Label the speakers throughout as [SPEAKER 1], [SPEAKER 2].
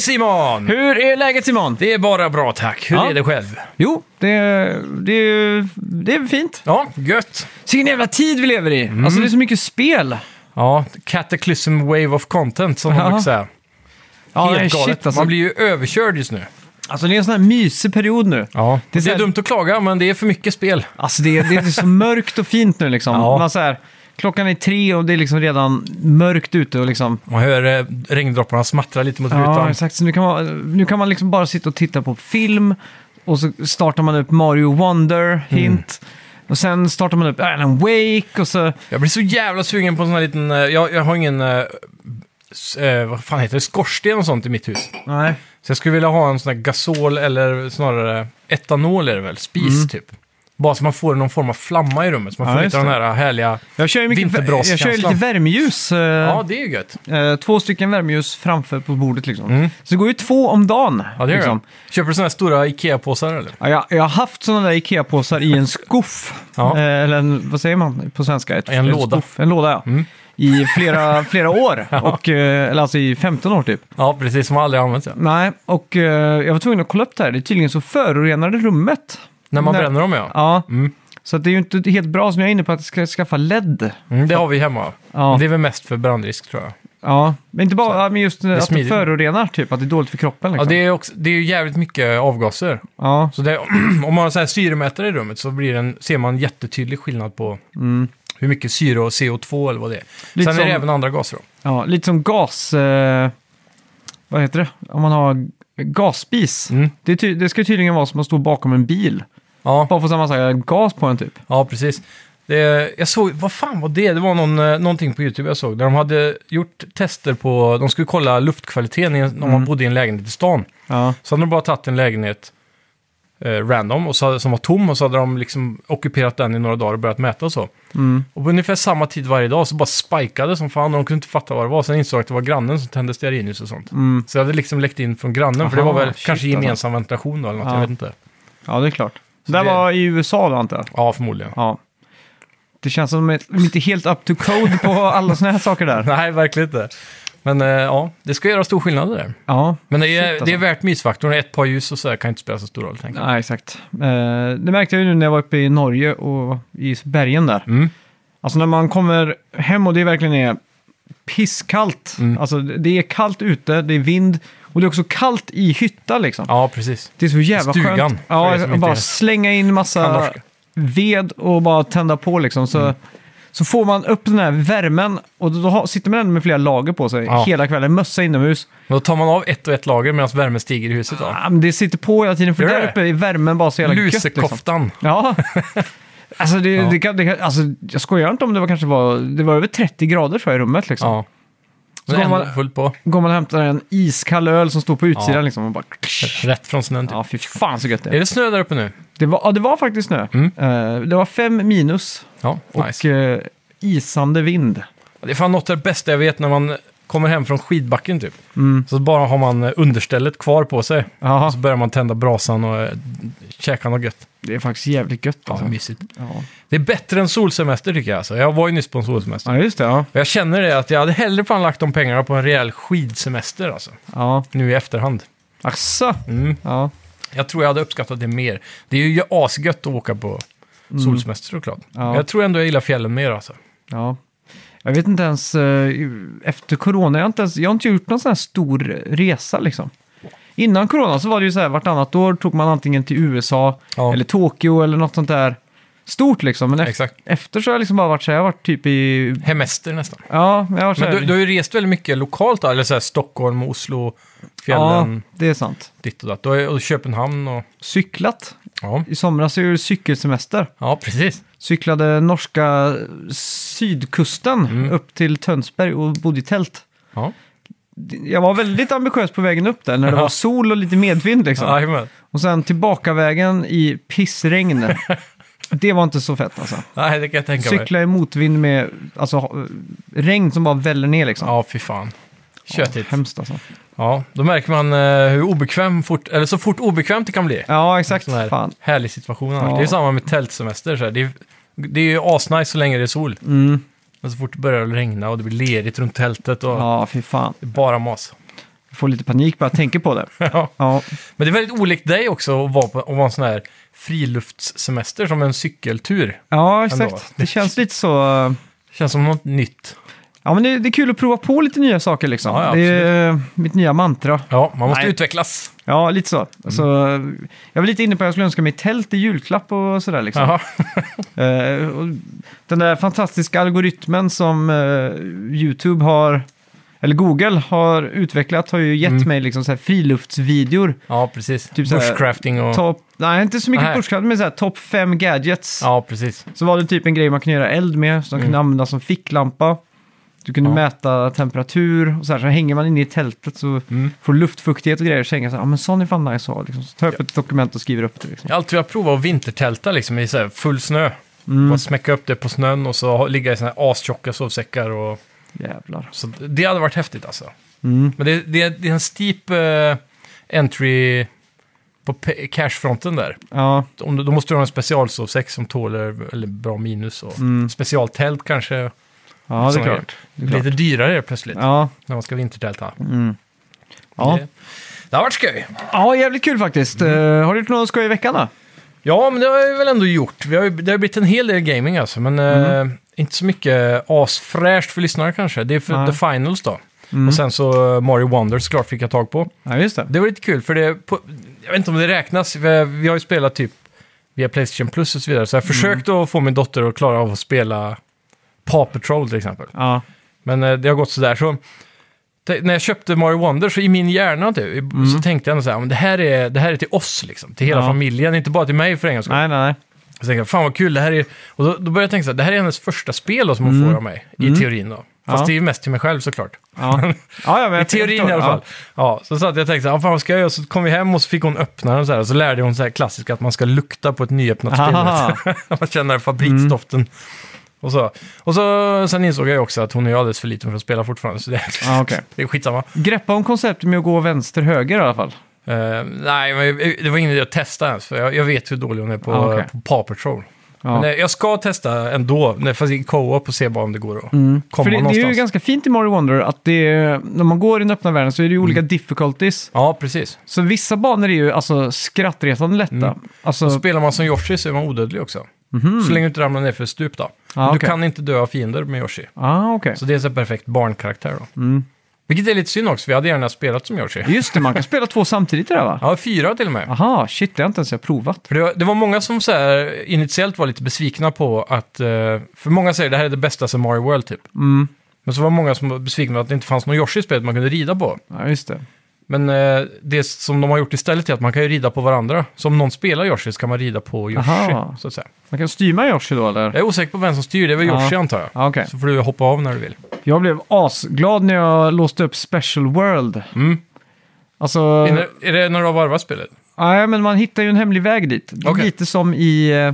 [SPEAKER 1] Simon!
[SPEAKER 2] Hur är läget Simon?
[SPEAKER 1] Det är bara bra tack. Hur
[SPEAKER 2] Ja.
[SPEAKER 1] är det själv?
[SPEAKER 2] Jo, det, det, det är fint.
[SPEAKER 1] Ja, gött.
[SPEAKER 2] Vilken jävla tid vi lever i. Alltså det är så mycket spel.
[SPEAKER 1] Ja, Cataclysm Wave of Content som
[SPEAKER 2] Ja.
[SPEAKER 1] man brukar säga.
[SPEAKER 2] Ja,
[SPEAKER 1] Helt
[SPEAKER 2] nej,
[SPEAKER 1] galet.
[SPEAKER 2] shit, alltså.
[SPEAKER 1] Man blir ju överkörd just nu.
[SPEAKER 2] alltså det är en sån här mysig period nu.
[SPEAKER 1] Ja.
[SPEAKER 2] Det
[SPEAKER 1] Det
[SPEAKER 2] är
[SPEAKER 1] är,
[SPEAKER 2] så här-
[SPEAKER 1] dumt att klaga, men det är för mycket spel.
[SPEAKER 2] Alltså det, det är så mörkt och fint nu liksom.
[SPEAKER 1] Ja.
[SPEAKER 2] Man så här, klockan är tre och det är liksom redan mörkt ute och liksom...
[SPEAKER 1] Man hör eh, regndropparna smattra lite mot
[SPEAKER 2] Ja,
[SPEAKER 1] rutan.
[SPEAKER 2] exakt. Så nu kan, man, nu kan man liksom bara sitta och titta på film och så startar man upp Mario Wonder, hint. Och sen startar man upp Alan Wake och så...
[SPEAKER 1] Jag blir så jävla sugen på en sån här liten... eh, Jag, jag har ingen... eh, s- eh, vad fan heter det? Skorsten och sånt i mitt hus.
[SPEAKER 2] Nej.
[SPEAKER 1] Så jag skulle vilja ha en sån här gasol eller snarare etanol är det väl? Spis typ. Bara så man får någon form av flamma i rummet. Så man
[SPEAKER 2] Mm. Ja,
[SPEAKER 1] får
[SPEAKER 2] just
[SPEAKER 1] lite den
[SPEAKER 2] det.
[SPEAKER 1] här härliga...
[SPEAKER 2] Jag kör ju mycket,
[SPEAKER 1] Vinterbraskänslan.
[SPEAKER 2] jag kör ju lite värmeljus. eh,
[SPEAKER 1] Ja, det är ju gött.
[SPEAKER 2] eh, Två stycken värmeljus framför på bordet liksom.
[SPEAKER 1] Mm.
[SPEAKER 2] Så det går ju två om dagen.
[SPEAKER 1] Ja, det gör
[SPEAKER 2] liksom.
[SPEAKER 1] jag. Köper du såna här stora Ikea-påsar eller?
[SPEAKER 2] Ja, jag, jag har haft sådana där Ikea-påsar i en skuff.
[SPEAKER 1] Ja.
[SPEAKER 2] Eh, Eller en, vad säger man på svenska? Ett,
[SPEAKER 1] En låda.
[SPEAKER 2] Skuff, en låda, Mm. ja. I flera, flera år. Och, eh, eller alltså i 15 år typ.
[SPEAKER 1] Ja, precis. Som jag aldrig har använt. Ja.
[SPEAKER 2] Nej, och eh, jag var tvungen att kolla upp det här. Det är tydligen så förorenade rummet.
[SPEAKER 1] När man
[SPEAKER 2] Nej.
[SPEAKER 1] bränner dem ja.
[SPEAKER 2] Ja,
[SPEAKER 1] Mm.
[SPEAKER 2] så att det är ju inte helt bra som jag är inne på att jag ska skaffa LED.
[SPEAKER 1] Mm, det har vi hemma.
[SPEAKER 2] Ja,
[SPEAKER 1] Men Det är väl mest för brandrisk tror jag.
[SPEAKER 2] ja. men inte bara ja, men just det att det
[SPEAKER 1] smidigt.
[SPEAKER 2] förorenar typ, att det är dåligt för kroppen
[SPEAKER 1] Ja,
[SPEAKER 2] liksom.
[SPEAKER 1] det, är också, det är ju jävligt mycket avgaser.
[SPEAKER 2] Ja,
[SPEAKER 1] Så det, om man har så här syremätare i rummet så blir den, ser man jättetydlig skillnad på
[SPEAKER 2] Mm.
[SPEAKER 1] hur mycket syre och CO2 eller vad det är.
[SPEAKER 2] Lite
[SPEAKER 1] Sen är det
[SPEAKER 2] som-
[SPEAKER 1] även andra gaser då.
[SPEAKER 2] ja, lite som gas... Eh, vad heter det? Om man har gasspis.
[SPEAKER 1] Mm.
[SPEAKER 2] Det, är ty- det ska tydligen vara som att stå bakom en bil.
[SPEAKER 1] Ja,
[SPEAKER 2] Bara få samma sak, gas på en typ.
[SPEAKER 1] ja precis. Det, jag såg, vad fan var det? Det var någon, eh, någonting på YouTube jag såg där de hade gjort tester på, de skulle kolla luftkvaliteten i en- om man
[SPEAKER 2] Mm.
[SPEAKER 1] bodde i en lägenhet i stan.
[SPEAKER 2] Ja,
[SPEAKER 1] Så hade de bara tagit en lägenhet eh, random och så, som var tom och så hade de liksom ockuperat den i några dagar och börjat mäta och så.
[SPEAKER 2] mm.
[SPEAKER 1] Och på ungefär samma tid varje dag så bara spikade som fan och de kunde inte fatta vad det var. Sen insåg jag att det var grannen som tände stearinljus och sånt.
[SPEAKER 2] Mm.
[SPEAKER 1] Så jag hade liksom läckt in från grannen för det
[SPEAKER 2] Aha,
[SPEAKER 1] var väl
[SPEAKER 2] shit, alltså.
[SPEAKER 1] kanske gemensam ventilation då eller något,
[SPEAKER 2] Ja.
[SPEAKER 1] jag vet inte.
[SPEAKER 2] ja det är klart. det här
[SPEAKER 1] det-
[SPEAKER 2] var i USA då antar jag?
[SPEAKER 1] Ja, förmodligen.
[SPEAKER 2] Ja. Det känns som att de inte är helt up to code på alla såna här saker där.
[SPEAKER 1] Nej, verkligen inte. Men eh, ja, det ska göra stor skillnad det där.
[SPEAKER 2] Ja,
[SPEAKER 1] Men det är,
[SPEAKER 2] Shit, alltså.
[SPEAKER 1] det är värt mysfaktorn. Ett par ljus och så här kan inte spela så stor roll, tänker jag.
[SPEAKER 2] nej, exakt. Eh, det märkte jag ju nu när jag var uppe i Norge och i bergen där.
[SPEAKER 1] Mm.
[SPEAKER 2] Alltså när man kommer hem och det verkligen är pisskallt. Alltså det är kallt ute, det är vind och det är också kallt i hytta liksom.
[SPEAKER 1] Ja, precis.
[SPEAKER 2] Det är så jävla
[SPEAKER 1] Stugan,
[SPEAKER 2] skönt.
[SPEAKER 1] för er
[SPEAKER 2] Ja,
[SPEAKER 1] som inte
[SPEAKER 2] bara
[SPEAKER 1] är-
[SPEAKER 2] slänga in
[SPEAKER 1] Kan Mm.
[SPEAKER 2] massa
[SPEAKER 1] norska.
[SPEAKER 2] ved och bara tända på liksom. Så, så får man upp den här värmen och då har, sitter man ändå med flera lager på sig
[SPEAKER 1] Ja.
[SPEAKER 2] hela kvällen. Mössa inomhus.
[SPEAKER 1] Men då tar man av ett och ett lager medan värmen stiger i huset då.
[SPEAKER 2] Ja, men det sitter på hela tiden, för
[SPEAKER 1] Gör
[SPEAKER 2] där
[SPEAKER 1] det?
[SPEAKER 2] uppe är värmen bara så Ah, jävla gött. Liksom.
[SPEAKER 1] Lusekoftan.
[SPEAKER 2] Ja. Alltså, det,
[SPEAKER 1] Ja.
[SPEAKER 2] Det kan, det kan, alltså, jag skojar inte om det var kanske var, det var över 30 grader tror jag i rummet. Liksom.
[SPEAKER 1] Ja.
[SPEAKER 2] Så
[SPEAKER 1] Men
[SPEAKER 2] går
[SPEAKER 1] ändå
[SPEAKER 2] man-
[SPEAKER 1] fullt på.
[SPEAKER 2] Går man och hämtar en iskall öl som står på utsidan
[SPEAKER 1] Ja.
[SPEAKER 2] liksom, och bara...
[SPEAKER 1] Rätt från snön typ.
[SPEAKER 2] Ja, fy fan så gött det
[SPEAKER 1] Är
[SPEAKER 2] är.
[SPEAKER 1] det snö där uppe nu?
[SPEAKER 2] Det var, ja, det var faktiskt snö.
[SPEAKER 1] Mm.
[SPEAKER 2] Eh, det var fem minus
[SPEAKER 1] Ja,
[SPEAKER 2] och
[SPEAKER 1] nice.
[SPEAKER 2] eh, isande vind.
[SPEAKER 1] Det är fan något av det bästa jag vet när man kommer hem från skidbacken typ.
[SPEAKER 2] Mm.
[SPEAKER 1] Så bara har man eh, understället kvar på sig.
[SPEAKER 2] Jaha,
[SPEAKER 1] Så börjar man tända brasan och eh, käka något gött.
[SPEAKER 2] det är faktiskt jävligt gött
[SPEAKER 1] Ja,
[SPEAKER 2] alltså.
[SPEAKER 1] mysigt.
[SPEAKER 2] Ja,
[SPEAKER 1] Det är bättre än solsemester tycker jag. Alltså. Jag var ju nyss på en solsemester.
[SPEAKER 2] ja just det. Ja.
[SPEAKER 1] Och Jag känner det att jag hade hellre fan lagt de pengarna på en rejäl skidsemester alltså.
[SPEAKER 2] Ja.
[SPEAKER 1] Nu i efterhand.
[SPEAKER 2] Asså.
[SPEAKER 1] Mm.
[SPEAKER 2] Ja.
[SPEAKER 1] Jag tror jag hade uppskattat det mer. Det är ju asgött att åka på solsemester såklart.
[SPEAKER 2] Mm. Ja.
[SPEAKER 1] Men Jag tror ändå jag gillar fjällen mer alltså.
[SPEAKER 2] Ja. Jag vet inte ens, eh, efter corona, jag har inte, ens, jag har inte gjort någon sån här stor resa liksom. Innan corona så var det ju så här, vartannat år tog man antingen till USA
[SPEAKER 1] Ja.
[SPEAKER 2] eller Tokyo eller något sånt där stort liksom. Men efter,
[SPEAKER 1] Exakt.
[SPEAKER 2] efter så har jag liksom bara varit så här, jag har varit typ i,
[SPEAKER 1] Hemester nästan.
[SPEAKER 2] ja, jag har varit så
[SPEAKER 1] Men
[SPEAKER 2] här,
[SPEAKER 1] du, du har ju rest väldigt mycket lokalt då, eller så här Stockholm, Oslo,
[SPEAKER 2] Ja,
[SPEAKER 1] fjällen,
[SPEAKER 2] det är sant.
[SPEAKER 1] ditt och datt. Du har ju- Och Köpenhamn och...
[SPEAKER 2] Cyklat.
[SPEAKER 1] Ja,
[SPEAKER 2] I somras är det cykelsemester.
[SPEAKER 1] ja precis.
[SPEAKER 2] Cyklade norska sydkusten upp till Tönsberg och bodde i tält.
[SPEAKER 1] Mm. Ja,
[SPEAKER 2] jag var väldigt ambitiös på vägen upp där när det var sol och lite medvind liksom.
[SPEAKER 1] Jajamän.
[SPEAKER 2] Och sen tillbaka vägen i pissregn. Det var inte så fett alltså.
[SPEAKER 1] Nej, det kan jag tänka mig.
[SPEAKER 2] Cykla i motvind med alltså, ha- regn som bara väller ner liksom.
[SPEAKER 1] Ja, fy fan. Tjötigt.
[SPEAKER 2] Hemskt alltså.
[SPEAKER 1] Ja, då märker man eh, hur obekväm fort, eller så fort obekvämt det kan bli.
[SPEAKER 2] Ja, exakt.
[SPEAKER 1] Sån här
[SPEAKER 2] Fan.
[SPEAKER 1] härlig situation annars.
[SPEAKER 2] Ja.
[SPEAKER 1] Det är ju samma med tältsemester. Så här. Det, är, det är ju asnice så länge det är sol.
[SPEAKER 2] Mm.
[SPEAKER 1] Men så fort det börjar regna och det blir lerigt runt tältet och
[SPEAKER 2] Ja, fy fan.
[SPEAKER 1] det är bara mas.
[SPEAKER 2] får lite panik bara jag tänker på det.
[SPEAKER 1] Ja.
[SPEAKER 2] Ja,
[SPEAKER 1] Men det är väldigt olikt dig också att vara på att vara en sån här friluftssemester som en cykeltur.
[SPEAKER 2] ja
[SPEAKER 1] Ändå.
[SPEAKER 2] exakt. Det känns lite så... eh,
[SPEAKER 1] Känns som något nytt.
[SPEAKER 2] Ja, men det, det är kul att prova på lite nya saker liksom.
[SPEAKER 1] Ja, ja,
[SPEAKER 2] det är eh, mitt nya mantra.
[SPEAKER 1] Ja, man måste
[SPEAKER 2] Nej.
[SPEAKER 1] utvecklas.
[SPEAKER 2] Ja, lite så.
[SPEAKER 1] Mm.
[SPEAKER 2] så. eh, Jag var lite inne på att jag skulle önska mig tält i julklapp och sådär liksom.
[SPEAKER 1] Jaha.
[SPEAKER 2] Eh, och den där fantastiska algoritmen som eh, YouTube har, eller Google har utvecklat har ju gett
[SPEAKER 1] Mm.
[SPEAKER 2] mig liksom så här friluftsvideor.
[SPEAKER 1] Ja, precis.
[SPEAKER 2] Typ så här-
[SPEAKER 1] Bushcrafting och...
[SPEAKER 2] Topp, nej, inte så mycket
[SPEAKER 1] Nej.
[SPEAKER 2] pushcard, men så här topp fem gadgets.
[SPEAKER 1] Ja, precis.
[SPEAKER 2] Så var det typ en grej man kunde göra eld med, som kunde använda som ficklampa. Du kunde
[SPEAKER 1] Ja.
[SPEAKER 2] mäta temperatur och så här. Så hänger man inne i tältet så
[SPEAKER 1] Mm.
[SPEAKER 2] får du luftfuktighet och grejer. Så hänger jag så här, ja men sån är fan nice att ha. Liksom. Så tar jag upp ett dokument och skriver upp det liksom.
[SPEAKER 1] Jag har alltid velat prova att vintertälta liksom, i så här full snö.
[SPEAKER 2] Mm.
[SPEAKER 1] Bara smäcka upp det på snön och så ha- ligga i såna här astjocka sovsäckar. Och...
[SPEAKER 2] Jävlar.
[SPEAKER 1] Så det hade varit häftigt alltså.
[SPEAKER 2] Mm.
[SPEAKER 1] Men det, det, det är en steep eh, entry på pe- cashfronten där.
[SPEAKER 2] Ja,
[SPEAKER 1] Om du, då måste du ha en specialsovsäck som tåler eller bra minus. Och
[SPEAKER 2] Mm.
[SPEAKER 1] Specialtält kanske.
[SPEAKER 2] ja det är
[SPEAKER 1] Såna
[SPEAKER 2] klart. Det är klart.
[SPEAKER 1] Lite dyrare plötsligt
[SPEAKER 2] Ja.
[SPEAKER 1] när man ska vintertälta.
[SPEAKER 2] Mm. Ja.
[SPEAKER 1] Det, det har varit skoj.
[SPEAKER 2] ja, jävligt kul faktiskt.
[SPEAKER 1] Mm.
[SPEAKER 2] Eh, har du gjort något skoj i veckan då?
[SPEAKER 1] Ja, men det har jag väl ändå gjort. Vi har, ju- det har blivit en hel del gaming alltså, men eh,
[SPEAKER 2] Mm.
[SPEAKER 1] inte så mycket asfräscht för lyssnare kanske. Det är för
[SPEAKER 2] Nej.
[SPEAKER 1] The Finals då.
[SPEAKER 2] Mm.
[SPEAKER 1] Och sen så eh, Mario Wonder såklart fick jag tag på.
[SPEAKER 2] Ja, just det.
[SPEAKER 1] Det var lite kul, för det... På, jag vet inte om det räknas, vi, vi har ju spelat typ via Playstation Plus och så vidare.
[SPEAKER 2] Mm.
[SPEAKER 1] Så jag har försökt att få min dotter att klara av att spela Paw Patrol till exempel.
[SPEAKER 2] Ja.
[SPEAKER 1] Men eh, det har gått sådär. Så, te- när jag köpte Mario Wonder så i min hjärna typ, så tänkte jag ändå så här, "Men det här är, det här är till oss liksom. Till hela
[SPEAKER 2] Mm. Ja.
[SPEAKER 1] familjen, inte bara till mig för en gångs skull.
[SPEAKER 2] Nej, nej, nej.
[SPEAKER 1] Så tänkte jag, fan vad kul, det här är... Och då, då började jag tänka så här, det här är hennes första spel då, som hon får av mig, i teorin då. Fast
[SPEAKER 2] Mm. Ja.
[SPEAKER 1] det är ju mest till mig själv såklart.
[SPEAKER 2] Ja. Ja, ja, men
[SPEAKER 1] I
[SPEAKER 2] jag
[SPEAKER 1] teorin
[SPEAKER 2] förstår.
[SPEAKER 1] i alla fall. Ja, så satt jag och tänkte så här, "Ah, fan vad ska jag göra? Så kom vi hem och så fick hon öppna den så här. Och så lärde hon så här klassiskt att man ska lukta på ett nyöppnat
[SPEAKER 2] Ja.
[SPEAKER 1] spel.
[SPEAKER 2] Aha. Mm.
[SPEAKER 1] man känner fabriksdoften. Och, så. och så, sen insåg jag också att hon är ju alldeles för liten för att spela fortfarande. Så det,
[SPEAKER 2] Ja, Ah, okej.
[SPEAKER 1] det är skitsamma.
[SPEAKER 2] Greppa om konceptet med att gå vänster-höger i alla fall.
[SPEAKER 1] Eh, nej, men det var ingen idé att testa ens. För jag, jag vet hur dålig hon är på,
[SPEAKER 2] Ja, Ah, okej.
[SPEAKER 1] på Paw Patrol.
[SPEAKER 2] Ja.
[SPEAKER 1] Men, eh, jag ska testa ändå, när- fast i co-op och se bara om det går att
[SPEAKER 2] Mm.
[SPEAKER 1] komma
[SPEAKER 2] För det, det är ju
[SPEAKER 1] någonstans.
[SPEAKER 2] ganska fint i Mario Wonder att det är, när man går i den öppna världen så är det ju olika
[SPEAKER 1] Mm.
[SPEAKER 2] difficulties.
[SPEAKER 1] Ja, precis.
[SPEAKER 2] Så vissa banor är ju alltså skrattretande lätta. Alltså, mhm.
[SPEAKER 1] Spelar man som Yoshi så är man odödlig också. Mm. Så länge du inte ramlar ner för ett stup då.
[SPEAKER 2] Mm. Ah,
[SPEAKER 1] Du
[SPEAKER 2] okej.
[SPEAKER 1] kan inte dö av fiender med Yoshi.
[SPEAKER 2] ah, okej. Mm.
[SPEAKER 1] Så det är så här perfekt barnkaraktär då. Vilket är lite synd också, vi hade gärna spelat som Yoshi.
[SPEAKER 2] Just det, man kan spela två samtidigt där va?
[SPEAKER 1] Ja, fyra till och med.
[SPEAKER 2] Aha, shit, det har inte ens jag provat.
[SPEAKER 1] För det, var, det var många som så här, initiellt var lite besvikna på att... eh, För många säger det här är det bästa som Mario World typ.
[SPEAKER 2] Mm.
[SPEAKER 1] Men så var många som var besvikna på att det inte fanns någon Yoshi i spelet man kunde rida på.
[SPEAKER 2] Ja, just det.
[SPEAKER 1] Men eh, det som de har gjort istället är att man kan ju rida på varandra. Så om någon spelar Yoshi så kan man rida på Yoshi.
[SPEAKER 2] Aha.
[SPEAKER 1] Så att säga.
[SPEAKER 2] Man kan styra Yoshi då eller?
[SPEAKER 1] Jag är osäker på vem som styr, det var Yoshi
[SPEAKER 2] Ja.
[SPEAKER 1] antar jag.
[SPEAKER 2] Ja, okej.
[SPEAKER 1] Så får du hoppa av när du vill.
[SPEAKER 2] Jag blev asglad när jag låste upp Special World.
[SPEAKER 1] Mm.
[SPEAKER 2] Alltså,
[SPEAKER 1] Är, det, är det när du har varvat spelet?
[SPEAKER 2] nej, men man hittar ju en hemlig väg dit. Det är
[SPEAKER 1] Okej.
[SPEAKER 2] Lite som i, eh,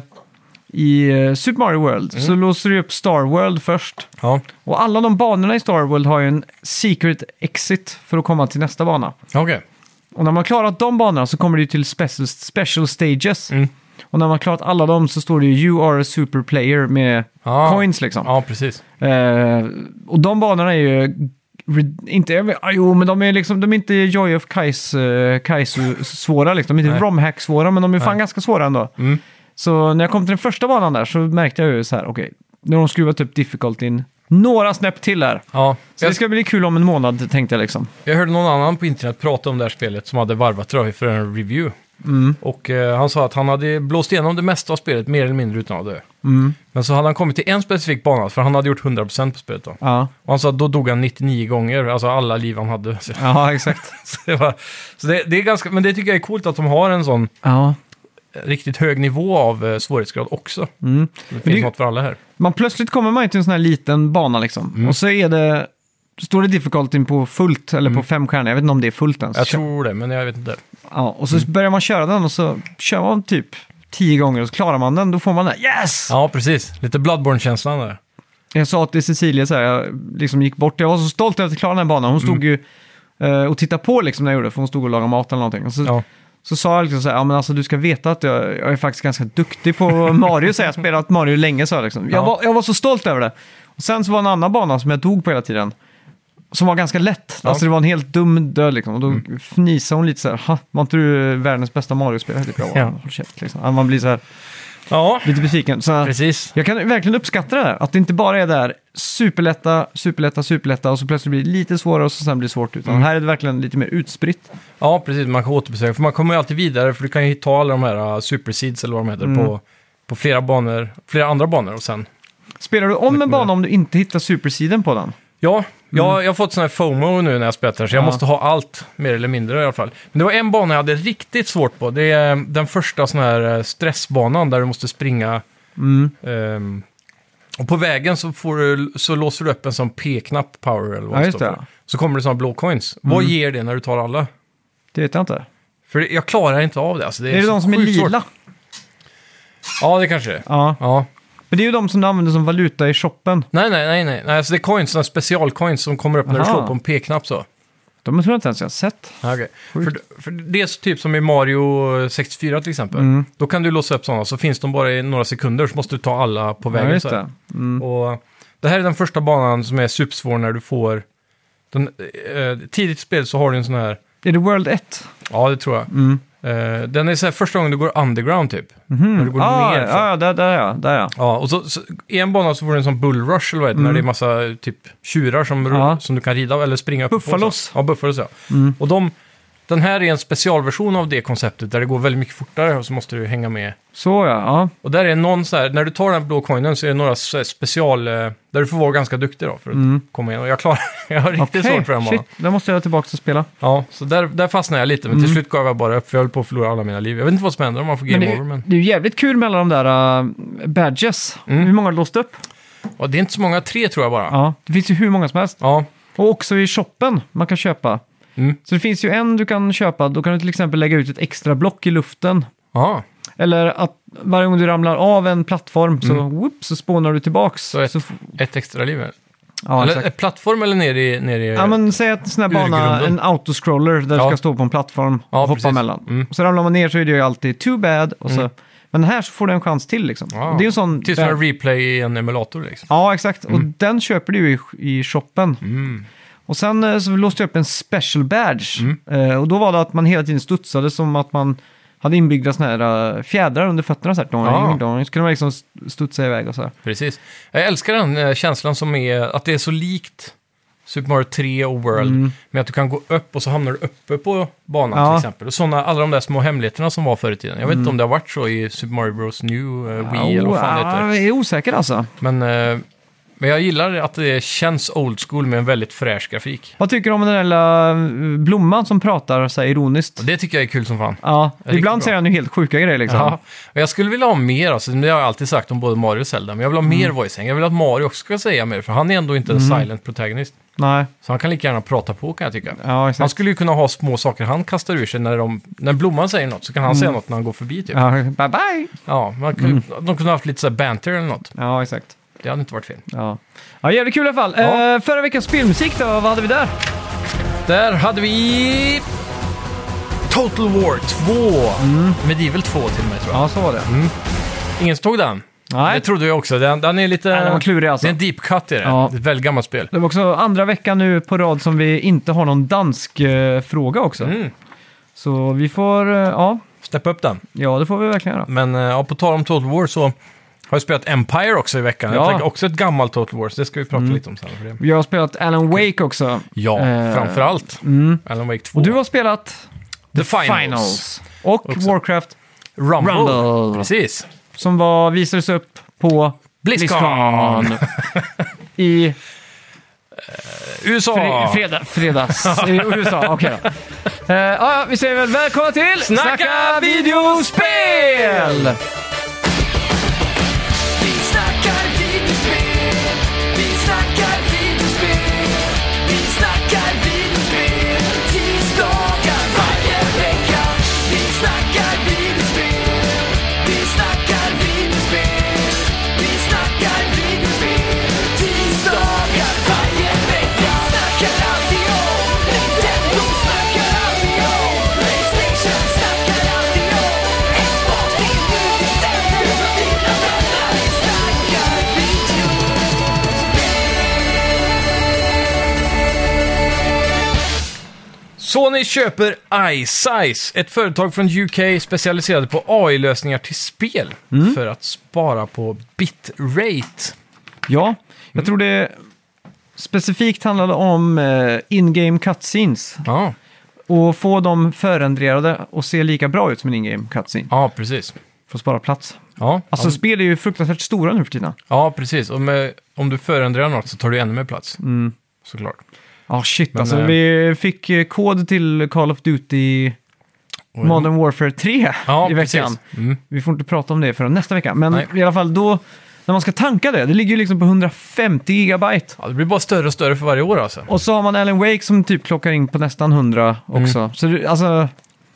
[SPEAKER 2] i eh, Super Mario World.
[SPEAKER 1] Mm.
[SPEAKER 2] Så låser du upp Star World först.
[SPEAKER 1] Ja.
[SPEAKER 2] Och alla de banorna i Star World har ju en secret exit för att komma till nästa bana.
[SPEAKER 1] Okej.
[SPEAKER 2] Och när man klarat de banorna så kommer det ju till special, special stages.
[SPEAKER 1] Mm.
[SPEAKER 2] Och när man klarat alla dem så står det ju You are a super player med
[SPEAKER 1] Ja.
[SPEAKER 2] coins liksom.
[SPEAKER 1] Ja, precis.
[SPEAKER 2] Eh, och de banorna är ju... re- Inte, jag vet- ah, jo, men de är, liksom, de är inte Joy of Kais, eh, Kaisu-svåra. Liksom. De är
[SPEAKER 1] Nej.
[SPEAKER 2] inte romhack-svåra, men de är fan
[SPEAKER 1] Nej.
[SPEAKER 2] ganska svåra ändå.
[SPEAKER 1] Mm.
[SPEAKER 2] Så när jag kom till den första banan där så märkte jag ju så här, okej, nu har de skruvat upp difficultyn några snäpp till här.
[SPEAKER 1] Ja.
[SPEAKER 2] Så det ska bli kul om en månad, tänkte jag liksom.
[SPEAKER 1] Jag hörde någon annan på internet prata om det här spelet som hade varvat tror jag, för en review.
[SPEAKER 2] Mm,
[SPEAKER 1] Och eh, han sa att han hade blåst igenom det mesta av spelet mer eller mindre utan att dö.
[SPEAKER 2] mm.
[SPEAKER 1] Men så hade han kommit till en specifik bana, för han hade gjort 100% på spelet då.
[SPEAKER 2] Ja,
[SPEAKER 1] Och han sa att då dog han 99 gånger, alltså alla liv han hade. Så,
[SPEAKER 2] ja exakt.
[SPEAKER 1] så, det, var, så det, det är ganska, men det tycker jag är coolt att de har en sån
[SPEAKER 2] ja.
[SPEAKER 1] riktigt hög nivå av eh, svårighetsgrad också.
[SPEAKER 2] Mm.
[SPEAKER 1] Det finns
[SPEAKER 2] det-
[SPEAKER 1] något för alla här.
[SPEAKER 2] Man plötsligt kommer man ju till en sån här liten bana liksom. Och så är det... Står det difficultyn på fullt, eller på fem stjärnor? Jag vet inte om det är fullt ens.
[SPEAKER 1] Jag tror det, men jag vet inte.
[SPEAKER 2] Ja, och så börjar man köra den och så kör man typ tio gånger och så klarar man den. Då får man den här, yes!
[SPEAKER 1] Ja, precis. Lite Bloodborne-känslan där.
[SPEAKER 2] Jag sa till Cecilia så här, jag liksom gick bort. Jag var så stolt över att klara den här banan. Hon
[SPEAKER 1] Mm.
[SPEAKER 2] stod ju eh, och tittade på liksom när jag gjorde det, för hon stod och lagade mat eller någonting. Och så,
[SPEAKER 1] Ja.
[SPEAKER 2] så sa jag liksom så här, ja men alltså du ska veta att jag, jag är faktiskt ganska duktig på Mario. Så jag har spelat Mario länge, så jag liksom. jag,
[SPEAKER 1] Ja.
[SPEAKER 2] var, jag var så stolt över det. Och sen så var det en annan bana som jag dog på hela tiden. Som var ganska lätt.
[SPEAKER 1] Ja. Mm.
[SPEAKER 2] Alltså det var en helt dum död liksom. Och då fnissade hon lite så här. "Ha, Var inte du världens bästa Mario-spelare? Typ, ja.
[SPEAKER 1] Ja.
[SPEAKER 2] Håll käft liksom. Ja, Man blir så här
[SPEAKER 1] Ja,
[SPEAKER 2] lite besviken. Så här,
[SPEAKER 1] precis.
[SPEAKER 2] jag kan verkligen uppskatta det där. Att det inte bara är där superlätta, superlätta, superlätta och så plötsligt blir det lite svårare och så sen blir det svårt.
[SPEAKER 1] Mm.
[SPEAKER 2] Utan här är det verkligen lite mer utspritt.
[SPEAKER 1] Ja, precis. Man kan återbesöka. För man kommer ju alltid vidare, för du kan ju ta alla de här uh, superseeds eller vad de heter
[SPEAKER 2] Mm.
[SPEAKER 1] på, på flera banor, flera andra banor och sen...
[SPEAKER 2] Spelar du om en bana om du inte hittar supersiden på den?
[SPEAKER 1] Ja, jag, jag har fått sån här FOMO nu när jag spelar här, så jag
[SPEAKER 2] Mm. Ja.
[SPEAKER 1] måste ha allt, mer eller mindre i alla fall. Men det var en bana jag hade riktigt svårt på. Det är eh, den första sån här eh, stressbanan där du måste springa.
[SPEAKER 2] Mm.
[SPEAKER 1] ehm, och på vägen så, får du, så låser du upp en sån P-knapp power eller vad
[SPEAKER 2] Ja,
[SPEAKER 1] det
[SPEAKER 2] just
[SPEAKER 1] står
[SPEAKER 2] det. Mm.
[SPEAKER 1] för. Så kommer det såna blå coins. Vad ger det när du tar alla?
[SPEAKER 2] Det vet jag inte.
[SPEAKER 1] För det- jag klarar inte av det. Alltså, det är,
[SPEAKER 2] Är, det
[SPEAKER 1] så
[SPEAKER 2] de som är
[SPEAKER 1] sjukt svårt.
[SPEAKER 2] lila?
[SPEAKER 1] Ja, det kanske det är.
[SPEAKER 2] Ja.
[SPEAKER 1] Ja.
[SPEAKER 2] Men det är ju de som du använder som valuta i shoppen.
[SPEAKER 1] Nej, nej, nej, nej. nej alltså det är coins, såna specialcoins som kommer upp när du
[SPEAKER 2] Aha.
[SPEAKER 1] slår på en P-knapp så.
[SPEAKER 2] De tror jag inte ens jag har sett.
[SPEAKER 1] Ja, okej. För, för det är så typ som i Mario 64 till exempel.
[SPEAKER 2] Mm.
[SPEAKER 1] Då kan du låsa upp sådana, så finns de bara i några sekunder, så måste du ta alla på vägen.
[SPEAKER 2] ja, just
[SPEAKER 1] så här.
[SPEAKER 2] det. Mm.
[SPEAKER 1] Och det här är den första banan som är supersvår när du får... Den, eh, tidigt i spelet så har du en sån här...
[SPEAKER 2] Är det World 1?
[SPEAKER 1] Ja, det tror jag.
[SPEAKER 2] Mm.
[SPEAKER 1] Eh, den är så här första gången du går underground typ. När du går
[SPEAKER 2] ah,
[SPEAKER 1] ner. så.
[SPEAKER 2] ja, ja, där, där ja. Där ja.
[SPEAKER 1] Ja, och så, så, i en bana så får du en sån bullrush eller vad det heter, när det är massa typ tjurar som, ru-
[SPEAKER 2] Mm. Ja. Mm.
[SPEAKER 1] som du kan rida eller springa upp på, så.
[SPEAKER 2] Buffalos.
[SPEAKER 1] Ja, buffalos ja. Och de, den här är en specialversion av det konceptet där det går väldigt mycket fortare och så måste du hänga med.
[SPEAKER 2] Så ja, ja.
[SPEAKER 1] Och där är någon så här, när du tar den blå coinen så är det några så här special, eh, där du får vara ganska duktig då för att komma in. Och jag klarar, jag har riktigt
[SPEAKER 2] Mm. Okej,
[SPEAKER 1] svårt för den banan.
[SPEAKER 2] shit. Där måste jag tillbaka och spela.
[SPEAKER 1] Ja, så där, där fastnade jag lite, men till slut gav jag bara upp för jag höll på att förlora alla mina liv. Jag vet inte vad som händer om man får game
[SPEAKER 2] Mm. Men det,
[SPEAKER 1] over, men...
[SPEAKER 2] det är ju jävligt kul med alla de där äh, badges. Hur många har du låst upp?
[SPEAKER 1] Mm. Ja, det är inte så många, tre tror jag bara. Ja.
[SPEAKER 2] Ja, det finns ju hur många som helst.
[SPEAKER 1] ja.
[SPEAKER 2] Och också i shoppen man kan köpa.
[SPEAKER 1] Mm.
[SPEAKER 2] Så det finns ju en du kan köpa. Då kan du till exempel lägga ut ett extra block i luften.
[SPEAKER 1] Ja,
[SPEAKER 2] Eller att varje gång du ramlar av en plattform så, whoop, så spånar du tillbaks.
[SPEAKER 1] Mm. Så ett-
[SPEAKER 2] så, f-
[SPEAKER 1] ett extra liv.
[SPEAKER 2] ja,
[SPEAKER 1] eller
[SPEAKER 2] exakt.
[SPEAKER 1] eh, plattform eller ner i... Ner i
[SPEAKER 2] Ja, men säg att en sån här bana,
[SPEAKER 1] Urgrunden.
[SPEAKER 2] en autoscroller där du
[SPEAKER 1] Ja.
[SPEAKER 2] ska stå på en plattform
[SPEAKER 1] Ja,
[SPEAKER 2] och hoppa
[SPEAKER 1] precis.
[SPEAKER 2] mellan.
[SPEAKER 1] Mm.
[SPEAKER 2] Och så ramlar man ner så är det ju alltid too bad. Och så, Men här så får du en chans till liksom.
[SPEAKER 1] Ja.
[SPEAKER 2] Och Det är ju en sån...
[SPEAKER 1] Tills en replay i en emulator liksom.
[SPEAKER 2] Ja, exakt. Och den köper du ju i, i shoppen. Och sen eh, så låste jag upp en special badge.
[SPEAKER 1] Mm.
[SPEAKER 2] Eh, och då var det att man hela tiden studsade som att man hade inbyggda såna här eh, fjädrar under fötterna. Så, här, doing,
[SPEAKER 1] Ja.
[SPEAKER 2] doing. så kunde man liksom st- studsa iväg och så här.
[SPEAKER 1] Precis. Jag älskar den eh, känslan som är att det är så likt Super Mario 3 och World. Med att du kan gå upp och så hamnar du uppe på banan
[SPEAKER 2] Mm. Ja. Mm.
[SPEAKER 1] till exempel. Och såna, alla de där små hemligheterna som var förr i tiden. Jag vet inte om det har varit så i Super Mario Bros New, eh, Wii eller vad fan det
[SPEAKER 2] Ja,
[SPEAKER 1] heter.
[SPEAKER 2] Jag är osäker alltså.
[SPEAKER 1] Men, eh, men jag gillar att det känns old school med en väldigt fräsch grafik.
[SPEAKER 2] Vad tycker du om den där lilla eh, blomman som pratar så här ironiskt?
[SPEAKER 1] Och det tycker jag är kul som fan.
[SPEAKER 2] Ja,
[SPEAKER 1] Riktigt
[SPEAKER 2] ibland
[SPEAKER 1] bra.
[SPEAKER 2] säger han ju helt sjuka grejer liksom.
[SPEAKER 1] Ja, och jag skulle vilja ha mer, alltså, det har jag alltid sagt om både Mario och Zelda, men jag vill ha
[SPEAKER 2] Mm.
[SPEAKER 1] mer voice acting. Jag vill att Mario också ska säga mer, för han är ändå inte en silent protagonist.
[SPEAKER 2] Nej,
[SPEAKER 1] Så han kan lika gärna prata på kan jag tycka.
[SPEAKER 2] Mm. ja
[SPEAKER 1] Han
[SPEAKER 2] exakt.
[SPEAKER 1] skulle ju kunna ha små saker han kastar ur sig när, de, när blomman säger något, så kan han säga något när han går förbi typ. Ja,
[SPEAKER 2] Mm. Ja, Mm. bye bye!
[SPEAKER 1] man kunde, de kunde ha haft lite så här banter eller något.
[SPEAKER 2] Ja, exakt.
[SPEAKER 1] Det hade inte varit fel.
[SPEAKER 2] Ja, ja jävligt kul i alla fall.
[SPEAKER 1] Ja.
[SPEAKER 2] Eh, förra veckans spelmusik då, vad hade vi där?
[SPEAKER 1] Där hade vi... Total War 2! Mm.
[SPEAKER 2] Mm.
[SPEAKER 1] Medieval 2 till och med tror jag.
[SPEAKER 2] Ja, så var det.
[SPEAKER 1] Ingen som tog den.
[SPEAKER 2] Nej.
[SPEAKER 1] Det trodde jag också. Den, den är lite...
[SPEAKER 2] Nej, den var klurig, alltså.
[SPEAKER 1] Det är en deep cut i det.
[SPEAKER 2] Ja.
[SPEAKER 1] Det är ett väldigt gammalt spel.
[SPEAKER 2] Det var också andra veckan nu på rad som vi inte har någon dansk eh, fråga också.
[SPEAKER 1] Mm.
[SPEAKER 2] Så vi får, eh, ja,
[SPEAKER 1] Steppa upp den.
[SPEAKER 2] ja det får vi verkligen göra.
[SPEAKER 1] Men eh, ja, på tal om Total War så har jag spelat Empire också i veckan.
[SPEAKER 2] Ja.
[SPEAKER 1] Jag tänkte också ett gammalt Total War, så det ska vi prata lite om sen. För det.
[SPEAKER 2] Jag har spelat Alan Wake också.
[SPEAKER 1] Mm. Ja,
[SPEAKER 2] Eh,
[SPEAKER 1] framförallt.
[SPEAKER 2] Mm.
[SPEAKER 1] Alan Wake 2.
[SPEAKER 2] Och du har spelat
[SPEAKER 1] The Finals.
[SPEAKER 2] Och
[SPEAKER 1] Också.
[SPEAKER 2] Warcraft
[SPEAKER 1] Rumble.
[SPEAKER 2] Rumble.
[SPEAKER 1] Precis.
[SPEAKER 2] som var, visades upp på
[SPEAKER 1] Blizzcon.
[SPEAKER 2] Blizzcon. I
[SPEAKER 1] USA.
[SPEAKER 2] Fre fredag, fredags i USA, okej då. Eh, ja, ja, vi säger väl välkomna till
[SPEAKER 1] Snacka
[SPEAKER 2] videospel!
[SPEAKER 3] Vi snackar videospel, vi snackar videospel, vi snackar videospel, tisdagar varje vecka. Vi snackar videospel, vi snackar videospel, vi snackar videospel, tisdagar varje vecka. Snackar alltid om Nintendo, snackar alltid om Playstation, snackar alltid om Xbox, det är nu vi
[SPEAKER 1] Sony köper iSize, ett företag från UK specialiserade på AI-lösningar till spel för att spara på bitrate.
[SPEAKER 2] Ja, jag tror det specifikt handlade om eh, in-game cutscenes.
[SPEAKER 1] Ja,
[SPEAKER 2] Och få dem förändrade och se lika bra ut som en in-game cutscene.
[SPEAKER 1] ja precis.
[SPEAKER 2] För att spara plats.
[SPEAKER 1] Ja,
[SPEAKER 2] Alltså spel är ju fruktansvärt stora nu för tiden.
[SPEAKER 1] ja precis. Och med, om du förändrar något så tar du ännu mer plats. Såklart.
[SPEAKER 2] Ja, shit alltså.
[SPEAKER 1] eh,
[SPEAKER 2] Vi fick eh, kod till Call of Duty
[SPEAKER 1] Och-
[SPEAKER 2] Modern Warfare 3
[SPEAKER 1] ja,
[SPEAKER 2] i veckan.
[SPEAKER 1] Precis. Mm.
[SPEAKER 2] Vi får inte prata om det förrän nästa vecka. Men
[SPEAKER 1] Nej.
[SPEAKER 2] i alla fall då, när man ska tanka det, det ligger ju liksom på 150 gigabyte.
[SPEAKER 1] Ja, det blir bara större och större för varje år alltså.
[SPEAKER 2] Och så har man Alan Wake som typ klockar in på nästan 100 också. Så det, alltså,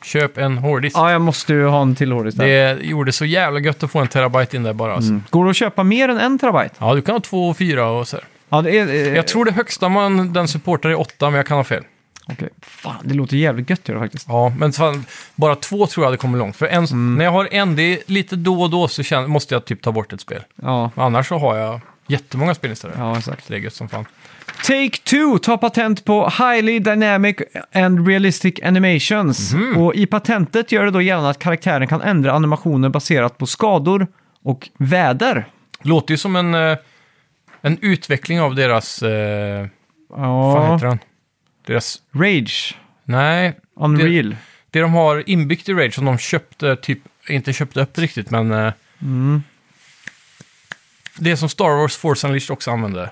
[SPEAKER 1] Köp en hårddisk.
[SPEAKER 2] ja jag måste ju ha en till hårddisk där. Mm.
[SPEAKER 1] Det gjorde så jävla gött att få en terabyte in där bara alltså.
[SPEAKER 2] Går det att köpa mer än en terabyte?
[SPEAKER 1] Ja, du kan ha två och fyra och så här.
[SPEAKER 2] Ja, det är... Eh,
[SPEAKER 1] Jag tror det högsta man den supportar är åtta, men jag kan ha fel.
[SPEAKER 2] okej. Fan, det låter jävligt gött gör det faktiskt.
[SPEAKER 1] Ja, men fan, bara två tror jag hade kommit långt. För en,
[SPEAKER 2] Mm.
[SPEAKER 1] när jag har en, det är lite då och då så känner, måste jag typ ta bort ett spel.
[SPEAKER 2] Ja,
[SPEAKER 1] Men annars så har jag jättemånga spellistor. Ja.
[SPEAKER 2] ja exakt.
[SPEAKER 1] Det är gött som fan.
[SPEAKER 2] Take-Two tar patent på Highly Dynamic and Realistic Animations.
[SPEAKER 1] Mhm.
[SPEAKER 2] Och i patentet gör det då gällande att karaktären kan ändra animationer baserat på skador och väder.
[SPEAKER 1] Låter ju som en, eh, en utveckling av deras... Eh, vad fan
[SPEAKER 2] Ja,
[SPEAKER 1] heter den? Deras...
[SPEAKER 2] Rage.
[SPEAKER 1] Nej,
[SPEAKER 2] Unreal.
[SPEAKER 1] det de har inbyggt i Rage som de köpte, typ, inte köpte upp riktigt, men... Eh,
[SPEAKER 2] Mm.
[SPEAKER 1] Det som Star Wars Force Unleashed också använde.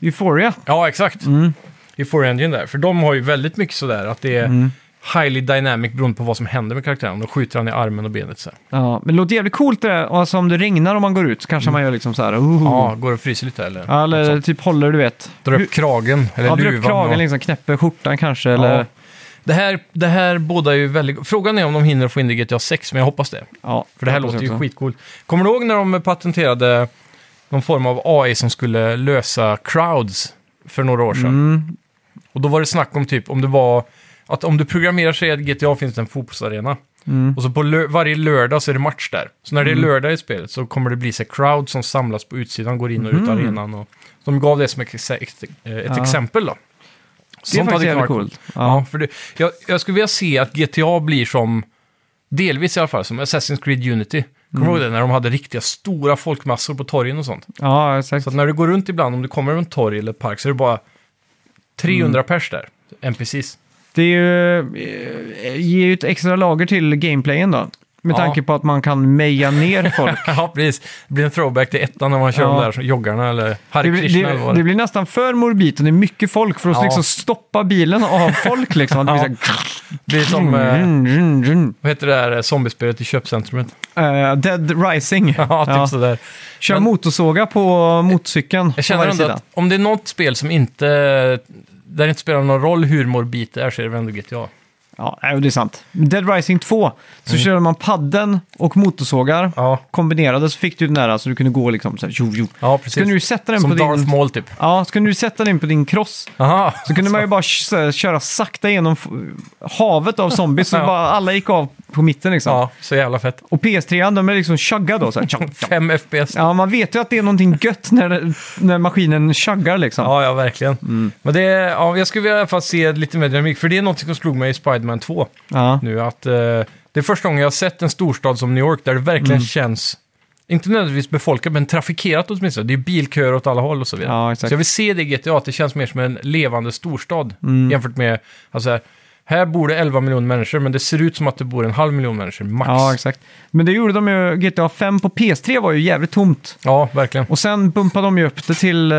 [SPEAKER 2] Euphoria.
[SPEAKER 1] Ja, exakt.
[SPEAKER 2] Mm.
[SPEAKER 1] I Four Engine där. För de har ju väldigt mycket sådär att det är
[SPEAKER 2] Mm.
[SPEAKER 1] highly dynamic beroende på vad som händer med karaktären. Då skjuter han i armen och benet så här.
[SPEAKER 2] Ja, men det låter jävligt coolt det där. Och Alltså om det regnar och man går ut så kanske man gör liksom så här. Oh.
[SPEAKER 1] Mm. Ja, går och fryser lite eller?
[SPEAKER 2] Ja,
[SPEAKER 1] något
[SPEAKER 2] eller
[SPEAKER 1] sånt.
[SPEAKER 2] typ håller, du vet.
[SPEAKER 1] Drar upp kragen eller
[SPEAKER 2] Ja, drar
[SPEAKER 1] luvan.
[SPEAKER 2] upp kragen,
[SPEAKER 1] och-
[SPEAKER 2] liksom, knäpper skjortan kanske. Eller,
[SPEAKER 1] ja. det, här, det här båda är ju väldigt... Frågan är om de hinner få in det i GTA 6, men jag hoppas det.
[SPEAKER 2] ja,
[SPEAKER 1] För det här
[SPEAKER 2] hoppas
[SPEAKER 1] låter ju
[SPEAKER 2] jag också.
[SPEAKER 1] skitcoolt. Kommer du ihåg när de patenterade någon form av AI som skulle lösa crowds för några år sedan?
[SPEAKER 2] Mm.
[SPEAKER 1] Och då var det snack om typ om det var att om du programmerar sig att GTA finns det en fotbollsarena.
[SPEAKER 2] Mm.
[SPEAKER 1] Och så på lö- varje lördag så är det match där. Så när det är lördag i spelet så kommer det bli så här crowd som samlas på utsidan, går in och ut arenan. Och, så de gav det som ett, ex- ex- eh, ett
[SPEAKER 2] Mm. Ja.
[SPEAKER 1] exempel då.
[SPEAKER 2] Det är faktiskt jävligt coolt.
[SPEAKER 1] Ja.
[SPEAKER 2] Ja.
[SPEAKER 1] för det, jag, jag skulle vilja se att GTA blir som, delvis i alla fall, som Assassin's Creed Unity. Kommer du ihåg det?
[SPEAKER 2] Mm.
[SPEAKER 1] När de hade riktiga stora folkmassor på torgen och sånt.
[SPEAKER 2] ja, exakt.
[SPEAKER 1] Så att när du går runt ibland, om du kommer runt torg eller park, så är det bara 300 pers där. NPCs.
[SPEAKER 2] Det är ju, eh, ger ju ett extra lager till gameplayen då. Med
[SPEAKER 1] Ja.
[SPEAKER 2] tanke på att man kan meja ner folk.
[SPEAKER 1] Ja, precis. Det blir en throwback till ettan när man kör
[SPEAKER 2] Ja.
[SPEAKER 1] de där som joggarna eller
[SPEAKER 2] Det,
[SPEAKER 1] Hare
[SPEAKER 2] blir-
[SPEAKER 1] Krishna eller
[SPEAKER 2] det,
[SPEAKER 1] vad
[SPEAKER 2] det
[SPEAKER 1] det
[SPEAKER 2] blir nästan för morbid och det är mycket folk för att
[SPEAKER 1] Ja.
[SPEAKER 2] liksom stoppa bilen och ha folk liksom. Att det blir så
[SPEAKER 1] Det blir som,
[SPEAKER 2] här,
[SPEAKER 1] eh,
[SPEAKER 2] Run, run, run.
[SPEAKER 1] vad heter det där eh, zombiespelet i köpcentrumet?
[SPEAKER 2] Eh, Dead Rising.
[SPEAKER 1] Ja, typ
[SPEAKER 2] Ja.
[SPEAKER 1] sådär.
[SPEAKER 2] Kör
[SPEAKER 1] Men-
[SPEAKER 2] motorsåga på motorcykeln
[SPEAKER 1] Jag
[SPEAKER 2] på
[SPEAKER 1] känner
[SPEAKER 2] varje
[SPEAKER 1] ändå
[SPEAKER 2] sida.
[SPEAKER 1] att om det är något spel som inte, där det inte spelar någon roll hur morbid det är så är det väl ändå GTA.
[SPEAKER 2] Ja, nej, det är sant. Dead Rising 2, så körde man padden och motorsågar
[SPEAKER 1] Mm. Ja,
[SPEAKER 2] kombinerade så fick du den där så du kunde gå liksom så här, jo, jo.
[SPEAKER 1] ja
[SPEAKER 2] Så kunde du ju
[SPEAKER 1] precis.
[SPEAKER 2] sätta den
[SPEAKER 1] Som
[SPEAKER 2] på din...
[SPEAKER 1] Darth Maul typ.
[SPEAKER 2] Ja, så kunde du sätta den på din cross.
[SPEAKER 1] Aha.
[SPEAKER 2] Så kunde man ju bara så här, köra sakta genom f- havet av zombies, så
[SPEAKER 1] Ja.
[SPEAKER 2] bara alla gick av på mitten liksom.
[SPEAKER 1] Ja, så jävla fett.
[SPEAKER 2] Och PS3, de är liksom chugga då. Så här, tjong, tjong.
[SPEAKER 1] 5 FPS.
[SPEAKER 2] Ja, man vet ju att det är någonting gött när, det- när maskinen chuggar liksom.
[SPEAKER 1] Ja, ja, verkligen.
[SPEAKER 2] Mm.
[SPEAKER 1] Men det, ja, jag skulle vilja i alla fall se lite mer dynamik, för det är något som slog mig i Spider-Man 2
[SPEAKER 2] Ja.
[SPEAKER 1] nu. Att, eh, det är första gången jag har sett en storstad som New York där det verkligen
[SPEAKER 2] Mm.
[SPEAKER 1] känns, inte nödvändigtvis befolkat, men trafikerat åtminstone. Det är bilköer åt alla håll och så vidare.
[SPEAKER 2] Ja, exakt.
[SPEAKER 1] Så jag vill se det i GTA, att det känns mer som en levande storstad
[SPEAKER 2] Mm.
[SPEAKER 1] jämfört med, alltså här, här bor det 11 miljoner människor, men det ser ut som att det bor en halv miljon människor, max.
[SPEAKER 2] ja, exakt. Men det gjorde de ju, GTA 5 på PS3 var ju jävligt tomt.
[SPEAKER 1] Ja, verkligen.
[SPEAKER 2] Och sen bumpade de ju upp det till eh,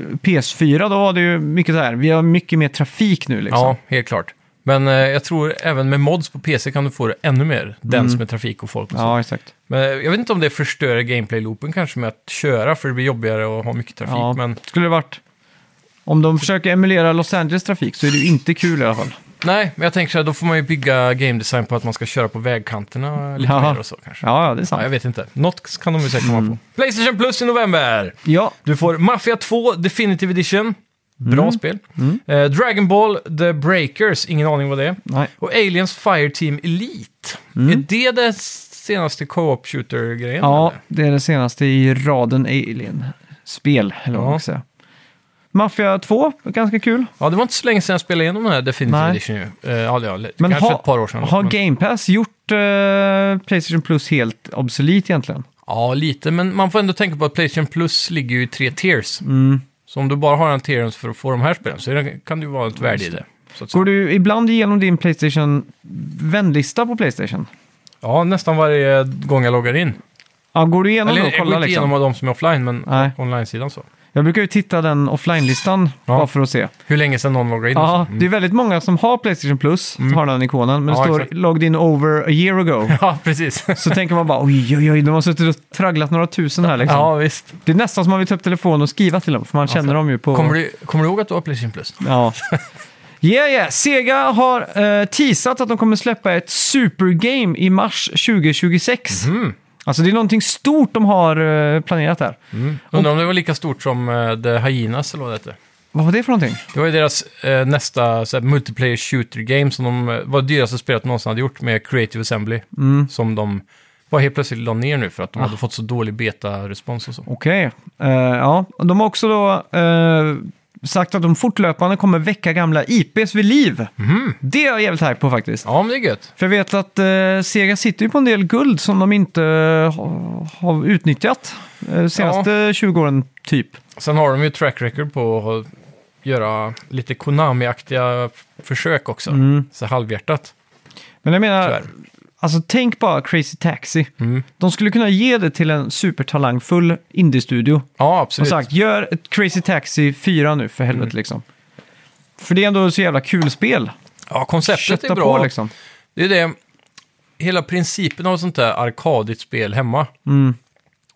[SPEAKER 2] PS4, då var det ju mycket så här, vi har mycket mer trafik nu liksom.
[SPEAKER 1] Ja, helt klart. Men eh, jag tror även med mods på PC kan du få det ännu
[SPEAKER 2] Mm.
[SPEAKER 1] mer dens med trafik och folk och så.
[SPEAKER 2] ja exakt.
[SPEAKER 1] Men eh, jag vet inte om det förstör gameplay-loopen kanske med att köra, för det blir jobbigare och ha mycket trafik.
[SPEAKER 2] Ja.
[SPEAKER 1] Men
[SPEAKER 2] Skulle det varit... Om de försöker emulera Los Angeles trafik så är det ju inte kul i alla fall.
[SPEAKER 1] nej, men jag tänker så här, då får man ju bygga game design på att man ska köra på vägkanterna lite
[SPEAKER 2] Ja. Mm.
[SPEAKER 1] mer och så kanske.
[SPEAKER 2] Ja, ja, det är
[SPEAKER 1] Ja, jag
[SPEAKER 2] sant.
[SPEAKER 1] vet inte. Något kan de ju säkert komma på. Playstation Plus i november!
[SPEAKER 2] Ja,
[SPEAKER 1] Du får Mafia 2 Definitive Edition. Bra
[SPEAKER 2] Mm.
[SPEAKER 1] spel. Eh, Dragon Ball The Breakers, ingen aning vad det är.
[SPEAKER 2] nej.
[SPEAKER 1] Och Aliens Fireteam Elite. Är det den senaste co-op shooter-grejen?
[SPEAKER 2] Mm. Ja,
[SPEAKER 1] eller?
[SPEAKER 2] det är det senaste i raden Alien-spel, eller vad
[SPEAKER 1] Ja.
[SPEAKER 2] man ska säga. Mafia 2, ganska kul.
[SPEAKER 1] Ja, det var inte så länge sedan jag spelade igenom den här Definitive
[SPEAKER 2] Nej.
[SPEAKER 1] Edition ju. Eh, ja, det var lite-
[SPEAKER 2] Men
[SPEAKER 1] kanske
[SPEAKER 2] har,
[SPEAKER 1] ett par år sedan.
[SPEAKER 2] har
[SPEAKER 1] men,
[SPEAKER 2] Game Pass gjort eh, Playstation Plus helt obsolet egentligen?
[SPEAKER 1] ja, lite. Men man får ändå tänka på att Playstation Plus ligger ju i tre tiers.
[SPEAKER 2] Mm.
[SPEAKER 1] Så om du bara har en tier för att få de här spelen så är det, kan det ju vara ett värde i det. Så att säga.
[SPEAKER 2] Går du ibland igenom din Playstation vänlista på Playstation?
[SPEAKER 1] Ja, nästan varje gång jag loggar in.
[SPEAKER 2] Ja, går du igenom
[SPEAKER 1] Eller
[SPEAKER 2] då och
[SPEAKER 1] jag går
[SPEAKER 2] kollar
[SPEAKER 1] inte
[SPEAKER 2] liksom?
[SPEAKER 1] igenom av de som är offline, men
[SPEAKER 2] Nej.
[SPEAKER 1] online-sidan så.
[SPEAKER 2] Jag brukar ju titta den offline-listan
[SPEAKER 1] Ja.
[SPEAKER 2] bara för att se.
[SPEAKER 1] Hur länge sedan någon loggar in? och
[SPEAKER 2] Ja,
[SPEAKER 1] så.
[SPEAKER 2] det är väldigt många som har Playstation Plus, har den ikonen, men
[SPEAKER 1] Mm. Ja,
[SPEAKER 2] det står
[SPEAKER 1] exakt.
[SPEAKER 2] “logged in over a year ago”.
[SPEAKER 1] ja precis.
[SPEAKER 2] Så tänker man bara oj, oj, oj, de har suttit och tragglat några tusen här liksom.
[SPEAKER 1] ja, visst.
[SPEAKER 2] Det är nästan som man vill ta upp telefonen och skriva till dem, för man känner dem ju på...
[SPEAKER 1] Kommer du, kommer du ihåg att du har Playstation Plus?
[SPEAKER 2] Ja. Yeah, yeah. Sega har uh, teasat att de kommer släppa ett supergame i mars 2026.
[SPEAKER 1] Mhm.
[SPEAKER 2] Alltså det är någonting stort de har eh, planerat där.
[SPEAKER 1] Undrar om det var lika stort som eh, The Hyenas eller vad det hette.
[SPEAKER 2] Vad var det för någonting?
[SPEAKER 1] Det var ju deras eh, nästa så här, multiplayer shooter game som de eh, var det dyraste spelet de någonsin hade gjort med Creative Assembly.
[SPEAKER 2] Mm.
[SPEAKER 1] Som de var helt plötsligt la ner nu för att de
[SPEAKER 2] Ah.
[SPEAKER 1] hade fått så dålig beta-respons och så.
[SPEAKER 2] Okej. Eh, ja. Och De har också då eh, sagt att de fortlöpande kommer väcka gamla IPs vid liv. Det är jag jävligt hype på faktiskt.
[SPEAKER 1] Ja, men det är gött.
[SPEAKER 2] För jag vet att eh, Sega sitter ju på en del guld som de inte eh, ha- har utnyttjat eh, senaste 20 åren typ.
[SPEAKER 1] Sen har de ju track record på att göra lite Konami-aktiga f- försök också.
[SPEAKER 2] Mm.
[SPEAKER 1] Så halvhjärtat,
[SPEAKER 2] Men jag menar,
[SPEAKER 1] tyvärr.
[SPEAKER 2] Alltså tänk bara Crazy Taxi.
[SPEAKER 1] Mm.
[SPEAKER 2] De skulle kunna ge det till en supertalangfull indie-studio.
[SPEAKER 1] Ja,
[SPEAKER 2] Och
[SPEAKER 1] absolut.
[SPEAKER 2] sagt, gör ett Crazy Taxi 4 nu för
[SPEAKER 1] Mm.
[SPEAKER 2] helvete liksom. För det är ändå så jävla kul spel.
[SPEAKER 1] Ja, konceptet är
[SPEAKER 2] Kötta
[SPEAKER 1] bra.
[SPEAKER 2] på liksom.
[SPEAKER 1] Det är det, hela principen av sånt där arkadigt spel hemma.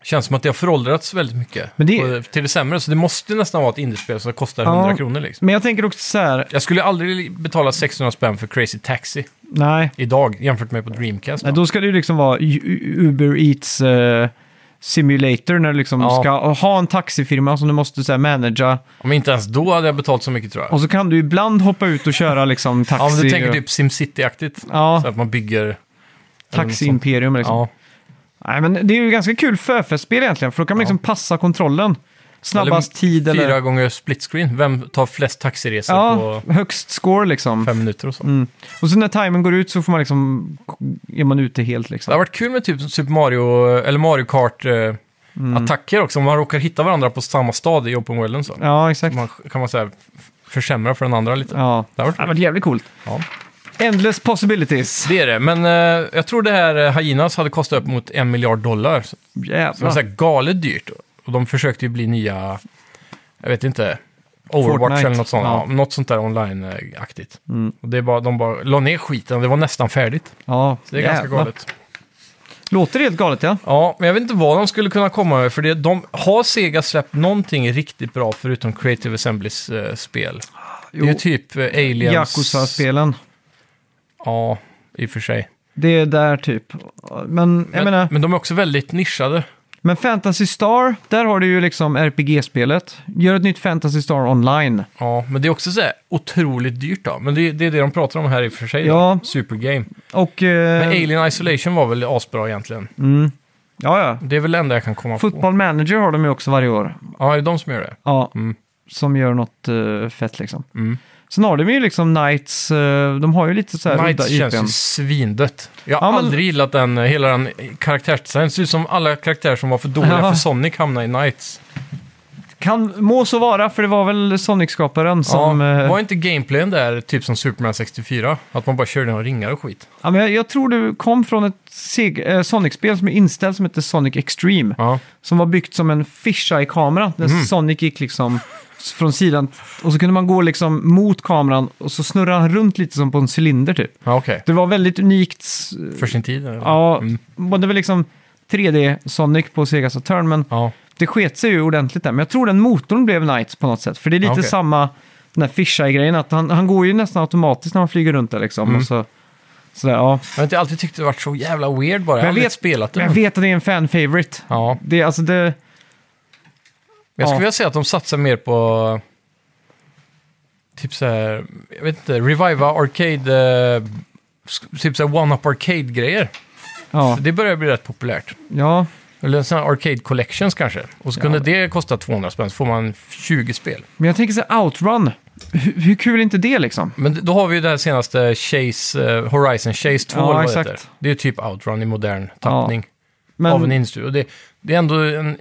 [SPEAKER 1] Känns som att det har föråldrats väldigt mycket.
[SPEAKER 2] Mm. Men det-
[SPEAKER 1] Och Till det sämre, så det måste nästan vara ett indiespel som kostar
[SPEAKER 2] Ja.
[SPEAKER 1] 100 kronor liksom.
[SPEAKER 2] Men jag tänker också så här,
[SPEAKER 1] Jag skulle aldrig betala 600 spänn för Crazy Taxi
[SPEAKER 2] nej.
[SPEAKER 1] idag jämfört med på Dreamcast.
[SPEAKER 2] nej då ska det ju liksom vara U- U- Uber Eats eh, Simulator när du liksom
[SPEAKER 1] Ja.
[SPEAKER 2] ska ha en taxifirma som du måste så här, managera.
[SPEAKER 1] Om inte ens då hade jag betalt så mycket tror jag.
[SPEAKER 2] Och så kan du ibland hoppa ut och köra liksom taxi.
[SPEAKER 1] Ja, men du tänker typ SimCity-aktigt.
[SPEAKER 2] Ja,
[SPEAKER 1] Så att man bygger...
[SPEAKER 2] taxi-imperium liksom.
[SPEAKER 1] Ja.
[SPEAKER 2] Nej, men det är ju ganska kul förfestspel egentligen, för då kan man liksom passa kontrollen. Snabbast tid
[SPEAKER 1] Fyra
[SPEAKER 2] eller...
[SPEAKER 1] gånger split screen. Vem tar flest taxiresor
[SPEAKER 2] Ja,
[SPEAKER 1] på
[SPEAKER 2] högst score liksom.
[SPEAKER 1] fem minuter och så?
[SPEAKER 2] Och så när timern går ut så får man liksom... Är man ute helt
[SPEAKER 1] Det har
[SPEAKER 2] liksom.
[SPEAKER 1] varit kul med typ Super Mario, eller Mario
[SPEAKER 2] Mm.
[SPEAKER 1] Kart-attacker också. Om man råkar hitta varandra på samma stad i Open Worlden så
[SPEAKER 2] Ja, exakt.
[SPEAKER 1] man, kan man säga f- försämra för den andra lite.
[SPEAKER 2] Ja.
[SPEAKER 1] Det har
[SPEAKER 2] Det
[SPEAKER 1] varit
[SPEAKER 2] var jävligt coolt.
[SPEAKER 1] Ja.
[SPEAKER 2] Endless possibilities.
[SPEAKER 1] Det är det, men eh, jag tror det här eh, Hyenas hade kostat upp mot en miljard dollar. Så det var
[SPEAKER 2] Jävlar.
[SPEAKER 1] så här galet dyrt. Och de försökte ju bli nya, jag vet inte, Overwatch
[SPEAKER 2] Fortnite.
[SPEAKER 1] eller något sånt.
[SPEAKER 2] Ja. Mm.
[SPEAKER 1] Ja. något sånt där online-aktigt. Och det är bara, de bara la ner skiten, det var nästan färdigt.
[SPEAKER 2] Ja,
[SPEAKER 1] Så det är ganska
[SPEAKER 2] jävlar.
[SPEAKER 1] galet.
[SPEAKER 2] Låter helt galet ja.
[SPEAKER 1] Ja, men jag vet inte vad de skulle kunna komma med, för det, de har Sega släppt någonting riktigt bra förutom Creative Assemblies eh, spel. Det är ju
[SPEAKER 2] Jo,
[SPEAKER 1] typ eh, Aliens...
[SPEAKER 2] Yakuza-spelen.
[SPEAKER 1] Ja, i och för sig.
[SPEAKER 2] Det är där typ. Men jag
[SPEAKER 1] Men,
[SPEAKER 2] menar,
[SPEAKER 1] men de är också väldigt nischade.
[SPEAKER 2] men Fantasy Star, där har du ju liksom RPG-spelet. Gör ett nytt Fantasy Star online.
[SPEAKER 1] Ja, men det är också så här otroligt dyrt då. Men det, det är det de pratar om här i och för sig. då.
[SPEAKER 2] Ja.
[SPEAKER 1] Supergame.
[SPEAKER 2] Och... eh, mm.
[SPEAKER 1] Men Alien Isolation var väl asbra egentligen.
[SPEAKER 2] Ja, ja.
[SPEAKER 1] Det är väl det enda jag kan komma på.
[SPEAKER 2] Football Manager har de ju också varje år.
[SPEAKER 1] Ja, det är de som gör det.
[SPEAKER 2] Ja,
[SPEAKER 1] Mm.
[SPEAKER 2] som gör något eh, fett liksom.
[SPEAKER 1] Mm.
[SPEAKER 2] Sen har de ju liksom Knights, eh, de har ju lite så här
[SPEAKER 1] Knights
[SPEAKER 2] udda
[SPEAKER 1] känns ju
[SPEAKER 2] IPn.
[SPEAKER 1] svindött. Jag har
[SPEAKER 2] Ja, men-
[SPEAKER 1] aldrig gillat den, eh, hela den karaktärsdesignen. Det ser ut som alla karaktärer som var för dåliga
[SPEAKER 2] Ja.
[SPEAKER 1] för Sonic hamnade i Knights.
[SPEAKER 2] Kan må så vara, för det var väl Sonic-skaparen som...
[SPEAKER 1] ja,
[SPEAKER 2] eh,
[SPEAKER 1] var inte gameplayen där typ som Superman 64? Att man bara körde några ringar och skit?
[SPEAKER 2] ja, men jag, jag tror du kom från ett seg- eh, Sonic-spel som är inställt som heter Sonic Extreme.
[SPEAKER 1] Ja,
[SPEAKER 2] Som var byggt som en fisheye-kamera. När
[SPEAKER 1] Mm.
[SPEAKER 2] Sonic gick liksom s- från sidan och så kunde man gå liksom mot kameran och så snurrade han runt lite som på en cylinder typ.
[SPEAKER 1] ja okej.
[SPEAKER 2] Det var väldigt unikt s-
[SPEAKER 1] För sin tid? eller?
[SPEAKER 2] Ja,
[SPEAKER 1] Mm.
[SPEAKER 2] både väl liksom 3D-Sonic på Sega Saturn, men
[SPEAKER 1] ja.
[SPEAKER 2] det sket sig ju ordentligt där. Men jag tror den motorn blev Knights på något sätt, för det är lite
[SPEAKER 1] Ja, okej.
[SPEAKER 2] samma den här Fisheye-grejen, att han, han går ju nästan automatiskt när han flyger runt där liksom.
[SPEAKER 1] Mm.
[SPEAKER 2] Och så, sådär, ja.
[SPEAKER 1] Jag har inte alltid tyckt det varit så jävla weird bara. Jag
[SPEAKER 2] jag
[SPEAKER 1] har aldrig
[SPEAKER 2] vet-
[SPEAKER 1] spelat det.
[SPEAKER 2] Men jag vet att det är en fan-favorite.
[SPEAKER 1] Ja,
[SPEAKER 2] Det, är alltså det,
[SPEAKER 1] men jag skulle
[SPEAKER 2] Ja.
[SPEAKER 1] vilja säga att de satsar mer på... Typ så här, jag vet inte, reviva arcade... Eh, sk- typ så här one-up arcade-grejer.
[SPEAKER 2] ja,
[SPEAKER 1] Det börjar bli rätt populärt.
[SPEAKER 2] ja,
[SPEAKER 1] Eller sådana här arcade collections kanske. Och så kunde det kosta 200 spänn, så får man 20 spel.
[SPEAKER 2] Men jag tänker så här, Outrun. Hur, hur kul är inte det liksom?
[SPEAKER 1] Men då har vi ju det här senaste Chase, eh, Horizon Chase 2,
[SPEAKER 2] Ja,
[SPEAKER 1] eller vad det
[SPEAKER 2] exakt.
[SPEAKER 1] heter. Det är typ Outrun i modern tappning av en
[SPEAKER 2] Men,
[SPEAKER 1] instudio. Det, det är ändå en,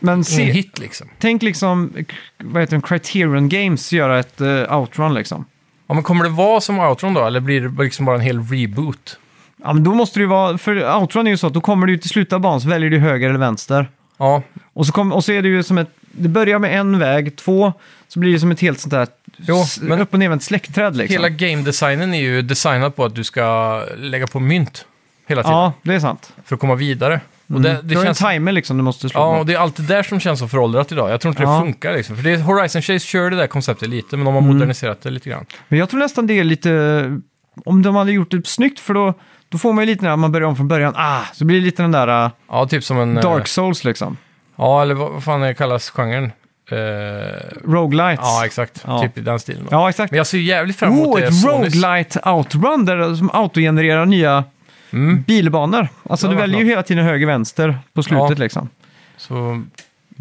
[SPEAKER 2] men
[SPEAKER 1] ingen
[SPEAKER 2] se,
[SPEAKER 1] hit liksom.
[SPEAKER 2] tänk liksom, eh, k- vad heter det, Criterion Games göra ett eh, Outrun liksom.
[SPEAKER 1] Ja, men kommer det vara som Outrun då, eller blir det liksom bara en hel reboot?
[SPEAKER 2] Ja, men då måste det ju vara, för Outrun är ju så att då kommer du ju till slutet av banan så väljer du höger eller vänster.
[SPEAKER 1] Ja,
[SPEAKER 2] Och så, kom, och så är det ju som ett, det börjar med en väg, två, så blir det som ett helt sånt där
[SPEAKER 1] Jo,
[SPEAKER 2] s-
[SPEAKER 1] men-
[SPEAKER 2] upp och nervänt släktträd liksom.
[SPEAKER 1] hela game-designen är ju designad på att du ska lägga på mynt hela tiden
[SPEAKER 2] ja, det är sant.
[SPEAKER 1] för att komma vidare. Och det,
[SPEAKER 2] du
[SPEAKER 1] det
[SPEAKER 2] har
[SPEAKER 1] känns...
[SPEAKER 2] en timer liksom du måste slå.
[SPEAKER 1] Ja,
[SPEAKER 2] på.
[SPEAKER 1] och det är alltid där som känns så föråldrat idag. Jag tror inte
[SPEAKER 2] Ja. Mm.
[SPEAKER 1] det funkar liksom. För det är Horizon Chase kör det där konceptet lite, men de har moderniserat det lite grann.
[SPEAKER 2] Men jag tror nästan det är lite, om de hade gjort det snyggt för då, då får man ju lite när man börjar om från början, ah, så blir det lite den där ah,
[SPEAKER 1] Ja, typ som en... eh,
[SPEAKER 2] Dark Souls liksom.
[SPEAKER 1] Ja, eller vad vad fan är- kallas genren? Eh,
[SPEAKER 2] Roguelites.
[SPEAKER 1] ja, exakt.
[SPEAKER 2] Ja.
[SPEAKER 1] Typ i den stilen.
[SPEAKER 2] ja exakt.
[SPEAKER 1] Men jag ser ju jävligt fram emot
[SPEAKER 2] Oh,
[SPEAKER 1] det.
[SPEAKER 2] ett
[SPEAKER 1] Sonys-
[SPEAKER 2] roguelite outrun där, som autogenererar nya
[SPEAKER 1] Mm.
[SPEAKER 2] bilbanor. Alltså
[SPEAKER 1] Det
[SPEAKER 2] du
[SPEAKER 1] var
[SPEAKER 2] väljer ju
[SPEAKER 1] något.
[SPEAKER 2] hela tiden höger vänster på slutet
[SPEAKER 1] Ja.
[SPEAKER 2] liksom.
[SPEAKER 1] Så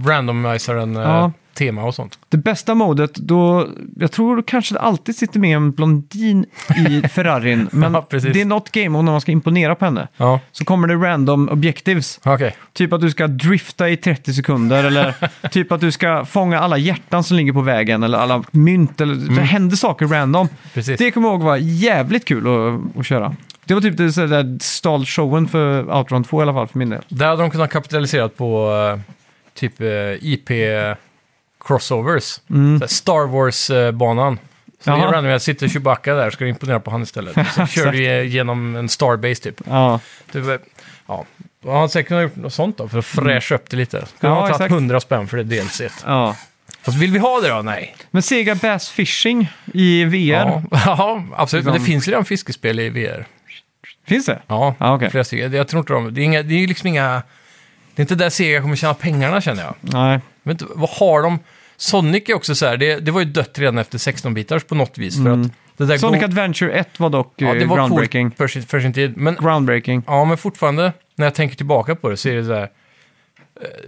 [SPEAKER 1] randomiserar en eh,
[SPEAKER 2] Ja.
[SPEAKER 1] tema och sånt.
[SPEAKER 2] Det bästa modet då, jag tror kanske det alltid sitter med en blondin i Ferrarin, men
[SPEAKER 1] Ja, precis.
[SPEAKER 2] det är något game om när man ska imponera på henne.
[SPEAKER 1] Ja,
[SPEAKER 2] Så kommer det random objectives,
[SPEAKER 1] okej.
[SPEAKER 2] typ att du ska drifta i 30 sekunder eller typ att du ska fånga alla hjärtan som ligger på vägen eller alla mynt eller det
[SPEAKER 1] Mm.
[SPEAKER 2] händer saker random.
[SPEAKER 1] Precis.
[SPEAKER 2] Det kommer jag ihåg var jävligt kul att, att köra. Det var typ det så där stal showen för Outrun 2 i alla fall för min del.
[SPEAKER 1] Där hade de kunnat kapitalisera på eh, typ eh, IP-crossovers.
[SPEAKER 2] Mm.
[SPEAKER 1] Star Wars-banan. Så
[SPEAKER 2] Jaha.
[SPEAKER 1] i randomiserat sitter Chewbacca där, ska du imponera på han istället. Så kör du eh, genom en Starbase typ.
[SPEAKER 2] Ja.
[SPEAKER 1] typ eh, ja. Då har han säkert kunnat gjort något sånt då, för att fräscha upp det lite. Skulle
[SPEAKER 2] Ja,
[SPEAKER 1] ha tagit
[SPEAKER 2] exakt.
[SPEAKER 1] 100 spänn för det DLC. -et.
[SPEAKER 2] ja.
[SPEAKER 1] Fast vill vi ha det då? Nej.
[SPEAKER 2] Men Sega Bass Fishing i VR,
[SPEAKER 1] Ja, ja absolut. Men det
[SPEAKER 2] Liksom-
[SPEAKER 1] finns ju redan fiskespel i VR.
[SPEAKER 2] finns det?
[SPEAKER 1] Ja,
[SPEAKER 2] Ja, okej.
[SPEAKER 1] flera stycken. Jag tror inte de... Det är, inga, det är ju liksom inga... Det är inte där Sega kommer tjäna pengarna känner jag.
[SPEAKER 2] Nej.
[SPEAKER 1] Jag vet inte, vad har de? Sonic är också så här, det, det var ju dött redan efter 16-bitars på något vis. För att det där
[SPEAKER 2] Sonic
[SPEAKER 1] go-
[SPEAKER 2] Adventure 1 var dock
[SPEAKER 1] ja, det
[SPEAKER 2] eh,
[SPEAKER 1] var
[SPEAKER 2] groundbreaking.
[SPEAKER 1] coolt för sin, för sin tid. Men,
[SPEAKER 2] Groundbreaking.
[SPEAKER 1] ja, men fortfarande, när jag tänker tillbaka på det så är det så här... eh,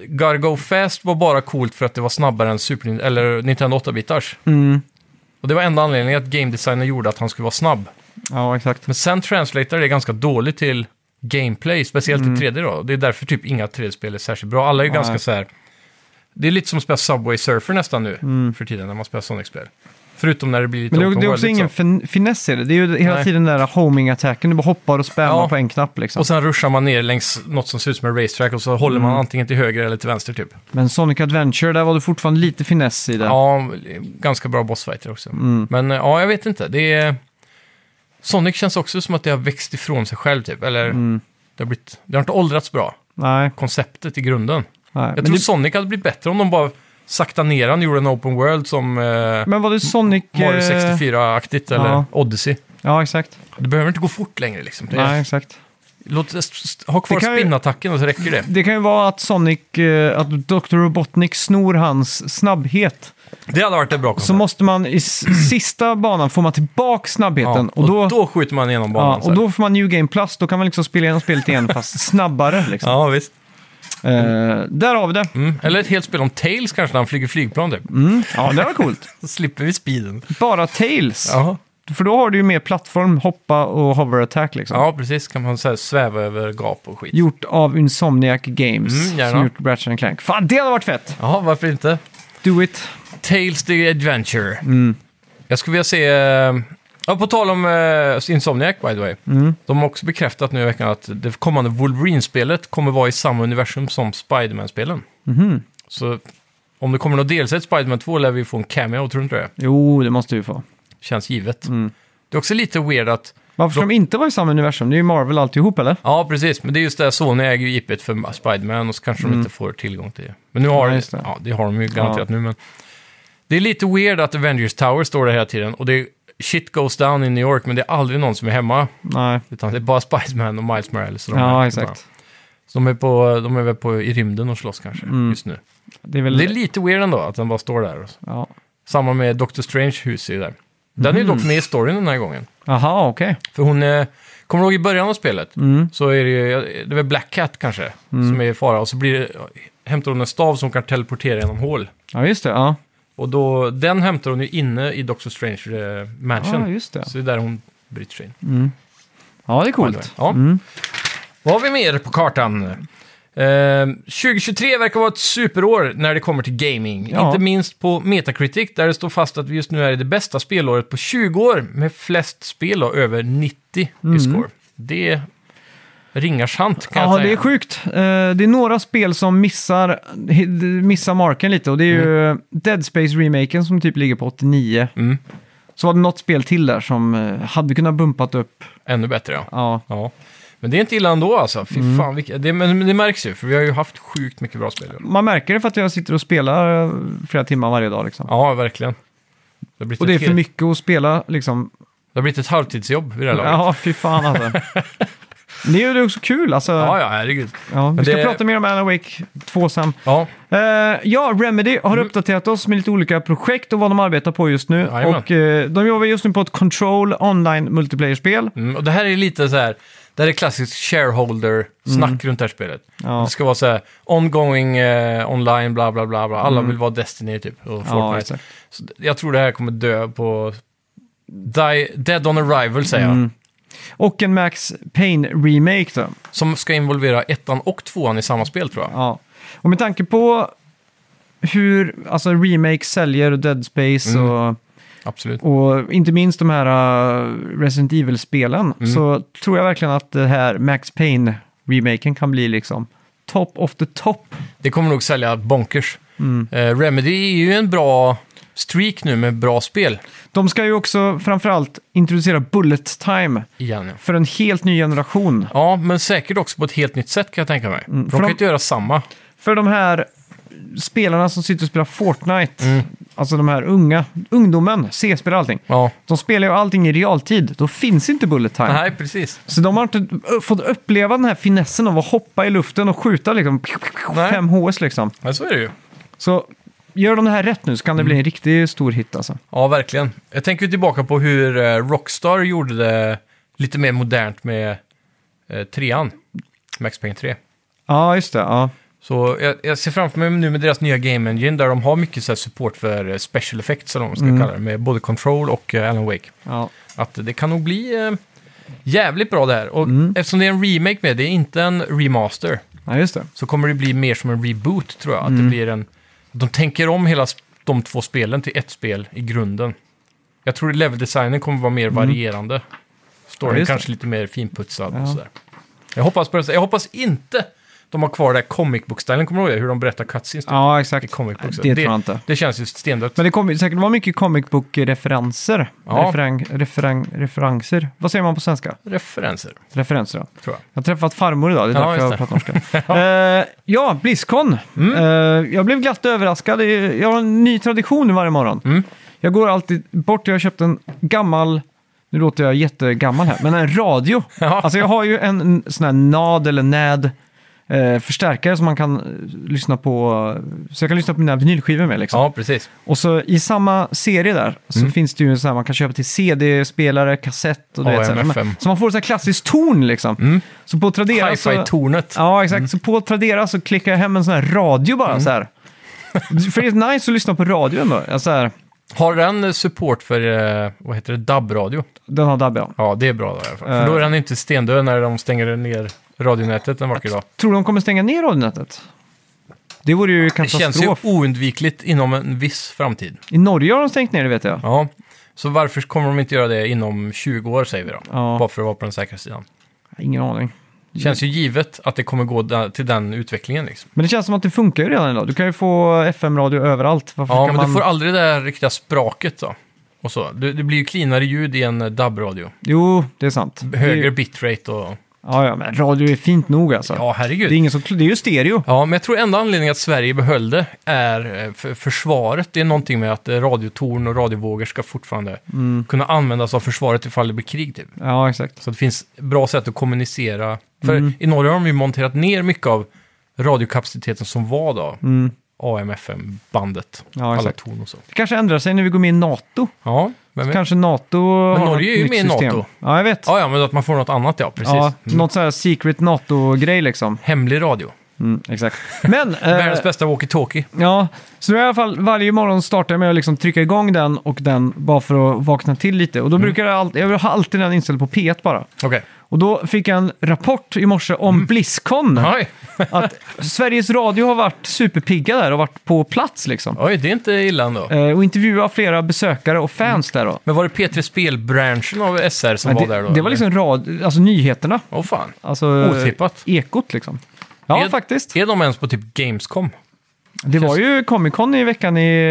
[SPEAKER 1] Gotta Go Fast var bara coolt för att det var snabbare än Super Nin- eller Nintendo 8-bitars.
[SPEAKER 2] Mm.
[SPEAKER 1] Och det var enda anledningen att game designen gjorde att han skulle vara snabb.
[SPEAKER 2] Ja, exakt.
[SPEAKER 1] Men sen translatar det ganska dåligt till gameplay, speciellt i 3D då. Det är därför typ inga 3D-spel är särskilt bra. Alla är ju
[SPEAKER 2] Mm. Nej.
[SPEAKER 1] ganska så här... Det är lite som att spela Subway Surfer nästan nu för tiden när man spelar Sonic-spel. Förutom när det blir lite
[SPEAKER 2] Mm. Men det, är-
[SPEAKER 1] open
[SPEAKER 2] det är
[SPEAKER 1] world,
[SPEAKER 2] också
[SPEAKER 1] liksom.
[SPEAKER 2] ingen fin finess i det. Det är ju hela
[SPEAKER 1] Nej.
[SPEAKER 2] tiden den där homing-attacken. Du bara hoppar och spammar
[SPEAKER 1] Ja.
[SPEAKER 2] på en knapp liksom.
[SPEAKER 1] Och sen ruschar man ner längs något som ser ut som en racetrack och så håller
[SPEAKER 2] Mm.
[SPEAKER 1] man antingen till höger eller till vänster typ.
[SPEAKER 2] Men Sonic Adventure, där var det fortfarande lite finess i det.
[SPEAKER 1] Ja, ganska bra bossfighter också.
[SPEAKER 2] Mm.
[SPEAKER 1] Men eh, ja, jag vet inte. Det är... Sonic känns också som att det har växt ifrån sig själv typ. Eller
[SPEAKER 2] Mm.
[SPEAKER 1] det, har blivit... det har inte åldrats bra,
[SPEAKER 2] Nej,
[SPEAKER 1] konceptet i grunden.
[SPEAKER 2] nej.
[SPEAKER 1] Jag
[SPEAKER 2] Men,
[SPEAKER 1] tror
[SPEAKER 2] det,
[SPEAKER 1] Sonic hade blivit bättre om de bara sakta ner han och gjorde en open world som eh,
[SPEAKER 2] men var det Sonic...
[SPEAKER 1] Mario
[SPEAKER 2] eh,
[SPEAKER 1] 64-aktigt eller
[SPEAKER 2] ja.
[SPEAKER 1] Odyssey.
[SPEAKER 2] Ja, exakt.
[SPEAKER 1] Det behöver inte gå fort längre liksom. Det,
[SPEAKER 2] Nej, exakt.
[SPEAKER 1] Låt, st- st- ha kvar
[SPEAKER 2] Det kan ju-
[SPEAKER 1] spinnattacken och så räcker det.
[SPEAKER 2] Det kan ju vara att Sonic, eh, att Dr. Robotnik snor hans snabbhet.
[SPEAKER 1] Det hade varit ett bra
[SPEAKER 2] Så
[SPEAKER 1] koncept.
[SPEAKER 2] måste man i s- sista banan får man tillbaka
[SPEAKER 1] Ja,
[SPEAKER 2] snabbheten.
[SPEAKER 1] och, då... skjuter man igenom banan.
[SPEAKER 2] Ja,
[SPEAKER 1] så
[SPEAKER 2] och
[SPEAKER 1] här.
[SPEAKER 2] då får man New Game Plus, då kan man liksom spela igenom spelet igen fast snabbare. Liksom.
[SPEAKER 1] Ja, visst.
[SPEAKER 2] Eh, där har vi det. Mm.
[SPEAKER 1] Mm. Eller ett helt spel om Tails kanske, när han flyger flygplan typ.
[SPEAKER 2] Ja, det var coolt.
[SPEAKER 1] Så slipper vi speeden.
[SPEAKER 2] Bara Tails,
[SPEAKER 1] Ja.
[SPEAKER 2] för då har du ju mer plattform, hoppa och hover attack. Liksom.
[SPEAKER 1] ja, precis. Kan man så här sväva över gap och skit.
[SPEAKER 2] Gjort av Insomniac Games,
[SPEAKER 1] Mm, gärna.
[SPEAKER 2] som gjort Ratchet and Clank. Fan, det hade varit fett!
[SPEAKER 1] Ja, varför inte? Mm.
[SPEAKER 2] Do it!
[SPEAKER 1] Tales the Adventure. Jag skulle vilja se... eh, Ja, på tal om eh, Insomniac, by the way. De har också bekräftat nu i veckan att det kommande Wolverine-spelet kommer vara i samma universum som Spiderman-spelen. Mm-hmm. Så om det kommer något DLC till Spiderman 2 lär vi få en cameo, tror du inte det?
[SPEAKER 2] Jo, det måste vi få.
[SPEAKER 1] Känns givet. Det är också lite weird att...
[SPEAKER 2] Varför ska de inte vara i samma universum? Det är ju Marvel alltihop, eller?
[SPEAKER 1] Ja, precis. Men det är just det här, Sony äger ju IPet för Spiderman och så kanske de inte får tillgång till det. Men nu
[SPEAKER 2] Mm.
[SPEAKER 1] har
[SPEAKER 2] Ja,
[SPEAKER 1] ja,
[SPEAKER 2] just
[SPEAKER 1] det.
[SPEAKER 2] det.
[SPEAKER 1] Ja, det har de ju garanterat nu, men... Det är lite weird att Avengers Tower står där hela tiden och det är shit goes down i New York, men det är aldrig någon som är hemma.
[SPEAKER 2] Nej.
[SPEAKER 1] Utan det är bara Spiderman och Miles Morales. och de här.
[SPEAKER 2] Ja, exakt.
[SPEAKER 1] Så de är, på, de är väl på, i rymden och slåss kanske,
[SPEAKER 2] Mm.
[SPEAKER 1] just nu.
[SPEAKER 2] Det är väl...
[SPEAKER 1] Det är lite weird ändå att den bara står där. och så.
[SPEAKER 2] Ja.
[SPEAKER 1] Samma
[SPEAKER 2] Mm.
[SPEAKER 1] med Doctor Strange hus är ju där. Den är ju dock med i storyn den här gången.
[SPEAKER 2] Aha, okej. Mm.
[SPEAKER 1] För hon eh, Kommer du ihåg i början av spelet? Så är det ju, det är väl Black Cat kanske, som är i fara. Och så blir det, hämtar hon en stav som kan teleportera genom hål.
[SPEAKER 2] Ja, just det. Ja,
[SPEAKER 1] Och då, den hämtar hon ju inne i Doctor Strange eh, Mansion.
[SPEAKER 2] ja Ah, just det.
[SPEAKER 1] Så det är där hon bryter sig in.
[SPEAKER 2] Ja, det är coolt.
[SPEAKER 1] Ja.
[SPEAKER 2] Mm.
[SPEAKER 1] Vad har vi mer på kartan? Eh, 2023 verkar vara ett superår när det kommer till gaming.
[SPEAKER 2] Ja.
[SPEAKER 1] Inte minst på Metacritic, där det står fast att vi just nu är i det bästa spelåret på 20 år med flest spel då, över 90 i score. Det ringar sant kan
[SPEAKER 2] Mm.
[SPEAKER 1] jag
[SPEAKER 2] Ja,
[SPEAKER 1] säga.
[SPEAKER 2] det är sjukt. Eh, Det är några spel som missar, missar marken lite och det är ju Dead Space remaken som typ ligger på 89.
[SPEAKER 1] Mm.
[SPEAKER 2] Så var det något spel till där som eh, hade kunnat bumpat upp.
[SPEAKER 1] Ännu bättre ja.
[SPEAKER 2] Ja, Mm.
[SPEAKER 1] ja. Men det är inte illa ändå alltså. Fy fan, vilka... det, men men det märks ju, för vi har ju haft sjukt mycket bra spel. i år.
[SPEAKER 2] man märker det för att jag sitter och spelar eh, flera timmar varje dag liksom.
[SPEAKER 1] Ja, verkligen. Det har blivit,
[SPEAKER 2] Och det är
[SPEAKER 1] ett,
[SPEAKER 2] för
[SPEAKER 1] helt-
[SPEAKER 2] mycket att spela liksom.
[SPEAKER 1] det har blivit ett halvtidsjobb vid det här laget. Ja,
[SPEAKER 2] Ja, fy fan alltså. Det är ju också kul alltså.
[SPEAKER 1] ja,
[SPEAKER 2] Ja,
[SPEAKER 1] herregud.
[SPEAKER 2] vi ska
[SPEAKER 1] det-
[SPEAKER 2] prata mer om Alan Wake 2 sen.
[SPEAKER 1] Ja,
[SPEAKER 2] Eh, ja, Remedy har
[SPEAKER 1] Mm.
[SPEAKER 2] uppdaterat oss med lite olika projekt och vad de arbetar på just nu.
[SPEAKER 1] Jajamän.
[SPEAKER 2] och eh, de jobbar just nu på ett Control online multiplayer-spel.
[SPEAKER 1] Mm, och det här är lite så här, det här är klassiskt shareholder-snack runt det här spelet.
[SPEAKER 2] Mm. Ja.
[SPEAKER 1] Det ska vara så här, ongoing, eh, online, bla bla bla, bla. alla vill vara Destiny typ, och
[SPEAKER 2] Mm. Ja,
[SPEAKER 1] Fortnite.
[SPEAKER 2] exakt.
[SPEAKER 1] så d- jag tror det här kommer dö på... Die, dead on arrival säger
[SPEAKER 2] Mm.
[SPEAKER 1] jag.
[SPEAKER 2] och en Max Payne-remake då.
[SPEAKER 1] Som ska involvera ettan och tvåan i samma spel tror jag.
[SPEAKER 2] Ja. Och med tanke på hur alltså, remake säljer och Dead Space
[SPEAKER 1] Mm.
[SPEAKER 2] och,
[SPEAKER 1] Absolut.
[SPEAKER 2] och inte minst de här eh, Resident Evil-spelen
[SPEAKER 1] Mm.
[SPEAKER 2] så tror jag verkligen att det här Max Payne-remaken kan bli liksom top of the top.
[SPEAKER 1] Det kommer nog sälja bonkers. Eh, Remedy är ju en bra streak nu med bra spel.
[SPEAKER 2] De ska ju också framförallt introducera Bullet Time
[SPEAKER 1] Igen, ja.
[SPEAKER 2] för en helt ny generation.
[SPEAKER 1] ja, men säkert också på ett helt nytt sätt kan jag tänka mig. Mm, för de
[SPEAKER 2] för
[SPEAKER 1] kan
[SPEAKER 2] de-
[SPEAKER 1] ju inte göra samma.
[SPEAKER 2] För de här spelarna som sitter och spelar Fortnite, alltså de här unga, ungdomen, C-spel och allting.
[SPEAKER 1] Ja.
[SPEAKER 2] De spelar ju allting i realtid, då finns inte Bullet Time.
[SPEAKER 1] Nej, precis.
[SPEAKER 2] Så de har inte ö- fått uppleva den här finessen av att hoppa i luften och skjuta liksom,
[SPEAKER 1] Nej.
[SPEAKER 2] 5 HS liksom.
[SPEAKER 1] Ja, så är det ju.
[SPEAKER 2] Så gör de det här rätt nu så kan det bli en riktigt stor hit alltså.
[SPEAKER 1] Ja, verkligen. Jag tänker ju tillbaka på hur eh, Rockstar gjorde det lite mer modernt med eh, trean, Max Payne 3.
[SPEAKER 2] Ja, just det. Ja.
[SPEAKER 1] Så jag, jag ser framför mig nu med deras nya Game Engine där de har mycket så här support för eh, special effects, eller vad man ska kalla det, med både Control och eh, Alan Wake.
[SPEAKER 2] Ja.
[SPEAKER 1] Att det kan nog bli eh, jävligt bra det här. Och
[SPEAKER 2] Mm.
[SPEAKER 1] eftersom det är en remake med, det är inte en remaster,
[SPEAKER 2] ja, just det.
[SPEAKER 1] så kommer det bli mer som en reboot tror jag. Att
[SPEAKER 2] Mm.
[SPEAKER 1] det blir en... att De tänker om hela sp- de två spelen till ett spel i grunden. Jag tror leveldesignen kommer vara mer varierande.
[SPEAKER 2] Mm. Ja,
[SPEAKER 1] Storyn
[SPEAKER 2] just det.
[SPEAKER 1] kanske lite mer finputsad
[SPEAKER 2] Ja.
[SPEAKER 1] och sådär. Jag hoppas, på det, jag hoppas inte de har kvar det här comic book-stilen, kommer du ihåg det? Hur de berättar cutscenes?
[SPEAKER 2] Ja,
[SPEAKER 1] i
[SPEAKER 2] exakt.
[SPEAKER 1] comic books.
[SPEAKER 2] Det tror jag inte.
[SPEAKER 1] Det känns ju stendött.
[SPEAKER 2] Men det kommer ju säkert vara mycket comic book-referenser.
[SPEAKER 1] Ja.
[SPEAKER 2] Referang, referang, referenser. Vad säger man på svenska?
[SPEAKER 1] Referenser,
[SPEAKER 2] Referenser, ja.
[SPEAKER 1] tror jag.
[SPEAKER 2] Jag har träffat farmor idag, det är
[SPEAKER 1] Ja,
[SPEAKER 2] därför jag
[SPEAKER 1] just Mm.
[SPEAKER 2] pratar norska. ja, ja Blizzcon. Eh, jag blev glatt överraskad. Jag har en ny tradition varje morgon.
[SPEAKER 1] Mm.
[SPEAKER 2] Jag går alltid bort och jag har köpt en gammal, nu låter jag jättegammal här, men en radio.
[SPEAKER 1] Ja.
[SPEAKER 2] Alltså jag har ju en sån här NAD eller NAD. eh, förstärkare som man kan eh, lyssna på, så jag kan lyssna på mina vinylskivor med liksom.
[SPEAKER 1] Ja, precis.
[SPEAKER 2] Och så i samma serie där så
[SPEAKER 1] Mm.
[SPEAKER 2] finns det ju så här, man kan köpa till CD-spelare, kassett och du
[SPEAKER 1] Ja,
[SPEAKER 2] vet, så, här.
[SPEAKER 1] MFM.
[SPEAKER 2] Men- så man får så här klassisk ton liksom.
[SPEAKER 1] Mm.
[SPEAKER 2] Så på Tradera så...
[SPEAKER 1] Hi-fi-tornet.
[SPEAKER 2] Alltså- Ja, exakt. Så på Tradera så klickar jag hem en sån här radio
[SPEAKER 1] Mm.
[SPEAKER 2] bara så här. För det är nice att lyssna på radio ändå. Ja, så här,
[SPEAKER 1] Har den eh, support för, eh, vad heter det, DAB-radio?
[SPEAKER 2] den har Dabbe, ja.
[SPEAKER 1] Ja, det är bra då i alla fall.
[SPEAKER 2] Eh.
[SPEAKER 1] För då är han inte stendöd när de stänger ner radionätet en vacker dag.
[SPEAKER 2] Tror du de kommer stänga ner radionätet? Det vore ju
[SPEAKER 1] Det känns ju
[SPEAKER 2] katastrof.
[SPEAKER 1] oundvikligt inom en viss framtid.
[SPEAKER 2] I Norge har de stängt ner det vet jag.
[SPEAKER 1] Ja, så varför kommer de inte göra det inom 20 år säger vi då?
[SPEAKER 2] Ja.
[SPEAKER 1] Bara för att vara på den säkra sidan.
[SPEAKER 2] Ingen aning.
[SPEAKER 1] Det känns ju givet att det kommer gå där- till den utvecklingen liksom.
[SPEAKER 2] Men det känns som att det funkar ju redan idag. Du kan ju få FM-radio överallt. Varför
[SPEAKER 1] Ja,
[SPEAKER 2] kan
[SPEAKER 1] men
[SPEAKER 2] man...
[SPEAKER 1] du får aldrig det där riktiga spraket då. Och så. Det, det blir ju cleanare ljud i en eh, DAB-radio.
[SPEAKER 2] Jo, det är sant.
[SPEAKER 1] Högre bitrate och...
[SPEAKER 2] Ja, ja, men radio är fint nog alltså.
[SPEAKER 1] Ja,
[SPEAKER 2] Det, är
[SPEAKER 1] herregud.
[SPEAKER 2] ingen som, det är ju stereo.
[SPEAKER 1] Ja, men jag tror enda anledningen att Sverige behöll det är eh, för, försvaret. Det är någonting med att eh, radiotorn och radiovågor ska fortfarande kunna användas av försvaret ifall det blir krig. Typ.
[SPEAKER 2] Mm. Ja, exakt.
[SPEAKER 1] Så det finns bra sätt att
[SPEAKER 2] Mm.
[SPEAKER 1] kommunicera. För i Norge har de ju monterat ner mycket av radiokapaciteten som var då. AM-FM-bandet.
[SPEAKER 2] Mm. Ja,
[SPEAKER 1] alla
[SPEAKER 2] exakt.
[SPEAKER 1] ton och så.
[SPEAKER 2] Det kanske ändrar sig när vi går med i NATO.
[SPEAKER 1] Ja, vem vet?
[SPEAKER 2] Kanske NATO Men har
[SPEAKER 1] Norge är
[SPEAKER 2] något
[SPEAKER 1] ju
[SPEAKER 2] nytt
[SPEAKER 1] med i
[SPEAKER 2] system.
[SPEAKER 1] NATO.
[SPEAKER 2] Ja, jag vet.
[SPEAKER 1] Ja, ja, men att man får något annat, ja. Precis.
[SPEAKER 2] Ja,
[SPEAKER 1] Mm.
[SPEAKER 2] Något sån här secret NATO-grej liksom.
[SPEAKER 1] Hemlig radio.
[SPEAKER 2] Mm, exakt. Men... eh,
[SPEAKER 1] Världens bästa walkie-talkie.
[SPEAKER 2] Ja, så i alla fall varje morgon startar jag med att liksom trycka igång den och den bara för att vakna till lite. Och då
[SPEAKER 1] Mm.
[SPEAKER 2] brukar jag alltid, jag har alltid den inställd på P1 bara.
[SPEAKER 1] Okej.
[SPEAKER 2] Och då fick jag en rapport i morse om
[SPEAKER 1] Mm.
[SPEAKER 2] Blizzcon.
[SPEAKER 1] Oj.
[SPEAKER 2] Att Sveriges Radio har varit superpigga där och varit på plats liksom.
[SPEAKER 1] Oj, det är inte illa ändå.
[SPEAKER 2] Eh, Och intervjuade flera besökare och fans där då.
[SPEAKER 1] Men var det P3 Spelbranschen av SR som
[SPEAKER 2] det,
[SPEAKER 1] Mm. var där då?
[SPEAKER 2] det var
[SPEAKER 1] eller?
[SPEAKER 2] liksom rad, alltså nyheterna.
[SPEAKER 1] Åh fan.
[SPEAKER 2] Alltså, eh,
[SPEAKER 1] Otippat.
[SPEAKER 2] Ekot liksom. Ja,
[SPEAKER 1] är,
[SPEAKER 2] faktiskt.
[SPEAKER 1] Är de ens på typ Gamescom?
[SPEAKER 2] Det var ju Comic Con i veckan i,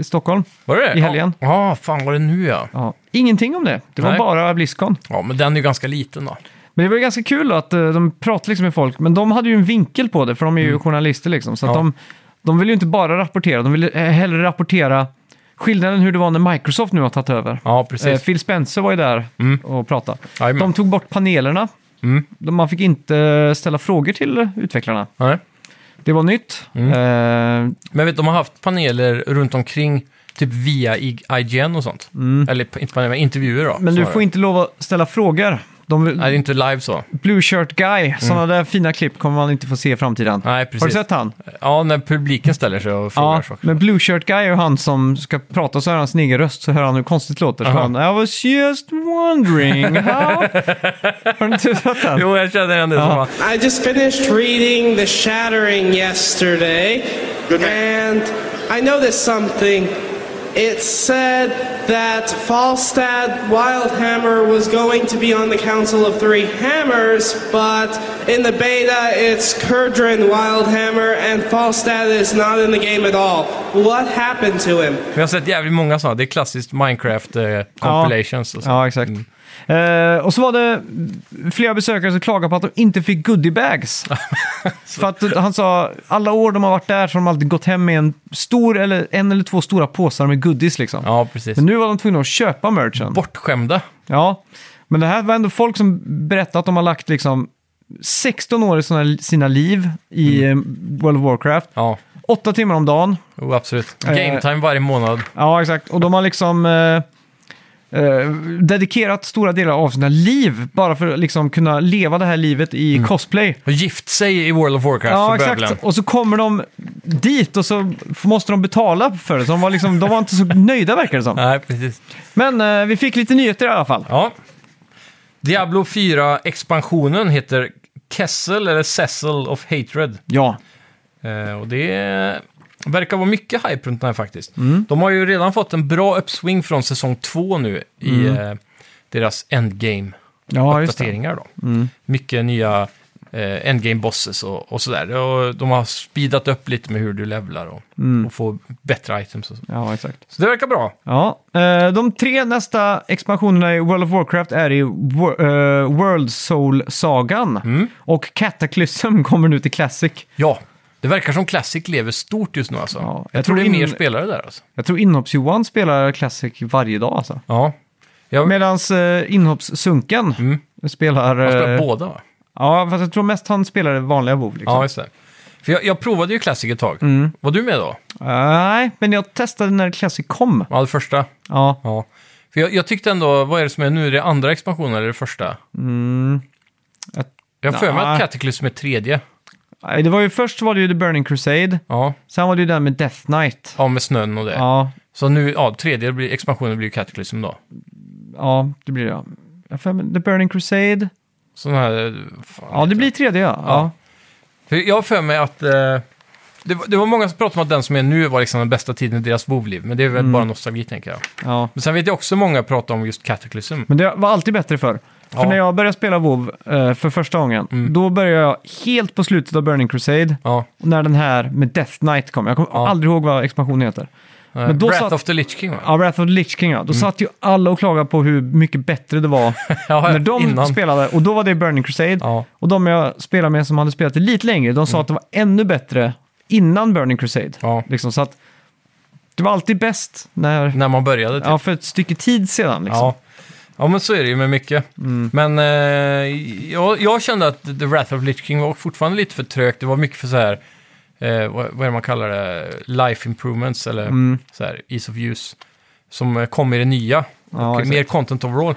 [SPEAKER 2] eh, Stockholm.
[SPEAKER 1] Var det det
[SPEAKER 2] I helgen.
[SPEAKER 1] Ja, ah, fan var det nu ja.
[SPEAKER 2] Ja. Ingenting om det. Det var
[SPEAKER 1] Nej.
[SPEAKER 2] bara Blizzcon.
[SPEAKER 1] Ja, men den är ju ganska liten då.
[SPEAKER 2] Men det var ju ganska kul då att eh, de pratade liksom med folk, men de hade ju en vinkel på det, för de är ju journalister liksom. Så att
[SPEAKER 1] Mm. Ja.
[SPEAKER 2] de, de ville ju inte bara rapportera, de ville eh, hellre rapportera skillnaden hur det var när Microsoft nu har tagit över.
[SPEAKER 1] Ja,
[SPEAKER 2] Eh,
[SPEAKER 1] precis.
[SPEAKER 2] Phil Spencer var ju där
[SPEAKER 1] Mm.
[SPEAKER 2] och pratade.
[SPEAKER 1] Jajamän.
[SPEAKER 2] De tog bort panelerna.
[SPEAKER 1] Mm.
[SPEAKER 2] De- Man fick inte ställa frågor till eh, utvecklarna.
[SPEAKER 1] Nej.
[SPEAKER 2] Det var nytt.
[SPEAKER 1] Mm.
[SPEAKER 2] Eh,
[SPEAKER 1] Men vet, du, de har haft paneler runt omkring, typ via I- IGN och sånt. Eller p- inte paneler, men intervjuer då.
[SPEAKER 2] Mm. men du
[SPEAKER 1] snarare.
[SPEAKER 2] får inte lov att ställa frågor. De,
[SPEAKER 1] Nej, det är inte live så.
[SPEAKER 2] Blue Shirt Guy, sådana där fina klipp kommer man inte få se i framtiden.
[SPEAKER 1] Nej,
[SPEAKER 2] Har du
[SPEAKER 1] precis.
[SPEAKER 2] sett han?
[SPEAKER 1] Ja, när publiken ställer sig och frågar
[SPEAKER 2] Ja,
[SPEAKER 1] saker.
[SPEAKER 2] men Blue Shirt Guy är ju han som ska prata så hör han sin egen röst så hör han hur konstigt det låter. Så
[SPEAKER 1] Aha.
[SPEAKER 2] han, I was just wondering how... har du inte sett den?
[SPEAKER 1] Jo, jag känner igen det. Som var,
[SPEAKER 4] I just finished reading The Shattering yesterday. And I noticed something. It said that Falstad Wildhammer was going to be on the Council of Three Hammers, but in the beta it's Kurdran Wildhammer and Falstad is not in the game at all. What happened to him?
[SPEAKER 1] men jag har sett jävligt många sådana. Det är klassiskt Minecraft-compilations. och så. Mm.
[SPEAKER 2] Ja, exakt. Eh, och så var det flera besökare som klagade på att de inte fick goodiebags. För att han sa, alla år de har varit där så har de alltid gått hem med en stor eller en eller två stora påsar med goodies liksom.
[SPEAKER 1] ja, precis.
[SPEAKER 2] Men nu var de tvungna att köpa merchen.
[SPEAKER 1] Bortskämda.
[SPEAKER 2] Ja, men det här var ändå folk som berättade att de har lagt liksom 16 år i sina, sina liv i
[SPEAKER 1] Mm.
[SPEAKER 2] eh, World of Warcraft.
[SPEAKER 1] Ja,
[SPEAKER 2] 8 timmar om dagen.
[SPEAKER 1] jo, absolut.
[SPEAKER 2] Eh.
[SPEAKER 1] Game time varje månad.
[SPEAKER 2] Ja, exakt. Och de har liksom eh, eh, dedikerat stora delar av sina liv bara för att liksom kunna leva det här livet i cosplay.
[SPEAKER 1] Och gift sig i World of Warcraft
[SPEAKER 2] Ja,
[SPEAKER 1] för
[SPEAKER 2] exakt.
[SPEAKER 1] bövelen.
[SPEAKER 2] Och så kommer de dit och så f- måste de betala för det. Så de var, liksom, de var inte så nöjda verkar det som.
[SPEAKER 1] Nej, precis.
[SPEAKER 2] Men eh, vi fick lite nyheter i alla fall.
[SPEAKER 1] Ja. Diablo 4-expansionen heter Kessel, eller Cecil of Hatred.
[SPEAKER 2] Ja,
[SPEAKER 1] Eh, och det verkar vara mycket hype runt den här faktiskt.
[SPEAKER 2] Mm.
[SPEAKER 1] De har ju redan fått en bra uppsving från säsong 2 nu i eh, deras endgame-uppdateringar.
[SPEAKER 2] Mm. ja just det. Mm.
[SPEAKER 1] då. Mycket nya eh, endgame-bosses och, och sådär. Och de har speedat upp lite med hur du levlar och,
[SPEAKER 2] Mm.
[SPEAKER 1] och får bättre items. Och så.
[SPEAKER 2] Ja, exakt.
[SPEAKER 1] så det verkar bra.
[SPEAKER 2] Ja, eh, de tre nästa expansionerna i World of Warcraft är i Wo- eh, World Soul-sagan. Och Cataclysm kommer nu till Classic.
[SPEAKER 1] Ja, det verkar som Classic lever stort just nu alltså.
[SPEAKER 2] Ja,
[SPEAKER 1] jag,
[SPEAKER 2] jag
[SPEAKER 1] tror det är
[SPEAKER 2] tror
[SPEAKER 1] mer
[SPEAKER 2] in-
[SPEAKER 1] spelare där alltså.
[SPEAKER 2] Jag tror Inhopps-Johan spelar Classic varje dag alltså.
[SPEAKER 1] Ja. Jag,
[SPEAKER 2] Medan eh, Inhopps-Sunken spelar...
[SPEAKER 1] jag Mm. spelar
[SPEAKER 2] eh,
[SPEAKER 1] båda va?
[SPEAKER 2] Ja, fast jag tror mest han spelar det vanliga WoW.
[SPEAKER 1] Ja,
[SPEAKER 2] Liksom.
[SPEAKER 1] just det. För jag, jag provade ju Classic ett tag.
[SPEAKER 2] Mm.
[SPEAKER 1] Var du med då?
[SPEAKER 2] Nej, men jag testade när Classic kom.
[SPEAKER 1] Ja, det första.
[SPEAKER 2] Ja,
[SPEAKER 1] Ja. För jag, jag tyckte ändå, vad är det som är nu? Är det andra expansionen eller det första?
[SPEAKER 2] Mm. Jag-
[SPEAKER 1] Jag har för mig att
[SPEAKER 2] Nej.
[SPEAKER 1] Cataclysm är tredje.
[SPEAKER 2] Nej, det var ju först var det ju The Burning Crusade.
[SPEAKER 1] Ja.
[SPEAKER 2] Sen var det ju den med Death Knight.
[SPEAKER 1] ja, med snön och det.
[SPEAKER 2] Ja,
[SPEAKER 1] Så nu, ja, tredje blir, expansionen blir ju Cataclysm då.
[SPEAKER 2] ja det blir det. ja. Jag har för mig The Burning Crusade.
[SPEAKER 1] Sån här... Fan,
[SPEAKER 2] Ja, det blir 3D ja. ja.
[SPEAKER 1] För jag har för mig att... Eh, det, var- det var många som pratade om att den som är nu var liksom den bästa tiden i deras WoW-liv. Men det är väl
[SPEAKER 2] Mm.
[SPEAKER 1] bara nostalgi, tänker jag.
[SPEAKER 2] ja.
[SPEAKER 1] Men sen vet jag också många prata om just Cataclysm.
[SPEAKER 2] Men det var alltid bättre förr. För
[SPEAKER 1] Ja. Mm.
[SPEAKER 2] när jag började spela WoW eh, för första gången, då började jag helt på slutet av Burning Crusade.
[SPEAKER 1] Ja. eh,
[SPEAKER 2] Och när den här med Death Knight kom. Jag kommer
[SPEAKER 1] Ja.
[SPEAKER 2] aldrig ihåg vad expansionen heter.
[SPEAKER 1] Men
[SPEAKER 2] då
[SPEAKER 1] Breath
[SPEAKER 2] satt-
[SPEAKER 1] of the Lich King, va?
[SPEAKER 2] Ja, Wrath of the Lich King ja. Då satt ju alla och klagade på hur mycket bättre det var
[SPEAKER 1] Mm. Ja,
[SPEAKER 2] när de
[SPEAKER 1] innan.
[SPEAKER 2] spelade. Och då var det Burning Crusade.
[SPEAKER 1] Ja. Mm.
[SPEAKER 2] Och de jag spelade med som hade spelat det lite längre, de sa att det var ännu bättre innan Burning Crusade.
[SPEAKER 1] Ja.
[SPEAKER 2] Liksom, så att det var alltid bäst när...
[SPEAKER 1] När man började, typ.
[SPEAKER 2] Ja, för ett stycke tid sedan liksom. Mm.
[SPEAKER 1] Ja. ja, men så är det ju med mycket. Men eh, jag, jag kände att The Wrath of Lich King var fortfarande lite för trögt. Det var mycket för så här eh, vad, vad är det man kallar det, life improvements eller
[SPEAKER 2] Mm.
[SPEAKER 1] så här, ease of use, som eh, kom i det nya.
[SPEAKER 2] Ja,
[SPEAKER 1] och
[SPEAKER 2] exakt. Mm.
[SPEAKER 1] mer content overall.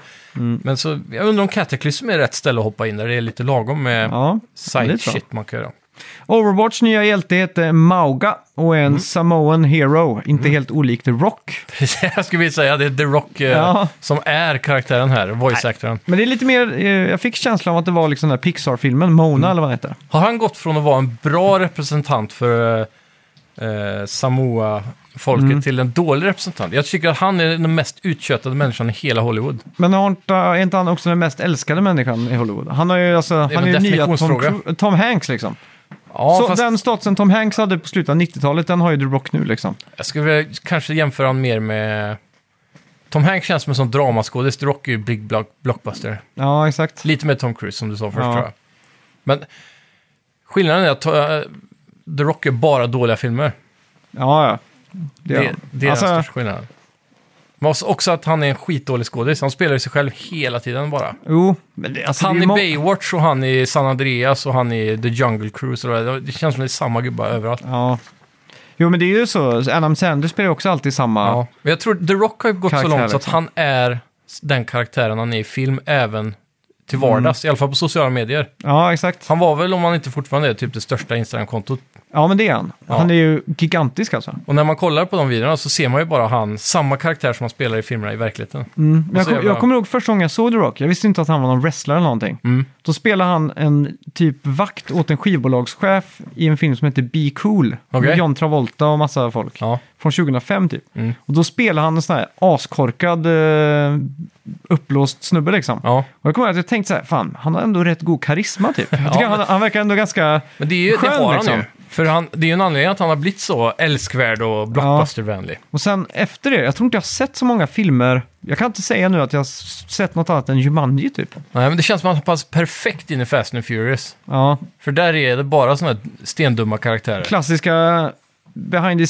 [SPEAKER 1] Men så, jag undrar om Cataclysm är rätt ställe att hoppa in där det är lite lagom med
[SPEAKER 2] Ja, det är
[SPEAKER 1] side
[SPEAKER 2] så.
[SPEAKER 1] shit man kan göra.
[SPEAKER 2] Overwatch nya hjälte heter Mauga och är
[SPEAKER 1] Mm.
[SPEAKER 2] en Samoan hero. Inte helt olik The Rock.
[SPEAKER 1] jag skulle vilja säga det är The Rock eh,
[SPEAKER 2] Ja.
[SPEAKER 1] som är karaktären här, voice-actoren.
[SPEAKER 2] Men det är lite mer, eh, jag fick känslan av att det var liksom den här Pixar-filmen, Mona
[SPEAKER 1] Mm.
[SPEAKER 2] eller vad den heter.
[SPEAKER 1] Har han gått från att vara en bra representant för eh, eh, Samoa-folket
[SPEAKER 2] Mm.
[SPEAKER 1] till en dålig representant? Jag tycker att han är den mest utköttade människan i hela Hollywood.
[SPEAKER 2] Men har inte, är inte han också den mest älskade människan i Hollywood? Han, har ju, alltså,
[SPEAKER 1] är
[SPEAKER 2] han är
[SPEAKER 1] en
[SPEAKER 2] ju nya Tom,
[SPEAKER 1] definitionsfråga.
[SPEAKER 2] Cru- Tom Hanks liksom.
[SPEAKER 1] Ja,
[SPEAKER 2] så
[SPEAKER 1] fast
[SPEAKER 2] den statusen Tom Hanks hade på slutet av 90-talet, den har ju The Rock nu liksom.
[SPEAKER 1] jag skulle vilja kanske jämföra han mer med... Tom Hanks känns som en sån dramaskådis, The Rock är ju big block- blockbuster.
[SPEAKER 2] Ja, exakt.
[SPEAKER 1] Lite med Tom Cruise som du sa först
[SPEAKER 2] Ja.
[SPEAKER 1] tror jag. Men skillnaden är att eh, The Rock är bara dåliga filmer.
[SPEAKER 2] Ja, ja. Det,
[SPEAKER 1] Det,
[SPEAKER 2] är
[SPEAKER 1] det är den
[SPEAKER 2] alltså,
[SPEAKER 1] största skillnaden. Men också- också att han är en skitdålig skådis. Han spelar ju sig själv hela tiden bara.
[SPEAKER 2] jo, men det, alltså, det
[SPEAKER 1] han
[SPEAKER 2] är
[SPEAKER 1] i
[SPEAKER 2] ju må-
[SPEAKER 1] Baywatch och han i San Andreas och han i The Jungle Cruise. Och det, där. det känns som det är samma gubbar överallt.
[SPEAKER 2] Ja. Jo, men det är ju så. Adam Sandler spelar ju också alltid samma.
[SPEAKER 1] Ja. Men jag tror The Rock har ju gått så
[SPEAKER 2] Karaktär,
[SPEAKER 1] långt så att
[SPEAKER 2] liksom.
[SPEAKER 1] han är s- den karaktären han är i film även till
[SPEAKER 2] Mm.
[SPEAKER 1] vardags. I alla fall på sociala medier.
[SPEAKER 2] ja exakt.
[SPEAKER 1] Han var väl, om han inte fortfarande är, typ det största Instagram-kontot.
[SPEAKER 2] Ja, men det är han.
[SPEAKER 1] Ja.
[SPEAKER 2] Han är ju gigantisk alltså.
[SPEAKER 1] Och när man kollar på de videorna så ser man ju bara han, samma karaktär som han spelar i filmerna i verkligheten.
[SPEAKER 2] Men Mm. jag,
[SPEAKER 1] så är
[SPEAKER 2] kom,
[SPEAKER 1] det
[SPEAKER 2] jag
[SPEAKER 1] bara-
[SPEAKER 2] kommer ihåg första gången jag såg The Rock. Jag visste inte att han var någon wrestler eller någonting.
[SPEAKER 1] Mm.
[SPEAKER 2] Då spelade han en typ vakt åt en skivbolagschef i en film som heter Be Cool.
[SPEAKER 1] Okej.
[SPEAKER 2] Med John Travolta och massa folk.
[SPEAKER 1] Ja.
[SPEAKER 2] Från 2005 typ.
[SPEAKER 1] Mm.
[SPEAKER 2] Och då spelade han en sån här askorkad, eh, uppblåst snubbe liksom.
[SPEAKER 1] Ja.
[SPEAKER 2] Och jag kommer ihåg att jag tänkte så här, fan, han har ändå rätt god karisma typ. Jag tycker
[SPEAKER 1] Ja, men-
[SPEAKER 2] han, han verkar ändå ganska...
[SPEAKER 1] Men det, är ju, det
[SPEAKER 2] Skön,
[SPEAKER 1] har han
[SPEAKER 2] liksom.
[SPEAKER 1] ju. För han, det är ju en anledning att han har blivit så älskvärd och blockbustervänlig.
[SPEAKER 2] Och sen efter det, jag tror inte jag har sett så många filmer. Jag kan inte säga nu att jag har s- sett något annat än Jumanji typ.
[SPEAKER 1] Nej, men det känns som att han passar perfekt in i Fast and Furious.
[SPEAKER 2] Ja,
[SPEAKER 1] För där är det bara sådana här stendumma karaktärer.
[SPEAKER 2] klassiska behind the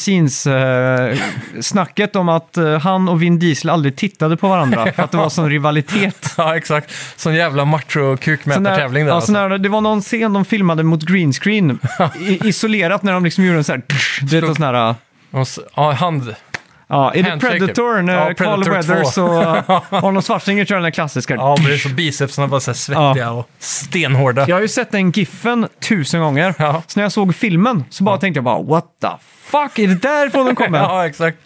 [SPEAKER 2] scenes-snacket om att eh, han och Vin Diesel aldrig tittade på varandra för att det var sån rivalitet.
[SPEAKER 1] ja, exakt. Sån jävla
[SPEAKER 2] Sån där-
[SPEAKER 1] macho-kukmätartävling där.
[SPEAKER 2] ja,
[SPEAKER 1] alltså.
[SPEAKER 2] sån där, det var någon scen de filmade mot green screen, i, isolerat när de liksom gjorde en sån här... Du vet, en sån här
[SPEAKER 1] Och så- Ja, hand...
[SPEAKER 2] ja, är det
[SPEAKER 1] Handshake. typ.
[SPEAKER 2] Predator när
[SPEAKER 1] Ja,
[SPEAKER 2] Carl
[SPEAKER 1] Predator
[SPEAKER 2] Weathers och Arnold Schwarzenegger kör den där klassiska...
[SPEAKER 1] Ja, men det är så bicepsarna bara så här svettiga och stenhårda.
[SPEAKER 2] Jag har ju sett den giffen tusen gånger,
[SPEAKER 1] Ja.
[SPEAKER 2] så när jag såg filmen så bara tänkte jag bara what the fuck, är det därifrån den kommer?
[SPEAKER 1] ja, exakt.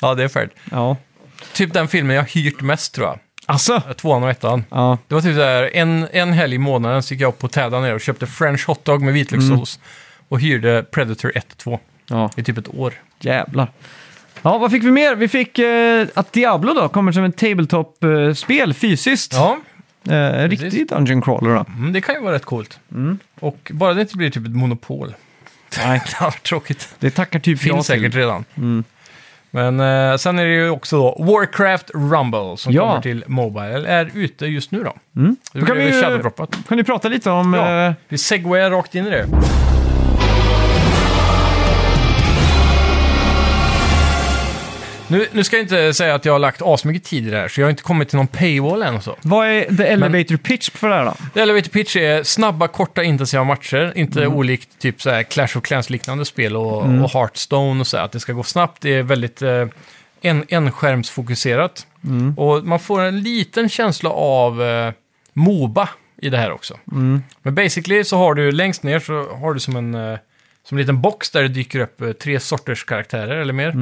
[SPEAKER 1] Ja, det är färdigt.
[SPEAKER 2] ja.
[SPEAKER 1] Typ den filmen jag hyrt mest, tror jag.
[SPEAKER 2] Alltså,
[SPEAKER 1] Tvåan och ettan.
[SPEAKER 2] ja.
[SPEAKER 1] Det var typ så här, en, en helg i månaden så gick jag upp på Täda ner och köpte French hotdog med vitlökssås.
[SPEAKER 2] Mm.
[SPEAKER 1] Och hyrde Predator 1 och 2
[SPEAKER 2] ja.
[SPEAKER 1] i typ ett år.
[SPEAKER 2] Jävlar. Ja, vad fick vi mer? Vi fick eh, att Diablo då kommer som ett tabletop-spel fysiskt.
[SPEAKER 1] Ja,
[SPEAKER 2] Eh, riktig Dungeon Crawler då.
[SPEAKER 1] mm, det kan ju vara rätt coolt. Och bara det inte blir typ ett monopol.
[SPEAKER 2] Mm. Nej.
[SPEAKER 1] det var tråkigt.
[SPEAKER 2] Det tackar typ
[SPEAKER 1] Finns
[SPEAKER 2] jag
[SPEAKER 1] säkert
[SPEAKER 2] till. Mm.
[SPEAKER 1] redan. Men eh, sen är det ju också då Warcraft Rumble som
[SPEAKER 2] Ja.
[SPEAKER 1] kommer till Mobile. Är ute just nu då. Det
[SPEAKER 2] Då kan
[SPEAKER 1] blev
[SPEAKER 2] vi ju-
[SPEAKER 1] ju shadowdroppat.
[SPEAKER 2] Kan du prata lite om...
[SPEAKER 1] Ja.
[SPEAKER 2] eh,
[SPEAKER 1] Vi segwayar rakt in i det. Nu, nu ska jag inte säga att jag har lagt asmycket tid i det här, så jag har inte kommit till någon paywall än och så.
[SPEAKER 2] vad är the elevator pitch för det här då?
[SPEAKER 1] Det Elevator Pitch är snabba, korta, intensiva matcher. Inte olikt typ så här Clash of Clans-liknande spel och, och Hearthstone och så här, att det ska gå snabbt. Det är väldigt eh, en, enskärmsfokuserat. Och man får en liten känsla av eh, Moba i det här också. Men basically så har du längst ner så har du som en, eh, som en liten box där det dyker upp eh, tre sorters karaktärer eller mer.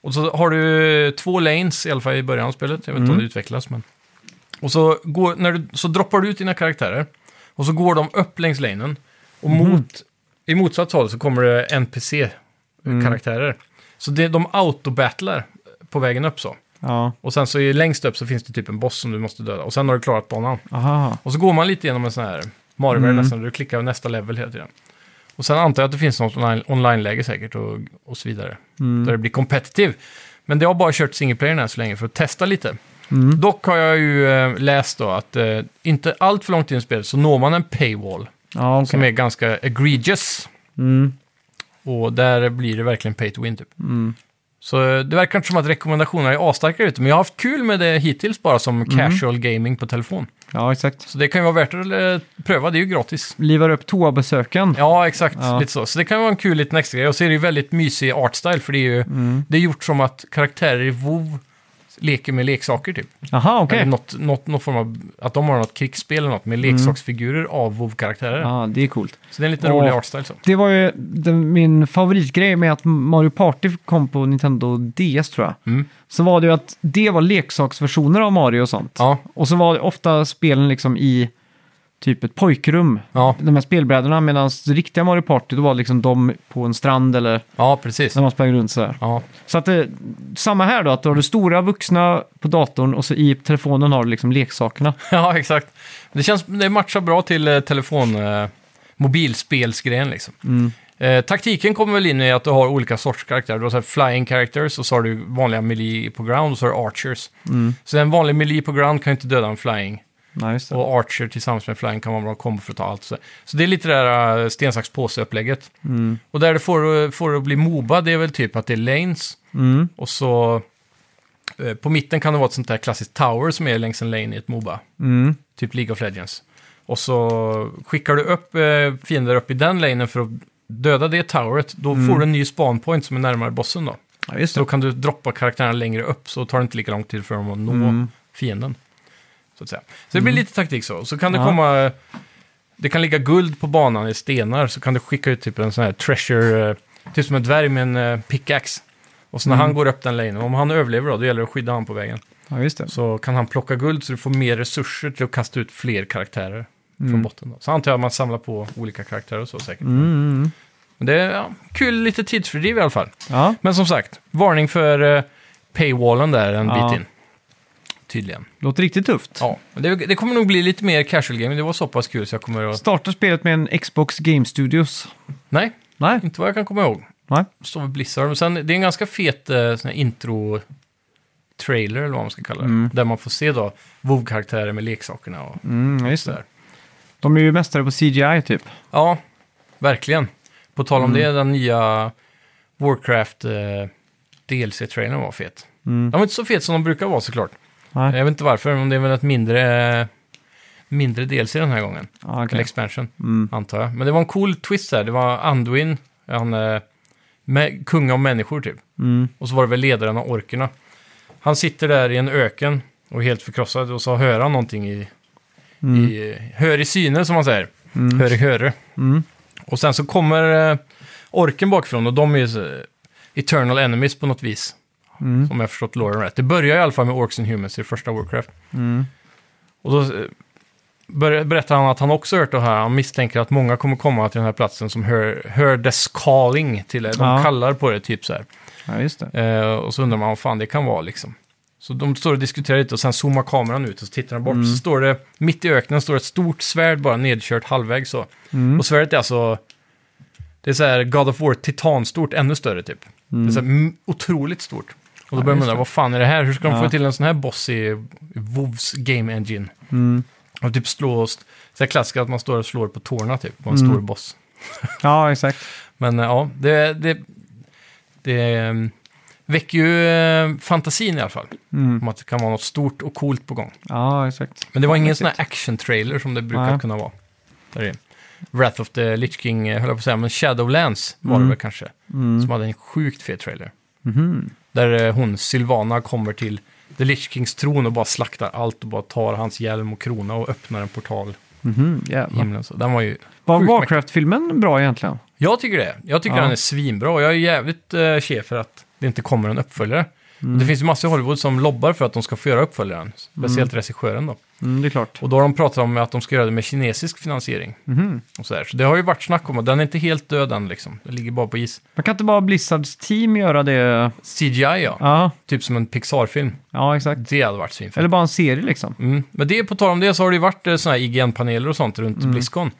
[SPEAKER 1] Och så har du eh, två lanes, i alla fall i början av spelet. Jag vet inte om det utvecklas, men... Och så, går, när du, så droppar du ut dina karaktärer och så går de upp längs lanen. Och mot, i motsatt håll så kommer det NPC-karaktärer. Så det, de autobattlar på vägen upp så.
[SPEAKER 2] Ja,
[SPEAKER 1] Och sen så är längst upp så finns det typ en boss som du måste döda. Och sen har du klarat banan.
[SPEAKER 2] aha.
[SPEAKER 1] Och så går man lite genom en sån här Mario-värld nästan, där du klickar på nästa level hela tiden. Och sen antar jag att det finns något online- online-läge säkert och, och så vidare. Där det blir competitive. Men det har bara kört single player än så länge för att testa lite. Dock har jag ju eh, läst då att eh, inte allt för långt in i spelet så når man en paywall
[SPEAKER 2] Ja, okej. Mm,
[SPEAKER 1] som är ganska egregious. Och där blir det verkligen pay to win typ. Så eh, det verkar inte som att rekommendationerna är asstarka ute, men jag har haft kul med det hittills bara som casual gaming på telefon.
[SPEAKER 2] Ja, exakt.
[SPEAKER 1] Så det kan ju vara värt att eh, pröva, det är ju gratis.
[SPEAKER 2] Livar upp toabesöken.
[SPEAKER 1] Ja, exakt.
[SPEAKER 2] Ja.
[SPEAKER 1] Lite så. så det kan vara en kul liten extra grej. Och så är det ju väldigt mysig artstyle, för det är ju
[SPEAKER 2] Mm.
[SPEAKER 1] det är gjort som att karaktärer i WoW leker med leksaker typ.
[SPEAKER 2] Jaha, okej. Mm.
[SPEAKER 1] Eller något, något, någon form av, att de har något krigsspel eller något med leksaksfigurer av WoW-karaktärer.
[SPEAKER 2] Ja, det är coolt.
[SPEAKER 1] Så det är en liten
[SPEAKER 2] Åh.
[SPEAKER 1] rolig artstyle så.
[SPEAKER 2] Det var ju den, min favoritgrej med att Mario Party kom på Nintendo DS tror jag.
[SPEAKER 1] Mm.
[SPEAKER 2] Så var det ju att det var leksaksversioner av Mario och sånt.
[SPEAKER 1] Ja,
[SPEAKER 2] Och så var det ofta spelen liksom i typ ett pojkrum.
[SPEAKER 1] ja,
[SPEAKER 2] De här spelbrädorna, medan riktiga Mario Party, då var det liksom de på en strand eller
[SPEAKER 1] ja, precis.
[SPEAKER 2] när man sprang runt sådär.
[SPEAKER 1] Ja,
[SPEAKER 2] Så att det, samma här då, att du har du stora vuxna på datorn och så i telefonen har du liksom leksakerna.
[SPEAKER 1] ja exakt. Det, känns, det matchar bra till eh, telefon, eh, mobilspelsgrejen liksom. Eh, taktiken kommer väl in i att du har olika sorts karaktärer. Du har så här flying characters och så har du vanliga melee på ground och så har du archers. Så en vanlig melee på ground kan ju inte döda en flying.
[SPEAKER 2] Nej, just det.
[SPEAKER 1] Och archer tillsammans med flying kan vara en bra kombo för att ta allt. Så, så det är lite det där eh, sten, sax, påse-upplägget. Och där det får, eh, får det att bli Moba, det är väl typ att det är lanes.
[SPEAKER 2] Mm.
[SPEAKER 1] Och så eh, på mitten kan det vara ett sånt där klassiskt tower som är längs en lane i ett Moba.
[SPEAKER 2] Mm.
[SPEAKER 1] Typ League of Legends. Och så skickar du upp eh, fiender upp i den lanen för att döda det toweret. Då får du en ny spawn point som är närmare bossen då.
[SPEAKER 2] Mm. Ja, just
[SPEAKER 1] Så då kan du droppa karaktärerna längre upp så tar det inte lika lång tid för dem att nå
[SPEAKER 2] Mm.
[SPEAKER 1] fienden. Så, att säga. så det blir lite taktik så. Så kan det
[SPEAKER 2] Ja.
[SPEAKER 1] komma... Det kan ligga guld på banan i stenar så kan du skicka ut typ en sån här treasure... eh, Typ som en dvärg med en eh, pickaxe. Och
[SPEAKER 2] Mm.
[SPEAKER 1] så när han går upp den lanen, om han överlever då, då gäller det att skydda han på vägen.
[SPEAKER 2] Ja, just det.
[SPEAKER 1] Så kan han plocka guld så du får mer resurser till att kasta ut fler karaktärer
[SPEAKER 2] Mm.
[SPEAKER 1] från botten. Då. Så antar jag att man samlar på olika karaktärer och så säkert.
[SPEAKER 2] Mm, Mm. mm.
[SPEAKER 1] Men det är ja, kul, lite tidsfördriv i alla fall.
[SPEAKER 2] Ja,
[SPEAKER 1] Men som sagt, varning för eh, paywallen där en
[SPEAKER 2] Ja.
[SPEAKER 1] bit in. Tydligen.
[SPEAKER 2] låter riktigt tufft.
[SPEAKER 1] Ja, men det, det kommer nog bli lite mer casual gaming. Det var så pass kul så jag kommer att...
[SPEAKER 2] Starta spelet med en Xbox Game Studios.
[SPEAKER 1] Nej,
[SPEAKER 2] Nej,
[SPEAKER 1] inte vad jag kan komma ihåg.
[SPEAKER 2] nej.
[SPEAKER 1] Står med Blizzard. Men sen, det är en ganska fet eh, sån här intro trailer eller vad man ska kalla det. Där man får se då WoW-karaktärer med leksakerna och
[SPEAKER 2] Mm, ja, just det.
[SPEAKER 1] sådär.
[SPEAKER 2] De är ju mästare på CGI typ.
[SPEAKER 1] Ja, verkligen. På tal
[SPEAKER 2] Mm.
[SPEAKER 1] om det, den nya Warcraft eh, DLC-trailern var fet.
[SPEAKER 2] Mm.
[SPEAKER 1] Den var inte så fet som de brukar vara såklart.
[SPEAKER 2] Nej.
[SPEAKER 1] Jag vet inte varför, men det är väl ett mindre, mindre DLC den här gången.
[SPEAKER 2] Ja,
[SPEAKER 1] Eller
[SPEAKER 2] okay.
[SPEAKER 1] expansion,
[SPEAKER 2] mm.
[SPEAKER 1] antar jag. Men det var en cool twist där. Det var Anduin, han, eh, mä- kung av människor typ.
[SPEAKER 2] Mm.
[SPEAKER 1] Och så var det väl ledaren av orkerna. Han sitter där i en öken och är helt förkrossad och så hör han någonting i... i hör i syne som man säger. Hör i höre.
[SPEAKER 2] Mm.
[SPEAKER 1] Och sen så kommer eh, orken bakifrån och de är ju så- eternal enemies på något vis.
[SPEAKER 2] Mm.
[SPEAKER 1] Om jag har förstått loren rätt. Det börjar i alla fall med Orcs and Humans i första Warcraft.
[SPEAKER 2] Mm.
[SPEAKER 1] Och då eh, bör- berättar han att han också hört det här. Han misstänker att många kommer komma till den här platsen som hör, hör dess calling till det. De
[SPEAKER 2] Ja.
[SPEAKER 1] kallar på det typ så här.
[SPEAKER 2] ja, just det.
[SPEAKER 1] Eh, och så undrar man vad fan det kan vara liksom. Så de står och diskuterar lite och sen zoomar kameran ut och så tittar de
[SPEAKER 2] Mm.
[SPEAKER 1] bort. Så står det, mitt i öknen står ett stort svärd bara nedkört halvvägs så.
[SPEAKER 2] Mm.
[SPEAKER 1] Och svärdet är alltså, det är så här God of War titanstort, ännu större typ. Det är så här mm, otroligt stort. Och då börjar man
[SPEAKER 2] just
[SPEAKER 1] undra,
[SPEAKER 2] det.
[SPEAKER 1] vad fan är det här? Hur ska de
[SPEAKER 2] Ja.
[SPEAKER 1] få till en sån här boss i, i WoWs Game Engine?
[SPEAKER 2] Mm.
[SPEAKER 1] Och typ slå, så här klassiskt att man står och slår på tårna typ, på en
[SPEAKER 2] Mm.
[SPEAKER 1] stor boss.
[SPEAKER 2] Ja, exakt.
[SPEAKER 1] Men eh, ja, det, det, det eh, väcker ju eh, fantasin i alla fall.
[SPEAKER 2] Mm.
[SPEAKER 1] Om att det kan vara något stort och coolt på gång.
[SPEAKER 2] Ja, exakt.
[SPEAKER 1] Men det var
[SPEAKER 2] Ja,
[SPEAKER 1] ingen
[SPEAKER 2] mäktigt.
[SPEAKER 1] sån här action-trailer som det brukar
[SPEAKER 2] Nej.
[SPEAKER 1] kunna vara. Där är Wrath of the Lich King, eh, höll jag på att säga, men Shadowlands var
[SPEAKER 2] Mm.
[SPEAKER 1] det väl kanske. Som hade en sjukt fet trailer.
[SPEAKER 2] Mhm.
[SPEAKER 1] Där eh, hon, Sylvana, kommer till The Lich Kings tron och bara slaktar allt och bara tar hans hjälm och krona och öppnar en portal
[SPEAKER 2] Mhm,
[SPEAKER 1] i
[SPEAKER 2] jävlar.
[SPEAKER 1] himlen. Så den var ju...
[SPEAKER 2] Var
[SPEAKER 1] Sjukt
[SPEAKER 2] Warcraft-filmen bra egentligen?
[SPEAKER 1] Jag tycker det. Jag tycker
[SPEAKER 2] Ja.
[SPEAKER 1] den är svinbra och jag är jävligt eh, chef för att det inte kommer en uppföljare.
[SPEAKER 2] Mm.
[SPEAKER 1] Och Det finns ju massor i Hollywood som lobbar för att de ska få göra uppföljaren. Speciellt regissören då.
[SPEAKER 2] Mm, det är klart.
[SPEAKER 1] Och då har de pratat om att de ska göra det med kinesisk finansiering.
[SPEAKER 2] Mhm.
[SPEAKER 1] Och så, så det har ju varit snack om att den är inte helt död än liksom. Den ligger bara på is.
[SPEAKER 2] Man kan inte bara Blizzards team göra det?
[SPEAKER 1] CGI ja,
[SPEAKER 2] Ja,
[SPEAKER 1] typ som en Pixar-film.
[SPEAKER 2] ja exakt.
[SPEAKER 1] Det hade varit svinfett.
[SPEAKER 2] Eller bara en serie liksom.
[SPEAKER 1] Mm. Men det, på tal om det så har det ju varit eh, såna här IGN-paneler och sånt runt
[SPEAKER 2] Mm.
[SPEAKER 1] Blizzcon.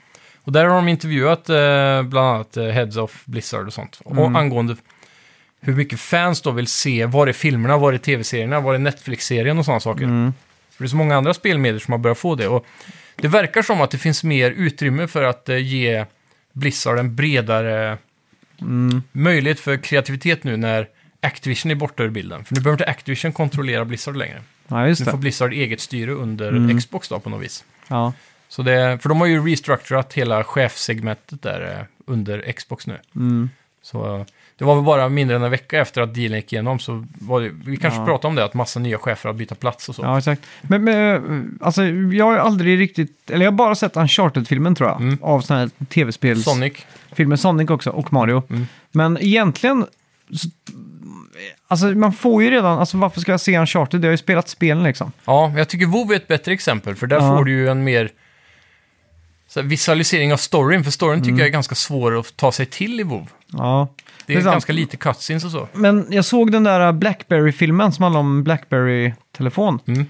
[SPEAKER 1] Och där har de intervjuat eh, bland annat eh, Heads of Blizzard och sånt.
[SPEAKER 2] Mm.
[SPEAKER 1] Och angående hur mycket fans då vill se, var är filmerna, var är tv-serierna, var är Netflix-serien och sådana
[SPEAKER 2] Mm.
[SPEAKER 1] saker. För det är så många andra spelmedier som har börjat få det. Och det verkar som att det finns mer utrymme för att eh, ge
[SPEAKER 2] Mm.
[SPEAKER 1] Blizzard en bredare möjlighet för kreativitet nu när Activision är borta ur bilden. För nu behöver inte Activision kontrollera Blizzard längre.
[SPEAKER 2] Ja, just
[SPEAKER 1] Nu får
[SPEAKER 2] det. Mm.
[SPEAKER 1] Blizzard eget styre under Xbox då på något vis.
[SPEAKER 2] Ja.
[SPEAKER 1] Så det, för de har ju restructurat hela chefsegmentet där eh, under Xbox nu.
[SPEAKER 2] Mm.
[SPEAKER 1] Så eh, det var väl bara mindre än en vecka efter att dealen gick igenom så var det, vi kanske
[SPEAKER 2] Ja.
[SPEAKER 1] pratade om det, att massa nya chefer har bytt plats och så.
[SPEAKER 2] Ja, exakt. Men, men alltså, jag har ju aldrig riktigt, eller jag har bara sett Uncharted-filmen tror jag,
[SPEAKER 1] Mm.
[SPEAKER 2] av sådana här tv-spels...
[SPEAKER 1] Sonic,
[SPEAKER 2] filmen Sonic också, och Mario.
[SPEAKER 1] Mm.
[SPEAKER 2] Men egentligen, så, alltså man får ju redan, alltså varför ska jag se Uncharted? Jag har ju spelat spelen liksom.
[SPEAKER 1] ja, men jag tycker WoW är ett bättre exempel för där
[SPEAKER 2] Ja.
[SPEAKER 1] får du ju en mer så här, visualisering av storyn, för storyn
[SPEAKER 2] Mm.
[SPEAKER 1] tycker jag är ganska svår att ta sig till i WoW.
[SPEAKER 2] Ja.
[SPEAKER 1] Det
[SPEAKER 2] Det är
[SPEAKER 1] är
[SPEAKER 2] sant.
[SPEAKER 1] ganska lite cutscenes och så.
[SPEAKER 2] Men jag såg den där äh, Blackberry-filmen som handlar om Blackberry-telefon.
[SPEAKER 1] Mm.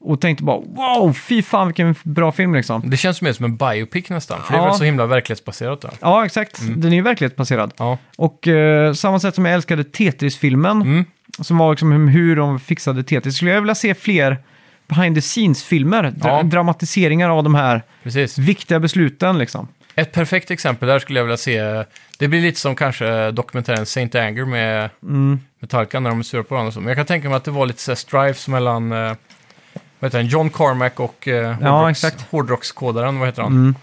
[SPEAKER 2] Och tänkte bara wow, fy fan vilken bra film liksom.
[SPEAKER 1] Det känns mer som en biopic nästan, för det är
[SPEAKER 2] Ja.
[SPEAKER 1] väl så himla verklighetsbaserat där.
[SPEAKER 2] Ja, exakt.
[SPEAKER 1] Mm.
[SPEAKER 2] Den är ju verklighetsbaserad.
[SPEAKER 1] Ja,
[SPEAKER 2] Och eh, samma sätt som jag älskade Tetris-filmen,
[SPEAKER 1] Mm.
[SPEAKER 2] som var liksom hur de fixade Tetris, skulle jag vilja se fler behind the scenes-filmer. Dra-
[SPEAKER 1] Ja.
[SPEAKER 2] Dramatiseringar av de här
[SPEAKER 1] precis.
[SPEAKER 2] viktiga besluten liksom.
[SPEAKER 1] Ett perfekt exempel där skulle jag vilja se, det blir lite som kanske dokumentären Saint Anger med
[SPEAKER 2] Mm.
[SPEAKER 1] Metallica när de är sura på varandra och så. Men jag kan tänka mig att det var lite så här strives mellan eh, vad heter han, John Carmack och eh, hårdrocks,
[SPEAKER 2] exakt. Mm.
[SPEAKER 1] hårdrockskodaren, vad heter han?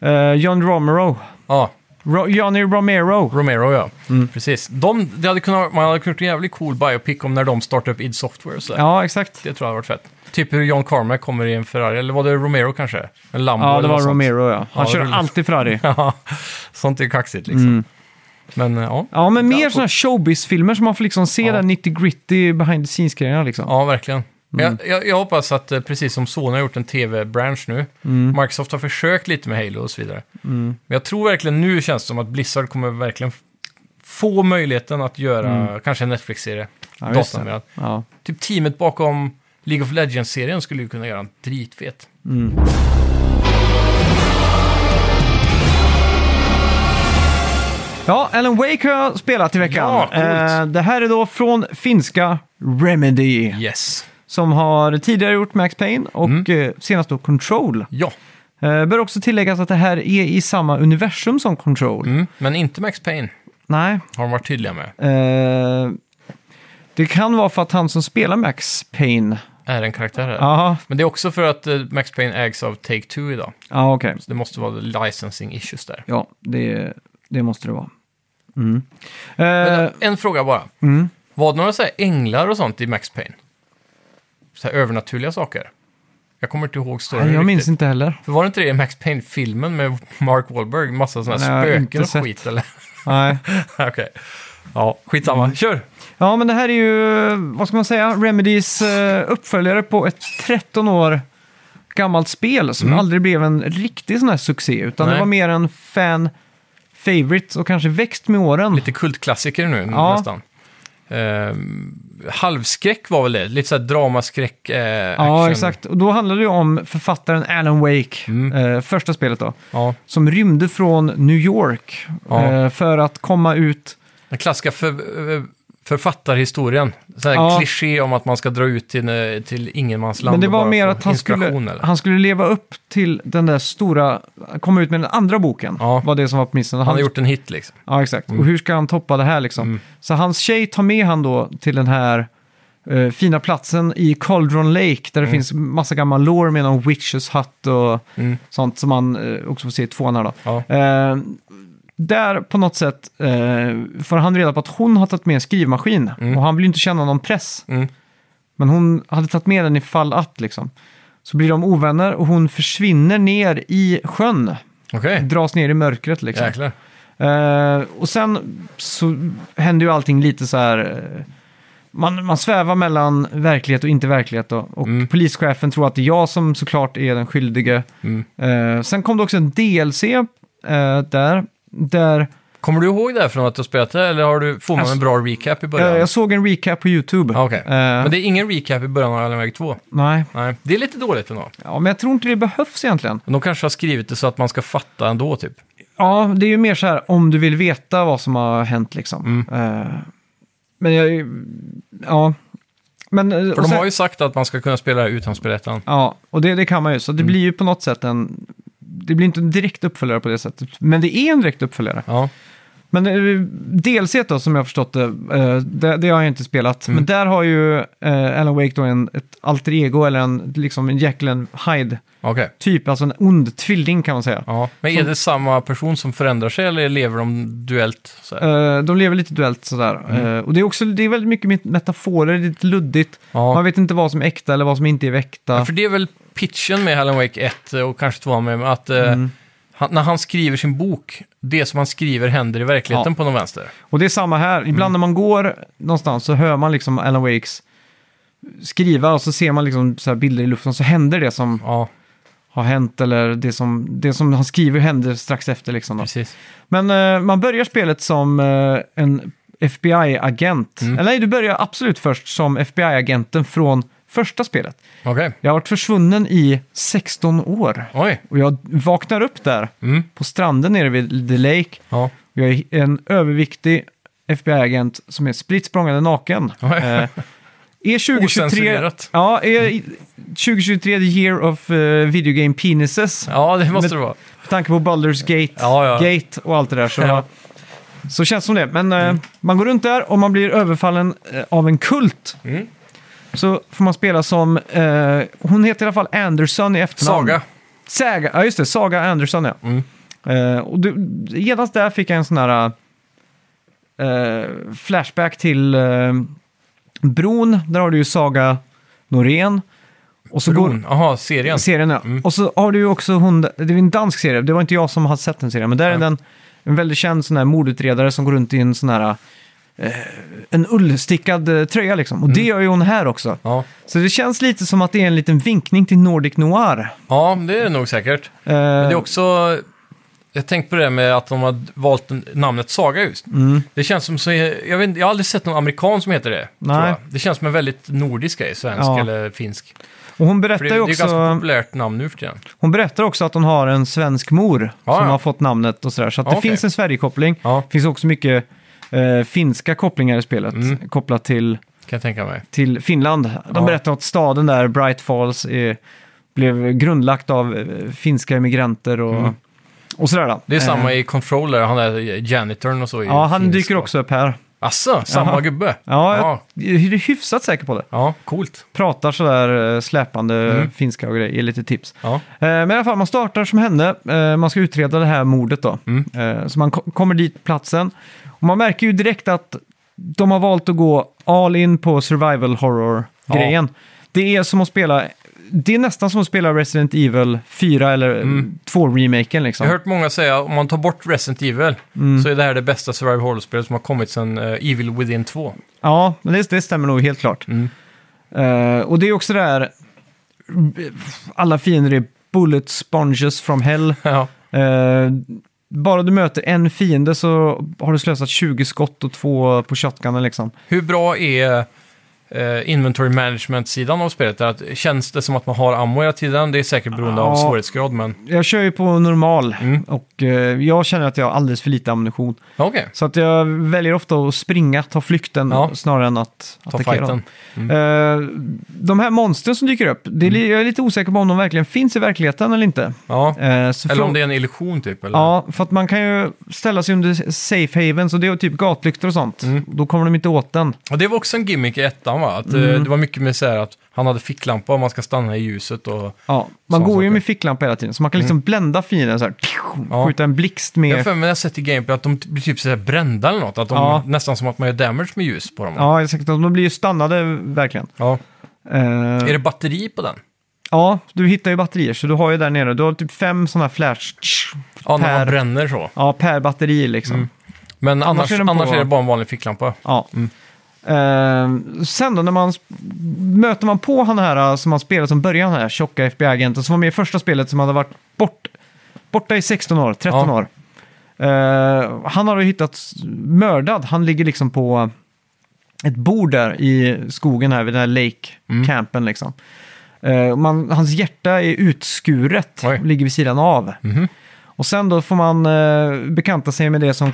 [SPEAKER 2] Eh, John Romero.
[SPEAKER 1] Ja,
[SPEAKER 2] Ro- Johnny Romero.
[SPEAKER 1] Romero ja.
[SPEAKER 2] Mm.
[SPEAKER 1] Precis. De, det hade kunnat, man hade kunnat göra en jävligt cool biopic om när de startade upp id Software och så där.
[SPEAKER 2] Ja, exakt.
[SPEAKER 1] Det tror jag hade varit fett. Typ hur John Carmack kommer i en Ferrari, eller var det Romero kanske? En Lambo
[SPEAKER 2] Ja,
[SPEAKER 1] eller
[SPEAKER 2] det var
[SPEAKER 1] något sånt.
[SPEAKER 2] Romero ja. Han
[SPEAKER 1] Ja,
[SPEAKER 2] kör
[SPEAKER 1] roligt.
[SPEAKER 2] alltid Ferrari.
[SPEAKER 1] Ja, sånt är ju kaxigt liksom.
[SPEAKER 2] Mm.
[SPEAKER 1] Men eh, ja.
[SPEAKER 2] Ja, men mer sådana showbiz-filmer som man får liksom se
[SPEAKER 1] Ja.
[SPEAKER 2] där 90 gritty behind the scenes-grejerna liksom.
[SPEAKER 1] Ja, verkligen. Men
[SPEAKER 2] Mm.
[SPEAKER 1] Jag, jag, jag hoppas att, eh, precis som Sony har gjort en tv-bransch nu,
[SPEAKER 2] Mm.
[SPEAKER 1] Microsoft har försökt lite med Halo och så vidare. Men jag tror verkligen nu känns det som att Blizzard kommer verkligen f- få möjligheten att göra kanske en Netflix-serie.
[SPEAKER 2] Mm. Ja,
[SPEAKER 1] Ja,
[SPEAKER 2] just det. Ja.
[SPEAKER 1] typ teamet bakom League of Legends-serien skulle ju kunna göra en dritfet.
[SPEAKER 2] Ja, Alan Wake har jag spelat i veckan.
[SPEAKER 1] Ja, coolt.
[SPEAKER 2] Eh, det här är då från finska Remedy.
[SPEAKER 1] Yes.
[SPEAKER 2] Som har tidigare gjort Max Payne och
[SPEAKER 1] Mm.
[SPEAKER 2] eh, senast då Control.
[SPEAKER 1] Ja,
[SPEAKER 2] Eh, bör också tilläggas att det här är i samma universum som Control.
[SPEAKER 1] mm. men inte Max Payne
[SPEAKER 2] Nej,
[SPEAKER 1] har de varit tydliga med.
[SPEAKER 2] Eh, det kan vara för att han som spelar Max Payne...
[SPEAKER 1] Är en karaktär här.
[SPEAKER 2] Jaha,
[SPEAKER 1] Men det är också för att eh, Max Payne ägs av Take-Two idag.
[SPEAKER 2] ja okej.
[SPEAKER 1] Så det måste vara licensing issues där.
[SPEAKER 2] Ja, det, det måste det vara. Mm. Eh, Mm.
[SPEAKER 1] En fråga bara. Var det några så här änglar och sånt i Max Payne? Så här övernaturliga saker? Jag kommer inte ihåg storyn
[SPEAKER 2] nej, jag minns
[SPEAKER 1] riktigt.
[SPEAKER 2] inte heller.
[SPEAKER 1] För var det inte det i Max Payne-filmen med Mark Wahlberg? Massa sådana
[SPEAKER 2] Nej, jag
[SPEAKER 1] här
[SPEAKER 2] har inte
[SPEAKER 1] spöken och
[SPEAKER 2] sett.
[SPEAKER 1] skit eller?
[SPEAKER 2] Nej.
[SPEAKER 1] Okej. Ja, skitsamma.
[SPEAKER 2] Mm.
[SPEAKER 1] Kör!
[SPEAKER 2] Ja, men det här är ju, vad ska man säga, Remedys eh, uppföljare på ett 13 år gammalt spel som aldrig blev en riktig sån här succé, utan det
[SPEAKER 1] Mm. Nej.
[SPEAKER 2] var mer en fan favorite och kanske växt med åren.
[SPEAKER 1] Lite kultklassiker nu
[SPEAKER 2] Ja.
[SPEAKER 1] nästan. Ehm, halvskräck var väl det? Lite så här dramaskräck, eh,
[SPEAKER 2] Ja,
[SPEAKER 1] action. Mm.
[SPEAKER 2] exakt. Och då handlade det ju om författaren Alan Wake, eh, första spelet då.
[SPEAKER 1] Ja.
[SPEAKER 2] som rymde från New York
[SPEAKER 1] Ja.
[SPEAKER 2] eh, för att komma ut.
[SPEAKER 1] Den klassiska för, eh, författarhistorien. Så här
[SPEAKER 2] Ja.
[SPEAKER 1] kliché om att man ska dra ut till, eh, till ingenmansland
[SPEAKER 2] Men det
[SPEAKER 1] och
[SPEAKER 2] var
[SPEAKER 1] bara
[SPEAKER 2] mer
[SPEAKER 1] få
[SPEAKER 2] att han
[SPEAKER 1] inspiration,
[SPEAKER 2] skulle,
[SPEAKER 1] eller?
[SPEAKER 2] han skulle leva upp till den där stora, komma ut med den andra boken.
[SPEAKER 1] Ja.
[SPEAKER 2] Var det som var premissen.
[SPEAKER 1] Han har gjort Mm. en hit liksom.
[SPEAKER 2] Ja, exakt. Och hur ska han toppa det här liksom? Så hans tjej tar med han då till den här eh, fina platsen i Cauldron Lake där det finns massa gammal lore med någon Witches Hut och
[SPEAKER 1] Mm.
[SPEAKER 2] sånt som man eh, också får se i tvåan här då.
[SPEAKER 1] Ja.
[SPEAKER 2] Eh, där på något sätt eh, får han reda på att hon har tagit med en skrivmaskin och han vill ju inte känna någon press.
[SPEAKER 1] Mm.
[SPEAKER 2] Men hon hade tagit med den ifall att liksom. Så blir de ovänner och hon försvinner ner i sjön.
[SPEAKER 1] Okej,
[SPEAKER 2] Dras ner i mörkret liksom.
[SPEAKER 1] jäklar.
[SPEAKER 2] Eh, och sen så händer ju allting lite så här... eh, Man, man svävar mellan verklighet och inte verklighet då. Och
[SPEAKER 1] Mm.
[SPEAKER 2] polischefen tror att det är jag som såklart är den skyldige.
[SPEAKER 1] Mm.
[SPEAKER 2] Eh, sen kom det också en DLC eh, där. Där
[SPEAKER 1] Kommer du ihåg det här från att du spelat det, eller har du, får man
[SPEAKER 2] Alltså,
[SPEAKER 1] en bra recap i
[SPEAKER 2] eh,
[SPEAKER 1] början?
[SPEAKER 2] jag såg en recap på YouTube.
[SPEAKER 1] Ja, Ah, Okej,
[SPEAKER 2] Eh,
[SPEAKER 1] men det är ingen recap i början av Allen Wake 2.
[SPEAKER 2] Nej,
[SPEAKER 1] Nej, det är lite dåligt ändå.
[SPEAKER 2] ja, men jag tror inte det behövs egentligen.
[SPEAKER 1] Men De kanske har skrivit det så att man ska fatta ändå, typ.
[SPEAKER 2] Ja, det är ju mer så här om du vill veta vad som har hänt liksom.
[SPEAKER 1] Mm.
[SPEAKER 2] Eh, men jag... Ja. Men, eh,
[SPEAKER 1] För
[SPEAKER 2] och
[SPEAKER 1] de
[SPEAKER 2] sen-
[SPEAKER 1] har ju sagt att man ska kunna spela det här utan spelrätten.
[SPEAKER 2] Ja, och det, det kan man ju. Så det
[SPEAKER 1] Mm.
[SPEAKER 2] blir ju på något sätt en... Det blir inte en direkt uppföljare på det sättet. Men det är en direkt uppföljare.
[SPEAKER 1] Ja,
[SPEAKER 2] Men eh, DLC då, som jag har förstått det, eh, det, det har jag inte spelat.
[SPEAKER 1] Mm.
[SPEAKER 2] Men där har ju eh, Alan Wake då en, ett alter ego, eller en, liksom en Jekyll and Hyde-typ.
[SPEAKER 1] Okej.
[SPEAKER 2] Alltså en ond tvilling kan man säga.
[SPEAKER 1] Ja. Men är det samma person som förändrar sig eller lever de duellt? Så här?
[SPEAKER 2] Eh, de lever lite duellt sådär.
[SPEAKER 1] Mm.
[SPEAKER 2] Eh, och det är också det är väldigt mycket met- metaforer, lite luddigt.
[SPEAKER 1] Ja.
[SPEAKER 2] Man vet inte vad som är äkta eller vad som inte är äkta.
[SPEAKER 1] För det är väl pitchen med Alan Wake 1 och kanske 2 med, att eh,
[SPEAKER 2] Mm.
[SPEAKER 1] han, när han skriver sin bok, det som han skriver händer i verkligheten
[SPEAKER 2] Ja.
[SPEAKER 1] på någon vänster.
[SPEAKER 2] Och det är samma här. Ibland
[SPEAKER 1] Mm.
[SPEAKER 2] när man går någonstans så hör man liksom Alan Wakes skriva och så ser man liksom så här bilder i luften så händer det som
[SPEAKER 1] Ja,
[SPEAKER 2] har hänt eller det som, det som han skriver händer strax efter. Liksom då.
[SPEAKER 1] precis.
[SPEAKER 2] Men eh, man börjar spelet som eh, en FBI-agent.
[SPEAKER 1] Mm.
[SPEAKER 2] Eller nej, du börjar absolut först som FBI-agenten från första spelet.
[SPEAKER 1] Okej.
[SPEAKER 2] Jag har varit försvunnen i 16 år.
[SPEAKER 1] Oj.
[SPEAKER 2] Och jag vaknar upp där
[SPEAKER 1] Mm.
[SPEAKER 2] på stranden nere vid The Lake.
[SPEAKER 1] Ja.
[SPEAKER 2] Jag är en överviktig FBI-agent som är spritt språngande naken.
[SPEAKER 1] Oj.
[SPEAKER 2] Eh, är 2023...
[SPEAKER 1] Ocensurerat.
[SPEAKER 2] Ja, är i- 2023 the year of uh, video game penises.
[SPEAKER 1] ja, det måste
[SPEAKER 2] Men-
[SPEAKER 1] det vara.
[SPEAKER 2] Med tanke på Baldur's Gate,
[SPEAKER 1] Ja, ja.
[SPEAKER 2] Gate och allt det där. Så,
[SPEAKER 1] Ja. Mm.
[SPEAKER 2] så känns det som det. Men eh, man går runt där och man blir överfallen eh, av en kult.
[SPEAKER 1] Mm.
[SPEAKER 2] Så får man spela som... eh, hon heter i alla fall Anderson i efternamn.
[SPEAKER 1] Saga.
[SPEAKER 2] Saga, ja just det, Saga Andersson ja.
[SPEAKER 1] Mm.
[SPEAKER 2] Eh, och du, genast där fick jag en sån här eh, flashback till eh, Bron, där har du ju Saga Norén. Och så
[SPEAKER 1] Bron. Mm. Jaha, serien.
[SPEAKER 2] Går, serien ja. Och så har du ju också hon, det är ju en dansk serie, det var inte jag som hade sett den serien, men där är den en väldigt känd sån här mordutredare som går runt i en sån här eh, en ullstickad eh, tröja liksom. Och
[SPEAKER 1] Mm.
[SPEAKER 2] det gör ju hon här också.
[SPEAKER 1] Ja.
[SPEAKER 2] Så det känns lite som att det är en liten vinkning till Nordic Noir. Eh,
[SPEAKER 1] ja, det är det nog säkert. Men det är också... Jag tänkte på det med att de har valt en- namnet Saga just.
[SPEAKER 2] Mm.
[SPEAKER 1] Det känns som så... Jag, vet, inte- jag har aldrig sett någon amerikan som heter det.
[SPEAKER 2] Nej.
[SPEAKER 1] tror jag. Det känns som en väldigt nordisk grej, svensk
[SPEAKER 2] Ja.
[SPEAKER 1] eller finsk.
[SPEAKER 2] Och hon
[SPEAKER 1] För
[SPEAKER 2] berättar
[SPEAKER 1] det,
[SPEAKER 2] ju
[SPEAKER 1] det är ju
[SPEAKER 2] också,
[SPEAKER 1] ganska populärt namn nu för tiden.
[SPEAKER 2] hon berättar också att hon har en svensk mor
[SPEAKER 1] Ja,
[SPEAKER 2] som
[SPEAKER 1] ja.
[SPEAKER 2] har fått namnet och sådär. Så att det
[SPEAKER 1] Ja, okej.
[SPEAKER 2] finns en Sverigekoppling.
[SPEAKER 1] Ja.
[SPEAKER 2] Det finns också mycket eh, finska kopplingar i spelet kopplat till,
[SPEAKER 1] Kan jag tänka mig.
[SPEAKER 2] till Finland. De
[SPEAKER 1] Mm. Ja.
[SPEAKER 2] berättar att staden där, Bright Falls, är, blev grundlagt av eh, finska emigranter och, och sådär. Då.
[SPEAKER 1] Mm. Det är samma
[SPEAKER 2] Eh,
[SPEAKER 1] i Controller, han är janitorn och så. i
[SPEAKER 2] Ja, han
[SPEAKER 1] finsk
[SPEAKER 2] dyker
[SPEAKER 1] då.
[SPEAKER 2] också upp här.
[SPEAKER 1] Asså, samma
[SPEAKER 2] Jaha.
[SPEAKER 1] gubbe?
[SPEAKER 2] Ja,
[SPEAKER 1] ja.
[SPEAKER 2] jag är hyfsat säker på det.
[SPEAKER 1] Ja, coolt.
[SPEAKER 2] Pratar sådär eh, släpande
[SPEAKER 1] Mm.
[SPEAKER 2] finska och grejer, ger lite tips.
[SPEAKER 1] Ja.
[SPEAKER 2] Eh, Men i alla fall, man startar som hände. Eh, Man ska utreda det här mordet då. Eh, Så man ko- kommer dit på platsen. Och man märker ju direkt att de har valt att gå all in på survival horror-grejen. Det är som att spela... Det är nästan som att spela Resident Evil 4 eller 2-remaken liksom.
[SPEAKER 1] Jag har hört många säga om man tar bort Resident Evil
[SPEAKER 2] Mm.
[SPEAKER 1] så är det här det bästa survival horror-spelet som har kommit sedan eh, Evil Within 2.
[SPEAKER 2] Ja, men det, det stämmer nog helt klart. Eh, och det är också det här... Alla fiender är bullet sponges from hell.
[SPEAKER 1] ja.
[SPEAKER 2] Eh, bara du möter en fiende så har du slösat 20 skott och två på shotgunen liksom.
[SPEAKER 1] Hur bra är eh, inventory management-sidan av spelet? Där att, känns det som att man har ammo hela tiden? Det är säkert beroende av
[SPEAKER 2] Ja.
[SPEAKER 1] svårighetsgrad, men...
[SPEAKER 2] Jag kör ju på normal
[SPEAKER 1] Mm.
[SPEAKER 2] och eh, jag känner att jag har alldeles för lite ammunition.
[SPEAKER 1] Okej,
[SPEAKER 2] Så att jag väljer ofta att springa, ta flykten
[SPEAKER 1] Ja.
[SPEAKER 2] snarare än att
[SPEAKER 1] ta
[SPEAKER 2] attackera.
[SPEAKER 1] fighten. Mm.
[SPEAKER 2] Eh, de här monstren som dyker upp, det är, li- jag är lite osäker på om de verkligen finns i verkligheten eller inte.
[SPEAKER 1] Ja.
[SPEAKER 2] Eh, så
[SPEAKER 1] Eller om
[SPEAKER 2] frå-
[SPEAKER 1] det är en illusion typ? Eller?
[SPEAKER 2] Ja, för att man kan ju ställa sig under safe haven, så det är typ gatlyktor och sånt.
[SPEAKER 1] Mm.
[SPEAKER 2] Då kommer de inte åt den.
[SPEAKER 1] Och det var också en gimmick i ettan va? Att, eh,
[SPEAKER 2] Mm.
[SPEAKER 1] Det var mycket med så här att han hade ficklampa och man ska stanna i ljuset och...
[SPEAKER 2] Ja, man
[SPEAKER 1] Sån
[SPEAKER 2] går ju
[SPEAKER 1] saker.
[SPEAKER 2] med ficklampa hela tiden, så man kan liksom blända fienden så här.
[SPEAKER 1] Mm. Ja.
[SPEAKER 2] Skjuta en blixt
[SPEAKER 1] Jag har
[SPEAKER 2] med...
[SPEAKER 1] för mig när jag sett i gameplay att de t- blir typ så här brända eller något. Att de,
[SPEAKER 2] Ja.
[SPEAKER 1] Nästan som att man gör damage med ljus på dem.
[SPEAKER 2] Ja, exakt. De blir ju stannade verkligen.
[SPEAKER 1] Ja.
[SPEAKER 2] Eh,
[SPEAKER 1] Är det batteri på den?
[SPEAKER 2] Ja, du hittar ju batterier, så du har ju där nere. Du har typ fem sådana här flash...
[SPEAKER 1] Ja, när man
[SPEAKER 2] Per-
[SPEAKER 1] bränner så.
[SPEAKER 2] Ja, per batteri
[SPEAKER 1] Mm.
[SPEAKER 2] liksom.
[SPEAKER 1] Men annars,
[SPEAKER 2] är
[SPEAKER 1] annars,
[SPEAKER 2] den på,
[SPEAKER 1] är
[SPEAKER 2] va?
[SPEAKER 1] det bara en vanlig ficklampa.
[SPEAKER 2] Ja. Eh, sen då när man sp- möter man på han här eh, som man spelade som början här, tjocka FBI-agenten som var med i första spelet som hade varit bort, borta i 16 år, 13
[SPEAKER 1] Ja.
[SPEAKER 2] år. Eh, han har ju hittats mördad, han ligger liksom på ett bord där i skogen här vid den här
[SPEAKER 1] Mm.
[SPEAKER 2] lake-campen liksom. Eh, man, hans hjärta är utskuret
[SPEAKER 1] Oj. Mhm.
[SPEAKER 2] och ligger vid sidan av. Och sen då får man eh, bekanta sig med det som,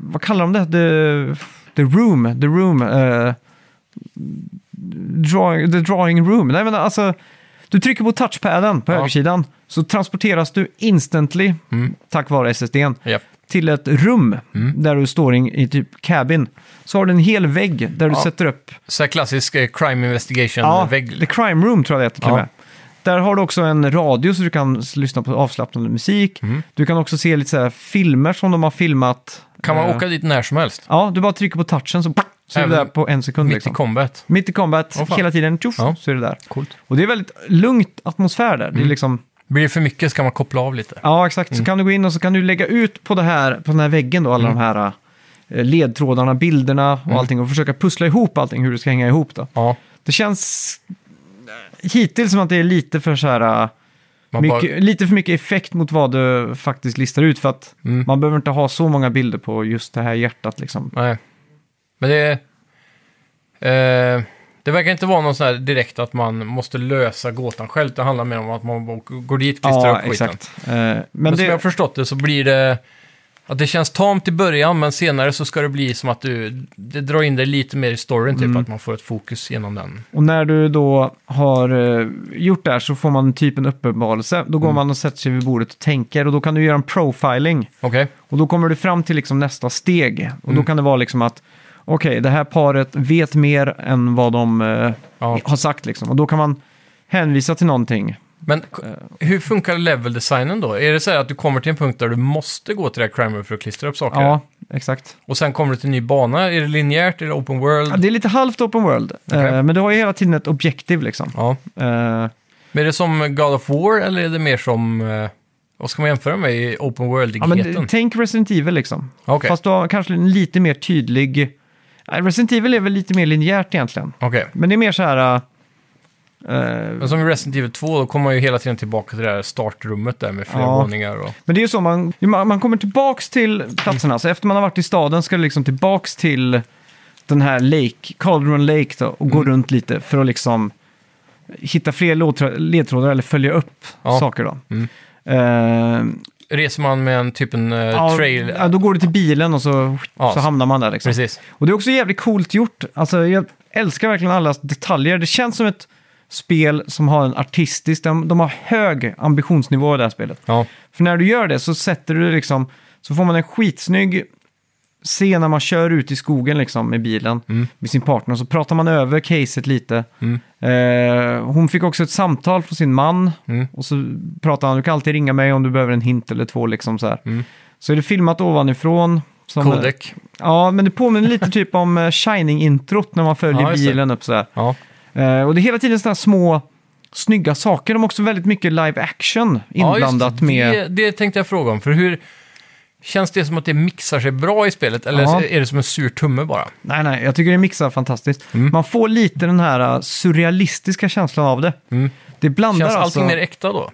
[SPEAKER 2] vad kallar de det? The, the room, the room, eh, drawing, the drawing room. Nej men alltså, Du trycker på touchpaden på
[SPEAKER 1] Ja. Mm.
[SPEAKER 2] högersidan så transporteras du instantly, tack vare SSDn,
[SPEAKER 1] Japp.
[SPEAKER 2] till ett rum
[SPEAKER 1] Mm.
[SPEAKER 2] där du står in, i typ cabin. Så har du en hel vägg där du
[SPEAKER 1] Ja.
[SPEAKER 2] sätter upp...
[SPEAKER 1] Så här klassisk eh, crime
[SPEAKER 2] Ja,
[SPEAKER 1] investigation-vägg.
[SPEAKER 2] The Crime Room tror jag det heter till och
[SPEAKER 1] Ja.
[SPEAKER 2] med. Där har du också en radio så du kan s- lyssna på avslappnande musik.
[SPEAKER 1] Mm.
[SPEAKER 2] Du kan också se lite så här filmer som de har filmat.
[SPEAKER 1] Kan man
[SPEAKER 2] Eh,
[SPEAKER 1] åka dit när som helst?
[SPEAKER 2] Ja, du bara trycker på touchen så, så är du
[SPEAKER 1] Även
[SPEAKER 2] där på en sekund.
[SPEAKER 1] Mitt
[SPEAKER 2] liksom.
[SPEAKER 1] i combat.
[SPEAKER 2] Mitt i combat,
[SPEAKER 1] Åh, fan.
[SPEAKER 2] hela tiden, tjoff,
[SPEAKER 1] Ja.
[SPEAKER 2] så är det där.
[SPEAKER 1] Coolt. Mm.
[SPEAKER 2] Och det är väldigt lugnt atmosfär där. Det är liksom,
[SPEAKER 1] Blir det för mycket ska man koppla av lite.
[SPEAKER 2] ja, exakt.
[SPEAKER 1] Mm.
[SPEAKER 2] Så kan du gå in och så kan du lägga ut på, det här, på den här väggen då, alla de här eh, ledtrådarna, bilderna
[SPEAKER 1] Mm.
[SPEAKER 2] och allting och försöka pussla ihop allting, hur det ska hänga ihop då.
[SPEAKER 1] Ja,
[SPEAKER 2] Det känns eh, hittills som att det är lite för så här... eh,
[SPEAKER 1] man
[SPEAKER 2] mycket,
[SPEAKER 1] bara,
[SPEAKER 2] Lite för mycket effekt mot vad du faktiskt listar ut för att
[SPEAKER 1] Mm.
[SPEAKER 2] man behöver inte ha så många bilder på just det här hjärtat liksom.
[SPEAKER 1] nej. Men det... Eh, det verkar inte vara någon sån här direkt att man måste lösa gåtan själv. Det handlar mer om att man bara går dit och klistrar upp skiten.
[SPEAKER 2] Eh, men
[SPEAKER 1] Men,
[SPEAKER 2] det,
[SPEAKER 1] som jag har förstått det så blir det att det känns tamt i början, men senare så ska det bli som att du det drar in dig lite mer i storyn,
[SPEAKER 2] Mm.
[SPEAKER 1] typ att man får ett fokus genom den.
[SPEAKER 2] Och när du då har eh, gjort det här så får man typ en uppenbarelse. Då går man och sätter sig vid bordet och tänker och då kan du göra en profiling.
[SPEAKER 1] Okej,
[SPEAKER 2] Och då kommer du fram till liksom nästa steg. Och då kan det vara liksom att okej, det här paret vet mer än vad de eh,
[SPEAKER 1] Ja.
[SPEAKER 2] har sagt liksom. Och då kan man hänvisa till någonting.
[SPEAKER 1] men k-
[SPEAKER 2] Eh.
[SPEAKER 1] hur funkar level-designen då? Är det så här att du kommer till en punkt där du måste gå till det här Crammer för att klistra upp saker?
[SPEAKER 2] Ja, exakt.
[SPEAKER 1] Och sen kommer du till en ny bana? Är det linjärt? Är det open world?
[SPEAKER 2] Ja, det är lite halvt open world,
[SPEAKER 1] Okej.
[SPEAKER 2] eh, men du har ju hela tiden ett objektiv liksom.
[SPEAKER 1] Ja.
[SPEAKER 2] Eh,
[SPEAKER 1] Men är det som God of War eller är det mer som... eh, Vad ska man jämföra med i open
[SPEAKER 2] Ja,
[SPEAKER 1] world-igheten?
[SPEAKER 2] men tänk Resident Evil liksom.
[SPEAKER 1] Okej.
[SPEAKER 2] Fast du har kanske en lite mer tydlig... Nej, Resident Evil är väl lite mer linjärt egentligen.
[SPEAKER 1] Okej.
[SPEAKER 2] Men det är mer så här... eh,
[SPEAKER 1] Men som i Resident Evil 2, då kommer man ju hela tiden tillbaka till det här startrummet där med flera
[SPEAKER 2] Ja.
[SPEAKER 1] våningar och...
[SPEAKER 2] men det är ju så, man, man man kommer tillbaks till platserna. Så efter man har varit i staden ska du liksom tillbaks till den här Lake, Cauldron Lake då, och
[SPEAKER 1] Mm.
[SPEAKER 2] gå runt lite för att liksom hitta fler lådträ- ledtrådar eller följa upp
[SPEAKER 1] Ja.
[SPEAKER 2] saker då.
[SPEAKER 1] Mm.
[SPEAKER 2] Eh,
[SPEAKER 1] reser man med en typ en eh, trail.
[SPEAKER 2] Ja, då går du till bilen och så,
[SPEAKER 1] Ja,
[SPEAKER 2] så
[SPEAKER 1] så-
[SPEAKER 2] hamnar man där. Liksom.
[SPEAKER 1] Precis.
[SPEAKER 2] Och det är också jävligt coolt gjort. Alltså, jag älskar verkligen alla detaljer. Det känns som ett spel som har en artistisk... De, de har hög ambitionsnivå i det här spelet.
[SPEAKER 1] Ja.
[SPEAKER 2] För när du gör det så sätter du liksom... Så får man en skitsnygg scen när man kör ut i skogen liksom med bilen
[SPEAKER 1] Mm.
[SPEAKER 2] med sin partner. Så pratar man över caset lite. Eh, hon fick också ett samtal från sin man.
[SPEAKER 1] Mm.
[SPEAKER 2] Och så pratar han, du kan alltid ringa mig om du behöver en hint eller två liksom så här.
[SPEAKER 1] Mm.
[SPEAKER 2] Så är det filmat ovanifrån. Som,
[SPEAKER 1] Codec.
[SPEAKER 2] Ja, men det påminner lite typ om eh, Shining-introt när man följer
[SPEAKER 1] Ja, just det.
[SPEAKER 2] bilen upp så här.
[SPEAKER 1] Ja.
[SPEAKER 2] Eh, och det är hela tiden sådana små snygga saker. De har också väldigt mycket live action inblandat
[SPEAKER 1] ja, just
[SPEAKER 2] med...
[SPEAKER 1] det. det. Det tänkte jag fråga om. För hur... Känns det som att det mixar sig bra i spelet? Eller
[SPEAKER 2] Ja.
[SPEAKER 1] är det som en sur tumme bara?
[SPEAKER 2] Nej, nej, jag tycker det mixar fantastiskt.
[SPEAKER 1] Mm.
[SPEAKER 2] Man får lite den här uh, surrealistiska känslan av det. Det blandar
[SPEAKER 1] Mm. Känns
[SPEAKER 2] alltså...
[SPEAKER 1] allting mer äkta då?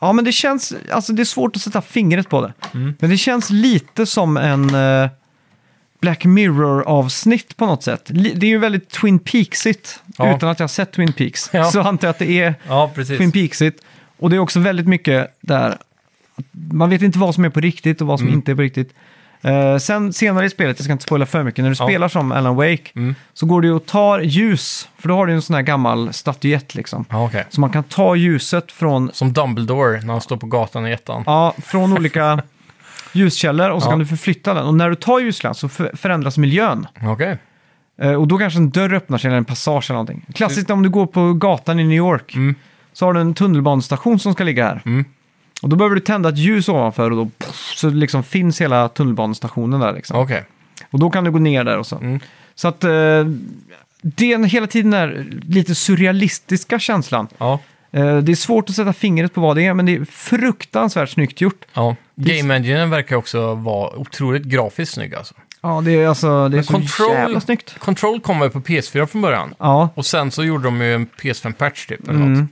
[SPEAKER 2] Ja, men det känns... Alltså det är svårt att sätta fingret på det.
[SPEAKER 1] Mm.
[SPEAKER 2] Men det känns lite som en eh, Black Mirror-avsnitt på något sätt. Li- det är ju väldigt Twin Peaksigt.
[SPEAKER 1] Ja.
[SPEAKER 2] Utan att jag har sett Twin Peaks
[SPEAKER 1] Ja.
[SPEAKER 2] så antar jag att det är
[SPEAKER 1] Ja, precis.
[SPEAKER 2] Twin Peaksigt. Och det är också väldigt mycket där... Man vet inte vad som är på riktigt och vad
[SPEAKER 1] Mm.
[SPEAKER 2] som inte är på riktigt. Eh, sen senare i spelet, jag ska inte spoila för mycket, när du
[SPEAKER 1] Ja. Mm.
[SPEAKER 2] spelar som Alan Wake så går du och tar ljus, för då har du en sån här gammal statyett liksom.
[SPEAKER 1] Ja, okej.
[SPEAKER 2] Så man kan ta ljuset från
[SPEAKER 1] Som Dumbledore när han står på gatan i ettan.
[SPEAKER 2] Ja, från olika ljuskällor och så
[SPEAKER 1] Ja.
[SPEAKER 2] kan du förflytta den. Och när du tar ljusslan så för- förändras miljön.
[SPEAKER 1] Okej.
[SPEAKER 2] Eh, och då kanske en dörr öppnar sig eller en passage eller någonting. Klassiskt om du går på gatan i New York
[SPEAKER 1] Mm.
[SPEAKER 2] så har du en tunnelbanestation som ska ligga här.
[SPEAKER 1] Mm.
[SPEAKER 2] Och då behöver du tända ett ljus ovanför och då puff, så liksom finns hela tunnelbanestationen där. Liksom.
[SPEAKER 1] Okej.
[SPEAKER 2] Och då kan du gå ner där och så.
[SPEAKER 1] Mm.
[SPEAKER 2] Så att eh, det är en- hela tiden den här lite surrealistiska känslan.
[SPEAKER 1] Ja.
[SPEAKER 2] Eh, det är svårt att sätta fingret på vad det är, men det är fruktansvärt snyggt gjort.
[SPEAKER 1] ja. Game enginen verkar också vara otroligt grafiskt snygg alltså.
[SPEAKER 2] Ja, det är alltså det är så
[SPEAKER 1] Control-
[SPEAKER 2] jävla snyggt.
[SPEAKER 1] Control kom väl på PS4 från början.
[SPEAKER 2] Ja,
[SPEAKER 1] Och sen så gjorde de ju en PS5-patch typ. Eller
[SPEAKER 2] Mm.
[SPEAKER 1] något.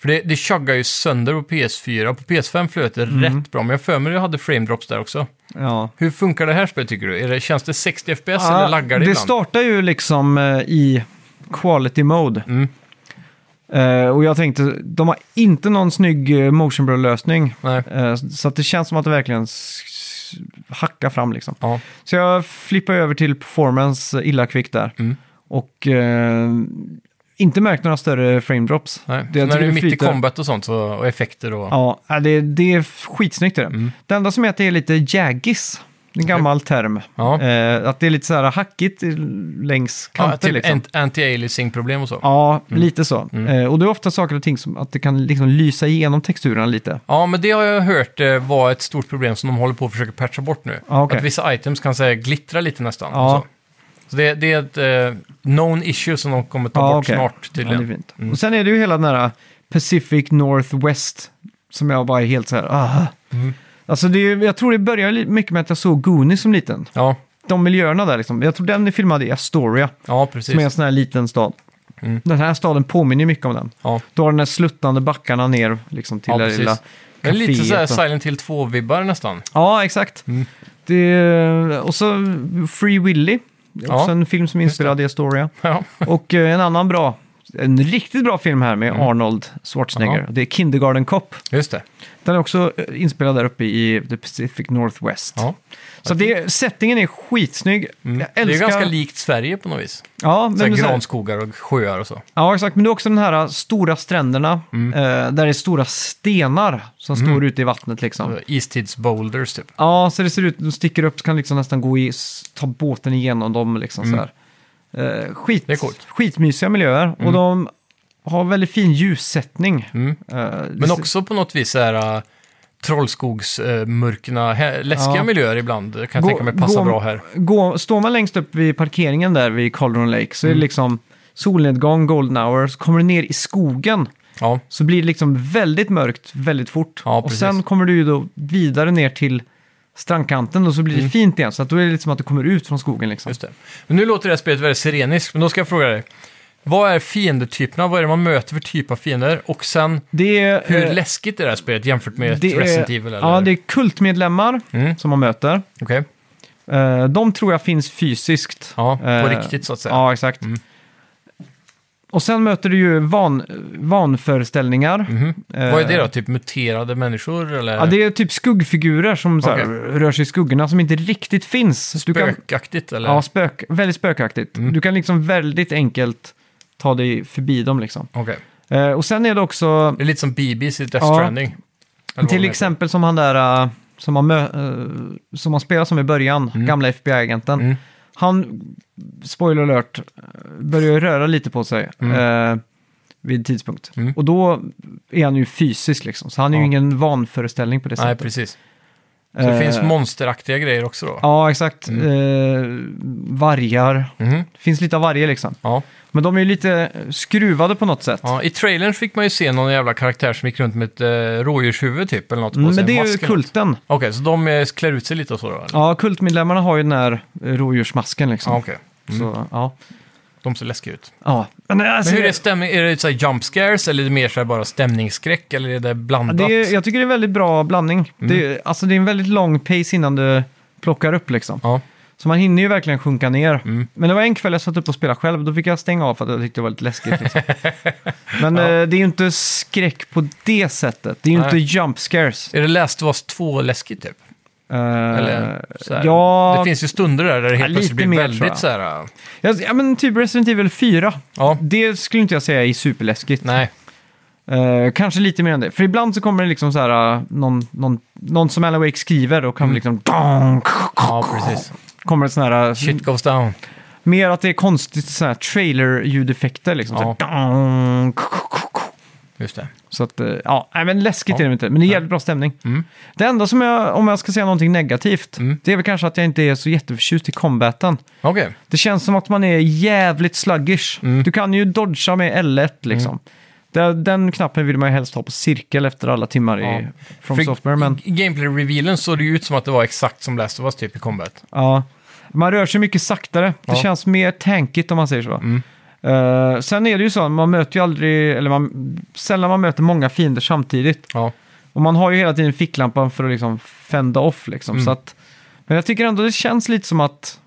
[SPEAKER 1] För det, det chuggar ju sönder på PS4. På PS5 flöt det
[SPEAKER 2] Mm.
[SPEAKER 1] rätt bra, men jag för mig att jag hade frame drops där också.
[SPEAKER 2] ja.
[SPEAKER 1] Hur funkar det här spelet tycker du? Är det, känns det 60 FPS
[SPEAKER 2] Ja,
[SPEAKER 1] eller laggar det,
[SPEAKER 2] det
[SPEAKER 1] ibland?
[SPEAKER 2] startar ju liksom eh, i quality mode.
[SPEAKER 1] Mm.
[SPEAKER 2] Eh, och jag tänkte, de har inte någon snygg eh, motion blur-lösning.
[SPEAKER 1] Nej.
[SPEAKER 2] Eh, så att det känns som att det verkligen s- s- hackar fram liksom.
[SPEAKER 1] Ja.
[SPEAKER 2] Så jag flippar över till performance eh, illa kvickt där.
[SPEAKER 1] Mm.
[SPEAKER 2] Och eh, inte märkt några större frame drops.
[SPEAKER 1] Nej.
[SPEAKER 2] jag
[SPEAKER 1] Så när
[SPEAKER 2] tycker
[SPEAKER 1] det är mitt i
[SPEAKER 2] flyter-
[SPEAKER 1] combat och sånt så, och effekter och...
[SPEAKER 2] Ja, ja, det, det är skitsnyggt. Är det.
[SPEAKER 1] Mm.
[SPEAKER 2] det enda som är att det är lite jaggis. En gammal term.
[SPEAKER 1] Ja.
[SPEAKER 2] Eh, att det är lite så här hackigt i- längs
[SPEAKER 1] Ja,
[SPEAKER 2] kanter.
[SPEAKER 1] typ Mm.
[SPEAKER 2] liksom.
[SPEAKER 1] ant- anti-aliasing-problem och så. Ja.
[SPEAKER 2] Ja, lite så. Eh, och det är ofta saker och ting som att det kan liksom lysa igenom texturen lite.
[SPEAKER 1] men det har jag hört eh, var ett stort problem som de håller på att försöka patcha bort nu.
[SPEAKER 2] Ja, Ah, okej.
[SPEAKER 1] Att vissa items kan säga glittra lite nästan.
[SPEAKER 2] Ja.
[SPEAKER 1] Och så. Så det, det är ett eh, known issue som de kommer ta
[SPEAKER 2] Ja,
[SPEAKER 1] bort
[SPEAKER 2] Ah, okej.
[SPEAKER 1] snart
[SPEAKER 2] Ja, det är
[SPEAKER 1] tydligen. Mm.
[SPEAKER 2] fint. Och sen är det ju hela den här Pacific Northwest som jag bara är helt så här, ah.
[SPEAKER 1] Mm.
[SPEAKER 2] Alltså det är, ju- jag tror det börjar li- mycket med att jag såg Goonies som liten.
[SPEAKER 1] Ja,
[SPEAKER 2] De miljöerna där liksom. Jag tror den är filmad i Astoria,
[SPEAKER 1] ja precis. Mm.
[SPEAKER 2] som är en sån här liten stad. Den här staden påminner mycket om den.
[SPEAKER 1] Ja.
[SPEAKER 2] Du har den här sluttande backarna ner liksom till
[SPEAKER 1] Ja,
[SPEAKER 2] det
[SPEAKER 1] precis.
[SPEAKER 2] lilla
[SPEAKER 1] Det är lite
[SPEAKER 2] kaféet
[SPEAKER 1] så här
[SPEAKER 2] och-
[SPEAKER 1] Silent Hill 2-vibbar nästan.
[SPEAKER 2] Ja, exakt.
[SPEAKER 1] Mm.
[SPEAKER 2] Det, och så Free Willy, också
[SPEAKER 1] Ja.
[SPEAKER 2] en film som är inspirerad i Astoria.
[SPEAKER 1] Ja.
[SPEAKER 2] Och eh, en annan bra, en riktigt bra film här med
[SPEAKER 1] Mm.
[SPEAKER 2] Arnold Schwarzenegger.
[SPEAKER 1] Jaha.
[SPEAKER 2] Det är Kindergarten Cop.
[SPEAKER 1] Just det.
[SPEAKER 2] Den är också eh, inspelad där uppe i the Pacific Northwest.
[SPEAKER 1] Ja. Mm.
[SPEAKER 2] Så det, settingen är skitsnygg. Jag
[SPEAKER 1] Det är ju
[SPEAKER 2] älskar...
[SPEAKER 1] ganska likt Sverige på något vis.
[SPEAKER 2] Ja,
[SPEAKER 1] Så
[SPEAKER 2] men,
[SPEAKER 1] här
[SPEAKER 2] men, så här,
[SPEAKER 1] granskogar och sjöar och så.
[SPEAKER 2] ja, exakt. Men det är också den här eh, stora stränderna.
[SPEAKER 1] Mm.
[SPEAKER 2] Eh, där det är stora stenar som står ute i vattnet liksom.
[SPEAKER 1] Istids boulders typ.
[SPEAKER 2] Ja, så det ser ut, de sticker upp så kan liksom nästan gå i, s- ta båten igenom dem liksom så här. Eh, skit,
[SPEAKER 1] Mm. Det är coolt. Mm.
[SPEAKER 2] Skitmysiga miljöer och de har väldigt fin ljussättning. Eh, det
[SPEAKER 1] Men
[SPEAKER 2] ser-
[SPEAKER 1] också på något vis så här äh, trollskogsmörkna, hä- läskiga
[SPEAKER 2] Ja.
[SPEAKER 1] miljöer ibland. Kan jag tänka mig passar bra här.
[SPEAKER 2] Gå, står man längst upp vid parkeringen där vid Calderon Lake
[SPEAKER 1] Mm.
[SPEAKER 2] så är det liksom solnedgång, golden hour, så kommer du ner i skogen
[SPEAKER 1] Ja,
[SPEAKER 2] så blir det liksom väldigt mörkt väldigt fort.
[SPEAKER 1] Ja,
[SPEAKER 2] och
[SPEAKER 1] precis.
[SPEAKER 2] sen kommer du ju då vidare ner till strandkanten och så blir det fint igen. Så att då är det liksom att du kommer ut från skogen liksom.
[SPEAKER 1] Mm. just det. Men nu låter det här spelet väldigt sireniskt, men då ska jag fråga dig. Vad är fiendetyperna? Vad är det man möter för typ av fiender? Och sen,
[SPEAKER 2] Det är,
[SPEAKER 1] hur
[SPEAKER 2] eh,
[SPEAKER 1] läskigt är det här spelet jämfört med
[SPEAKER 2] Det är-
[SPEAKER 1] Resident Evil? Eller?
[SPEAKER 2] Ja, det är kultmedlemmar
[SPEAKER 1] Mm.
[SPEAKER 2] som man möter.
[SPEAKER 1] Okej.
[SPEAKER 2] Eh, de tror jag finns fysiskt.
[SPEAKER 1] Ja, på
[SPEAKER 2] Eh,
[SPEAKER 1] riktigt så att säga. Mm.
[SPEAKER 2] Ja, exakt. Och sen möter du ju van, vanföreställningar.
[SPEAKER 1] Mm. Mhm. Vad är det då? Typ muterade människor? Eller
[SPEAKER 2] Eh, Ja, det är typ skuggfigurer som så här,
[SPEAKER 1] Okej.
[SPEAKER 2] rör sig i skuggorna som inte riktigt finns. Du kan,
[SPEAKER 1] spökaktigt? Eller? Mm.
[SPEAKER 2] ja, spök, väldigt spökaktigt. Du kan liksom väldigt enkelt ta dig förbi dem liksom.
[SPEAKER 1] Okej.
[SPEAKER 2] Eh, och sen är det också
[SPEAKER 1] Det är lite som BB's i Death
[SPEAKER 2] Ja.
[SPEAKER 1] Stranding. Eller vad de
[SPEAKER 2] Till
[SPEAKER 1] heter.
[SPEAKER 2] exempel som han där eh, som han, mö- eh, som han spelar som i början, gamla FBI-agenten.
[SPEAKER 1] Mm.
[SPEAKER 2] Han, spoiler alert, börjar ju röra lite på sig eh, vid tidspunkt.
[SPEAKER 1] Mm.
[SPEAKER 2] Och då är han ju fysisk liksom, så han är ju
[SPEAKER 1] Ja.
[SPEAKER 2] ingen vanföreställning på det
[SPEAKER 1] Nej,
[SPEAKER 2] sättet.
[SPEAKER 1] precis. Så det
[SPEAKER 2] Eh,
[SPEAKER 1] finns Mm. monsteraktiga grejer också då?
[SPEAKER 2] Ja, exakt. Eh, vargar.
[SPEAKER 1] Mhm.
[SPEAKER 2] Det finns lite av varje liksom.
[SPEAKER 1] Ja.
[SPEAKER 2] Men de är ju lite skruvade på något sätt. Mm,
[SPEAKER 1] ja. I trailern fick man ju se någon jävla karaktär som gick runt med ett eh, rådjurshuvud typ, eller något på
[SPEAKER 2] Mm,
[SPEAKER 1] sig.
[SPEAKER 2] Men
[SPEAKER 1] en
[SPEAKER 2] det är ju
[SPEAKER 1] mask eller något.
[SPEAKER 2] kulten.
[SPEAKER 1] Okej, så de eh, klär ut sig lite och så då? eller?
[SPEAKER 2] Ja, kultmedlemmarna har ju den här eh, rådjursmasken liksom.
[SPEAKER 1] Ja, okej.
[SPEAKER 2] Så, ja.
[SPEAKER 1] De ser läskiga ut.
[SPEAKER 2] Ja. Men, alltså,
[SPEAKER 1] Men hur är stämningen? Är det så här jump scares eller är det mer så här bara stämningsskräck eller är det blandat?
[SPEAKER 2] det är, jag tycker det är en väldigt bra blandning.
[SPEAKER 1] Mm.
[SPEAKER 2] Det, är- alltså, det är en väldigt lång pace innan du plockar upp liksom.
[SPEAKER 1] Ja,
[SPEAKER 2] Så man hinner ju verkligen sjunka ner.
[SPEAKER 1] Mm.
[SPEAKER 2] Men det var en kväll jag satt upp och spelade själv, då fick jag stänga av för att jag tyckte det var lite läskigt. Liksom. Men eh, det är ju inte skräck på det sättet. Det är ju
[SPEAKER 1] Nej.
[SPEAKER 2] inte jump scares.
[SPEAKER 1] är det Last of Us 2 läskigt typ?
[SPEAKER 2] Eh,
[SPEAKER 1] Eller så här,
[SPEAKER 2] ja,
[SPEAKER 1] Det finns ju stunder där där det helt
[SPEAKER 2] Ja, lite
[SPEAKER 1] plötsligt blir
[SPEAKER 2] mer, tror jag.
[SPEAKER 1] väldigt så här... äh,
[SPEAKER 2] ja, ja, men typ Resident Evil 4.
[SPEAKER 1] Ja,
[SPEAKER 2] Det skulle inte jag säga är superläskigt.
[SPEAKER 1] nej.
[SPEAKER 2] Eh, kanske lite mer än det. För ibland så kommer det liksom så här, eh, någon, någon, någon som Alan Wake skriver och kan liksom...
[SPEAKER 1] Mm. Ja, precis.
[SPEAKER 2] Kommer det sån här... eh,
[SPEAKER 1] Shit goes down.
[SPEAKER 2] Mer att det är konstigt sån här trailer-ljudeffekter liksom.
[SPEAKER 1] Ja.
[SPEAKER 2] Så, här,
[SPEAKER 1] Just det.
[SPEAKER 2] så att, eh, ja, nej, men läskigt
[SPEAKER 1] Ja. Mm.
[SPEAKER 2] är det inte. Men det är jävligt bra stämning. Det enda som jag, om jag ska säga någonting negativt, det är väl kanske att jag inte är så jätteförtjust i combaten.
[SPEAKER 1] Okej.
[SPEAKER 2] Det känns som att man är jävligt sluggish.
[SPEAKER 1] Mm.
[SPEAKER 2] Du kan ju dodga med L1 liksom. Den, den knappen vill man ju helst ha på cirkel efter alla timmar i
[SPEAKER 1] Ja.
[SPEAKER 2] From
[SPEAKER 1] För
[SPEAKER 2] Software. Men,
[SPEAKER 1] I gameplay-revealen såg det ju ut som att det var exakt som Last of Us typ i combat.
[SPEAKER 2] ja. Man rör sig mycket saktare. Det
[SPEAKER 1] Ja. Mm.
[SPEAKER 2] känns mer tankigt om man säger så. Eh, sen är det ju så att man möter ju aldrig, eller man, sällan man möter många fiender samtidigt.
[SPEAKER 1] Ja.
[SPEAKER 2] Och man har ju hela tiden ficklampan för att liksom fända off liksom.
[SPEAKER 1] Mm.
[SPEAKER 2] Så att, men jag tycker ändå det känns lite som att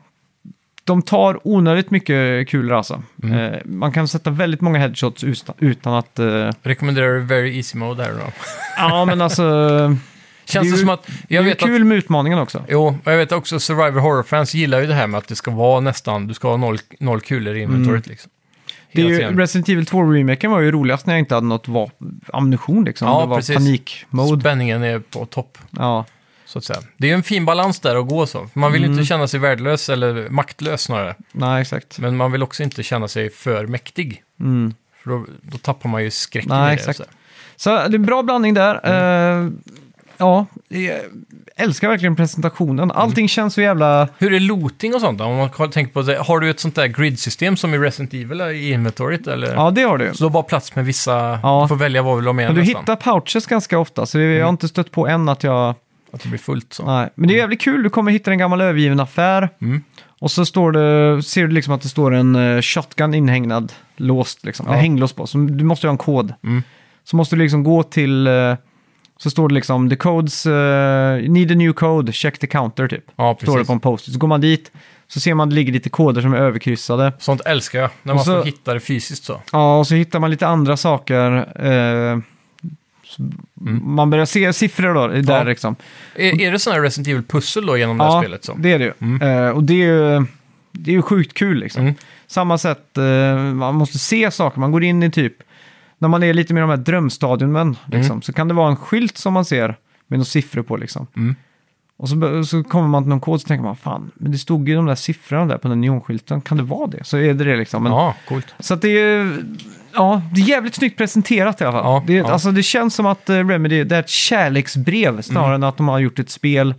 [SPEAKER 2] de tar onödigt mycket kulor alltså.
[SPEAKER 1] Mm.
[SPEAKER 2] Eh, man kan sätta väldigt många headshots utan, utan att... Eh,
[SPEAKER 1] Rekommenderar du Very Easy Mode här då?
[SPEAKER 2] ja men alltså...
[SPEAKER 1] Känns
[SPEAKER 2] Det är
[SPEAKER 1] det,
[SPEAKER 2] ju-
[SPEAKER 1] som att... Jag
[SPEAKER 2] det är
[SPEAKER 1] vet
[SPEAKER 2] kul
[SPEAKER 1] att...
[SPEAKER 2] med utmaningen också.
[SPEAKER 1] Jo, och jag vet också Survivor Horror-fans gillar ju det här med att det ska vara nästan... Du ska ha noll, noll kulor i inventoriet liksom.
[SPEAKER 2] Mm. Det är ju,
[SPEAKER 1] Egentligen.
[SPEAKER 2] Resident Evil 2-remaken var ju roligast när jag inte hade något vapen, ammunition liksom.
[SPEAKER 1] Ja,
[SPEAKER 2] det var
[SPEAKER 1] precis.
[SPEAKER 2] panikmode.
[SPEAKER 1] Spänningen är på topp,
[SPEAKER 2] Ja.
[SPEAKER 1] så att säga. Det är en fin balans där att gå så. Man vill
[SPEAKER 2] Mm.
[SPEAKER 1] inte känna sig värdelös eller maktlös snarare.
[SPEAKER 2] Nej, exakt.
[SPEAKER 1] Men man vill också inte känna sig för mäktig.
[SPEAKER 2] Mm.
[SPEAKER 1] För då, då tappar man ju skräcken
[SPEAKER 2] Nej,
[SPEAKER 1] i det.
[SPEAKER 2] exakt.
[SPEAKER 1] så här.
[SPEAKER 2] Så det är en bra blandning där.
[SPEAKER 1] Mm.
[SPEAKER 2] Eh, ja, jag älskar verkligen
[SPEAKER 1] Mm.
[SPEAKER 2] presentationen. Allting känns så jävla...
[SPEAKER 1] Hur är looting och sånt då? Om man har- tänker på det, har du ett sånt där gridsystem som i Resident Evil i inventoriet eller?
[SPEAKER 2] Ja, det har du.
[SPEAKER 1] Så du har bara plats med vissa,
[SPEAKER 2] Ja.
[SPEAKER 1] du får välja vad du vill ha med
[SPEAKER 2] Men du
[SPEAKER 1] nästan.
[SPEAKER 2] hittar pouches ganska ofta, så det, jag
[SPEAKER 1] Mm.
[SPEAKER 2] har inte stött på än att jag...
[SPEAKER 1] Att det blir fullt så.
[SPEAKER 2] Nej. Men det är jävligt kul, du kommer hitta en gammal övergiven affär.
[SPEAKER 1] Mm.
[SPEAKER 2] Och så står det, ser du liksom att det står en eh, shotgun inhägnad, låst liksom.
[SPEAKER 1] Ja.
[SPEAKER 2] En hänglås på, så du måste ju ha en kod.
[SPEAKER 1] Mm.
[SPEAKER 2] Så måste du liksom gå till, eh, så står det liksom the codes, eh, need a new code, check the counter typ.
[SPEAKER 1] Ja,
[SPEAKER 2] Står det
[SPEAKER 1] precis.
[SPEAKER 2] på en post Så går man dit, så ser man att det ligger lite koder som är överkryssade.
[SPEAKER 1] Sånt älskar jag, när man
[SPEAKER 2] Och så-
[SPEAKER 1] får hitta det fysiskt så.
[SPEAKER 2] Ja, och så hittar man lite andra saker. Eh, så Man börjar se siffror då, där
[SPEAKER 1] Mm. Ja.
[SPEAKER 2] liksom.
[SPEAKER 1] Är, är det sådana här Resident Evil-pussel då genom det här spelet? Så?
[SPEAKER 2] det är det ju. Eh, och det är ju, det är ju sjukt kul liksom.
[SPEAKER 1] Mm.
[SPEAKER 2] Samma sätt, eh, man måste se saker, man går in i typ, när man är lite med de här drömstadiumen,
[SPEAKER 1] Mm.
[SPEAKER 2] liksom, så kan det vara en skylt som man ser med några siffror på liksom.
[SPEAKER 1] Mm.
[SPEAKER 2] Och så, bör- så kommer man till någon kod så tänker man, fan, men det stod ju de där siffrorna där på den neonskylten, kan det vara det? Så är det det liksom. Men,
[SPEAKER 1] Ja, coolt.
[SPEAKER 2] Så att det är ju- ja, det är jävligt snyggt presenterat i alla fall.
[SPEAKER 1] Ja,
[SPEAKER 2] det,
[SPEAKER 1] ja.
[SPEAKER 2] Alltså, det känns som att eh, Remedy, det är ett kärleksbrev snarare
[SPEAKER 1] Mm.
[SPEAKER 2] än att de har gjort ett spel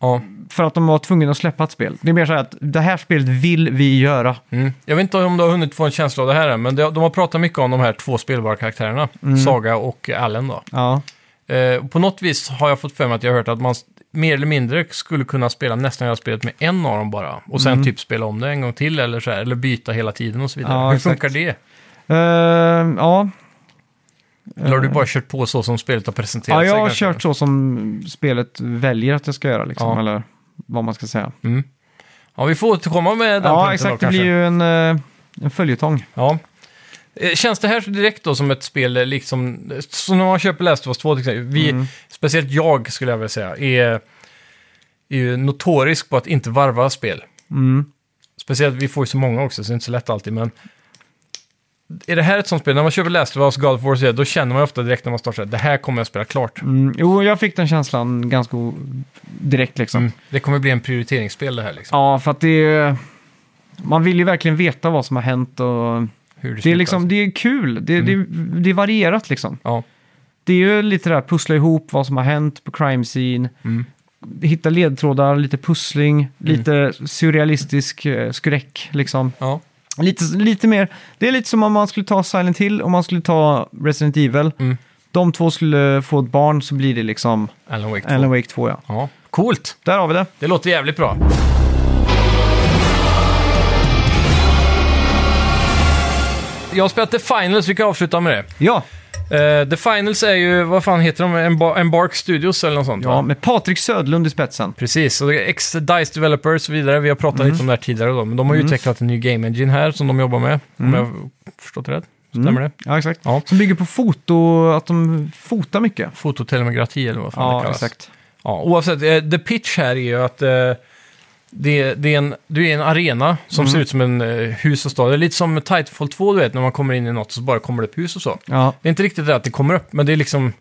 [SPEAKER 1] Ja.
[SPEAKER 2] för att de var tvungna att släppa ett spel. Det är mer så här att det här spelet vill vi göra.
[SPEAKER 1] Mm. Jag vet inte om du har hunnit få en känsla av det här än, men det, de har pratat mycket om de här två spelbara karaktärerna,
[SPEAKER 2] Mm.
[SPEAKER 1] Saga och Allen då.
[SPEAKER 2] Ja,
[SPEAKER 1] Eh, och på något vis har jag fått för mig att jag har hört att man s- mer eller mindre skulle kunna spela nästan hela spelet med en av dem bara. Och
[SPEAKER 2] Mm.
[SPEAKER 1] sen typ spela om det en gång till eller så här, eller byta hela tiden och så vidare.
[SPEAKER 2] Ja,
[SPEAKER 1] Hur
[SPEAKER 2] exakt.
[SPEAKER 1] funkar det?
[SPEAKER 2] Eh, ja.
[SPEAKER 1] Eller har du bara kört på så som spelet har presenterat
[SPEAKER 2] ja jag
[SPEAKER 1] sig?
[SPEAKER 2] har
[SPEAKER 1] kanske?
[SPEAKER 2] kört så som spelet väljer att jag ska göra liksom,
[SPEAKER 1] Ja.
[SPEAKER 2] eller vad man ska säga.
[SPEAKER 1] Ja, vi får återkomma med den
[SPEAKER 2] Ja,
[SPEAKER 1] punkten
[SPEAKER 2] exakt.
[SPEAKER 1] då,
[SPEAKER 2] Det blir
[SPEAKER 1] kanske.
[SPEAKER 2] ju en, eh, en följetong.
[SPEAKER 1] Ja. Eh, Känns det här så direkt då som ett spel, eh, liksom, eh, som när man köper Last of Us 2 till exempel. Vi,
[SPEAKER 2] Mm.
[SPEAKER 1] Speciellt jag skulle jag vilja säga, är, är ju notorisk på att inte varva spel.
[SPEAKER 2] Mm.
[SPEAKER 1] Speciellt, vi får ju så många också så det är inte så lätt alltid, men... Är det här ett sånt spel, när man köper Last of Us, God of War och så vidare, då känner man ju ofta direkt när man startar, det här kommer jag spela klart.
[SPEAKER 2] Mm. Jo, jag fick den känslan ganska o- direkt liksom.
[SPEAKER 1] Mm. Det kommer bli en prioriteringsspel det här liksom.
[SPEAKER 2] Ja, för att det är... Man vill ju verkligen veta vad som har hänt och...
[SPEAKER 1] Hur
[SPEAKER 2] Det är,
[SPEAKER 1] slutar.
[SPEAKER 2] liksom, det är kul, det,
[SPEAKER 1] Mm.
[SPEAKER 2] det, det är varierat liksom.
[SPEAKER 1] Ja.
[SPEAKER 2] Det är ju lite det här pussla ihop vad som har hänt på crime scene.
[SPEAKER 1] Mm.
[SPEAKER 2] Hitta ledtrådar, lite pussling, lite surrealistisk eh, skräck liksom.
[SPEAKER 1] Ja.
[SPEAKER 2] Lite, lite mer, det är lite som om man skulle ta Silent Hill och man skulle ta Resident Evil.
[SPEAKER 1] Mm.
[SPEAKER 2] De två skulle få ett barn så blir det liksom
[SPEAKER 1] Alan Wake 2.
[SPEAKER 2] Alan Wake 2 ja.
[SPEAKER 1] Ja. Coolt!
[SPEAKER 2] Där har vi det.
[SPEAKER 1] Det låter jävligt bra. Jag har spelat The Finals, vi kan avsluta med det.
[SPEAKER 2] Ja,
[SPEAKER 1] Eh, The Finals är ju, vad fan heter de, Emba- Embark Studios eller något sånt
[SPEAKER 2] ja
[SPEAKER 1] va?
[SPEAKER 2] med Patrik Södlund i spetsen.
[SPEAKER 1] Precis, och det är ex Dice Developers och så vidare. Vi har pratat
[SPEAKER 2] Mhm.
[SPEAKER 1] lite om det här tidigare då, men de har ju utvecklat en ny Game Engine här som de jobbar med,
[SPEAKER 2] Mhm.
[SPEAKER 1] om jag har förstått det rätt. Stämmer det?
[SPEAKER 2] Ja, exakt.
[SPEAKER 1] Ja.
[SPEAKER 2] Som bygger på foto, att de fotar mycket.
[SPEAKER 1] Fototelemografi eller vad fan det
[SPEAKER 2] Ja,
[SPEAKER 1] kallas.
[SPEAKER 2] exakt.
[SPEAKER 1] Ja, oavsett, eh, the pitch här är ju att eh, det, det är en, du är en arena som ser ut som en eh, hus och stad. Det är lite som Titanfall 2, du vet, när man kommer in i något så bara kommer det upp hus och så.
[SPEAKER 2] Ja.
[SPEAKER 1] Det är inte riktigt det att det kommer upp, men det är liksom...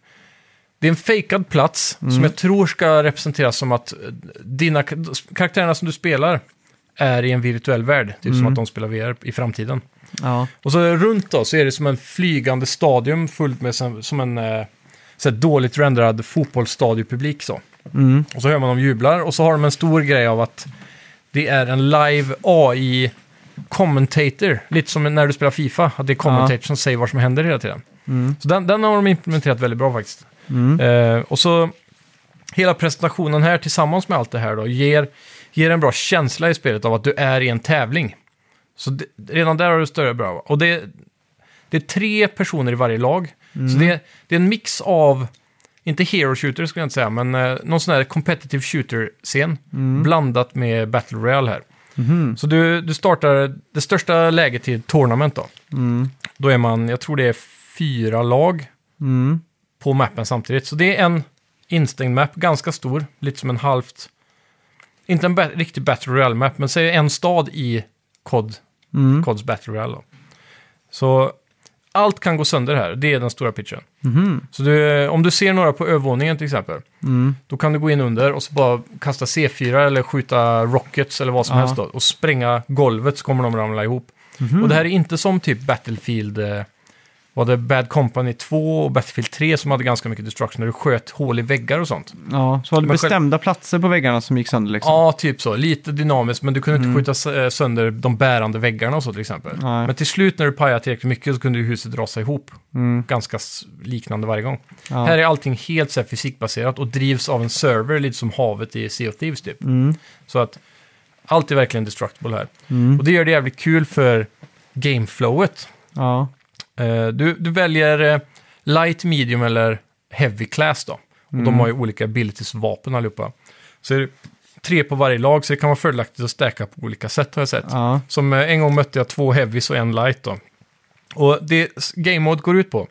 [SPEAKER 1] Det är en fejkad plats som jag tror ska representeras som att eh, dina k- karaktärerna som du spelar är i en virtuell värld. Typ som att de spelar VR i framtiden.
[SPEAKER 2] Ja.
[SPEAKER 1] Och så runt då så är det som en flygande stadion fullt med som, som en eh, så här dåligt renderad fotbollsstadiopublik. Så.
[SPEAKER 2] Mm.
[SPEAKER 1] Och så hör man dem jublar och så har de en stor grej av att det är en live AI commentator. Lite som när du spelar Fifa, att det är commentator som säger vad som händer hela tiden. Så den, den har de implementerat väldigt bra faktiskt. Eh, och så hela presentationen här tillsammans med allt det här då ger, ger en bra känsla i spelet av att du är i en tävling. Så det, redan där har du större bra. Och det, det är tre personer i varje lag. Så det, det är en mix av, inte hero shooter skulle jag inte säga, men eh, någon sån här competitive shooter-scen blandat med Battle Royale här.
[SPEAKER 2] Mhm.
[SPEAKER 1] Så du, du startar det största läget till tournament då. Då är man, jag tror det är fyra lag
[SPEAKER 2] Mm.
[SPEAKER 1] på mappen samtidigt. Så det är en instängd map, ganska stor, lite som en halvt... Inte en ba- riktig Battle Royale-map, men säg en stad i COD,
[SPEAKER 2] Mm.
[SPEAKER 1] CODs Battle Royale. Då. Så allt kan gå sönder här, det är den stora pitchen.
[SPEAKER 2] mhm,
[SPEAKER 1] Så du, eh, om du ser några på övervåningen till exempel,
[SPEAKER 2] mm.
[SPEAKER 1] då kan du gå in under och så bara kasta C4 eller skjuta rockets eller vad som
[SPEAKER 2] Ja. Mhm.
[SPEAKER 1] helst då, och spränga golvet så kommer de ramla ihop. Och det här är inte som typ Battlefield, eh, var det Bad Company 2 och Battlefield 3 som hade ganska mycket destruction när du sköt hål i väggar och sånt.
[SPEAKER 2] Ja, så var det
[SPEAKER 1] Men själv-
[SPEAKER 2] bestämda platser på väggarna som gick sönder liksom.
[SPEAKER 1] Ja, typ så. Lite dynamiskt, men du kunde inte skjuta s- eh, sönder de bärande väggarna och så till exempel.
[SPEAKER 2] Mm. Nej.
[SPEAKER 1] Men till slut när du pajade tillräckligt mycket så kunde ju huset rasa ihop. Ganska s- liknande varje gång.
[SPEAKER 2] Mm, Ja.
[SPEAKER 1] Här är allting helt så här, fysikbaserat och drivs av en server, lite som havet i Sea of Thieves typ.
[SPEAKER 2] Mm,
[SPEAKER 1] Så att allt är verkligen destructible här.
[SPEAKER 2] mm,
[SPEAKER 1] Och det gör det jävligt kul för gameflowet.
[SPEAKER 2] Ja.
[SPEAKER 1] Eh, Du, du väljer eh, light, medium eller heavy class då. Och
[SPEAKER 2] Mm.
[SPEAKER 1] de har ju olika abilities-vapen allihopa. Så är det tre på varje lag, så det kan vara fördelaktigt att stärka på olika sätt har jag sett.
[SPEAKER 2] Ja.
[SPEAKER 1] Som eh, en gång mötte jag två heavies och en light då. Och det s- game mode går ut på,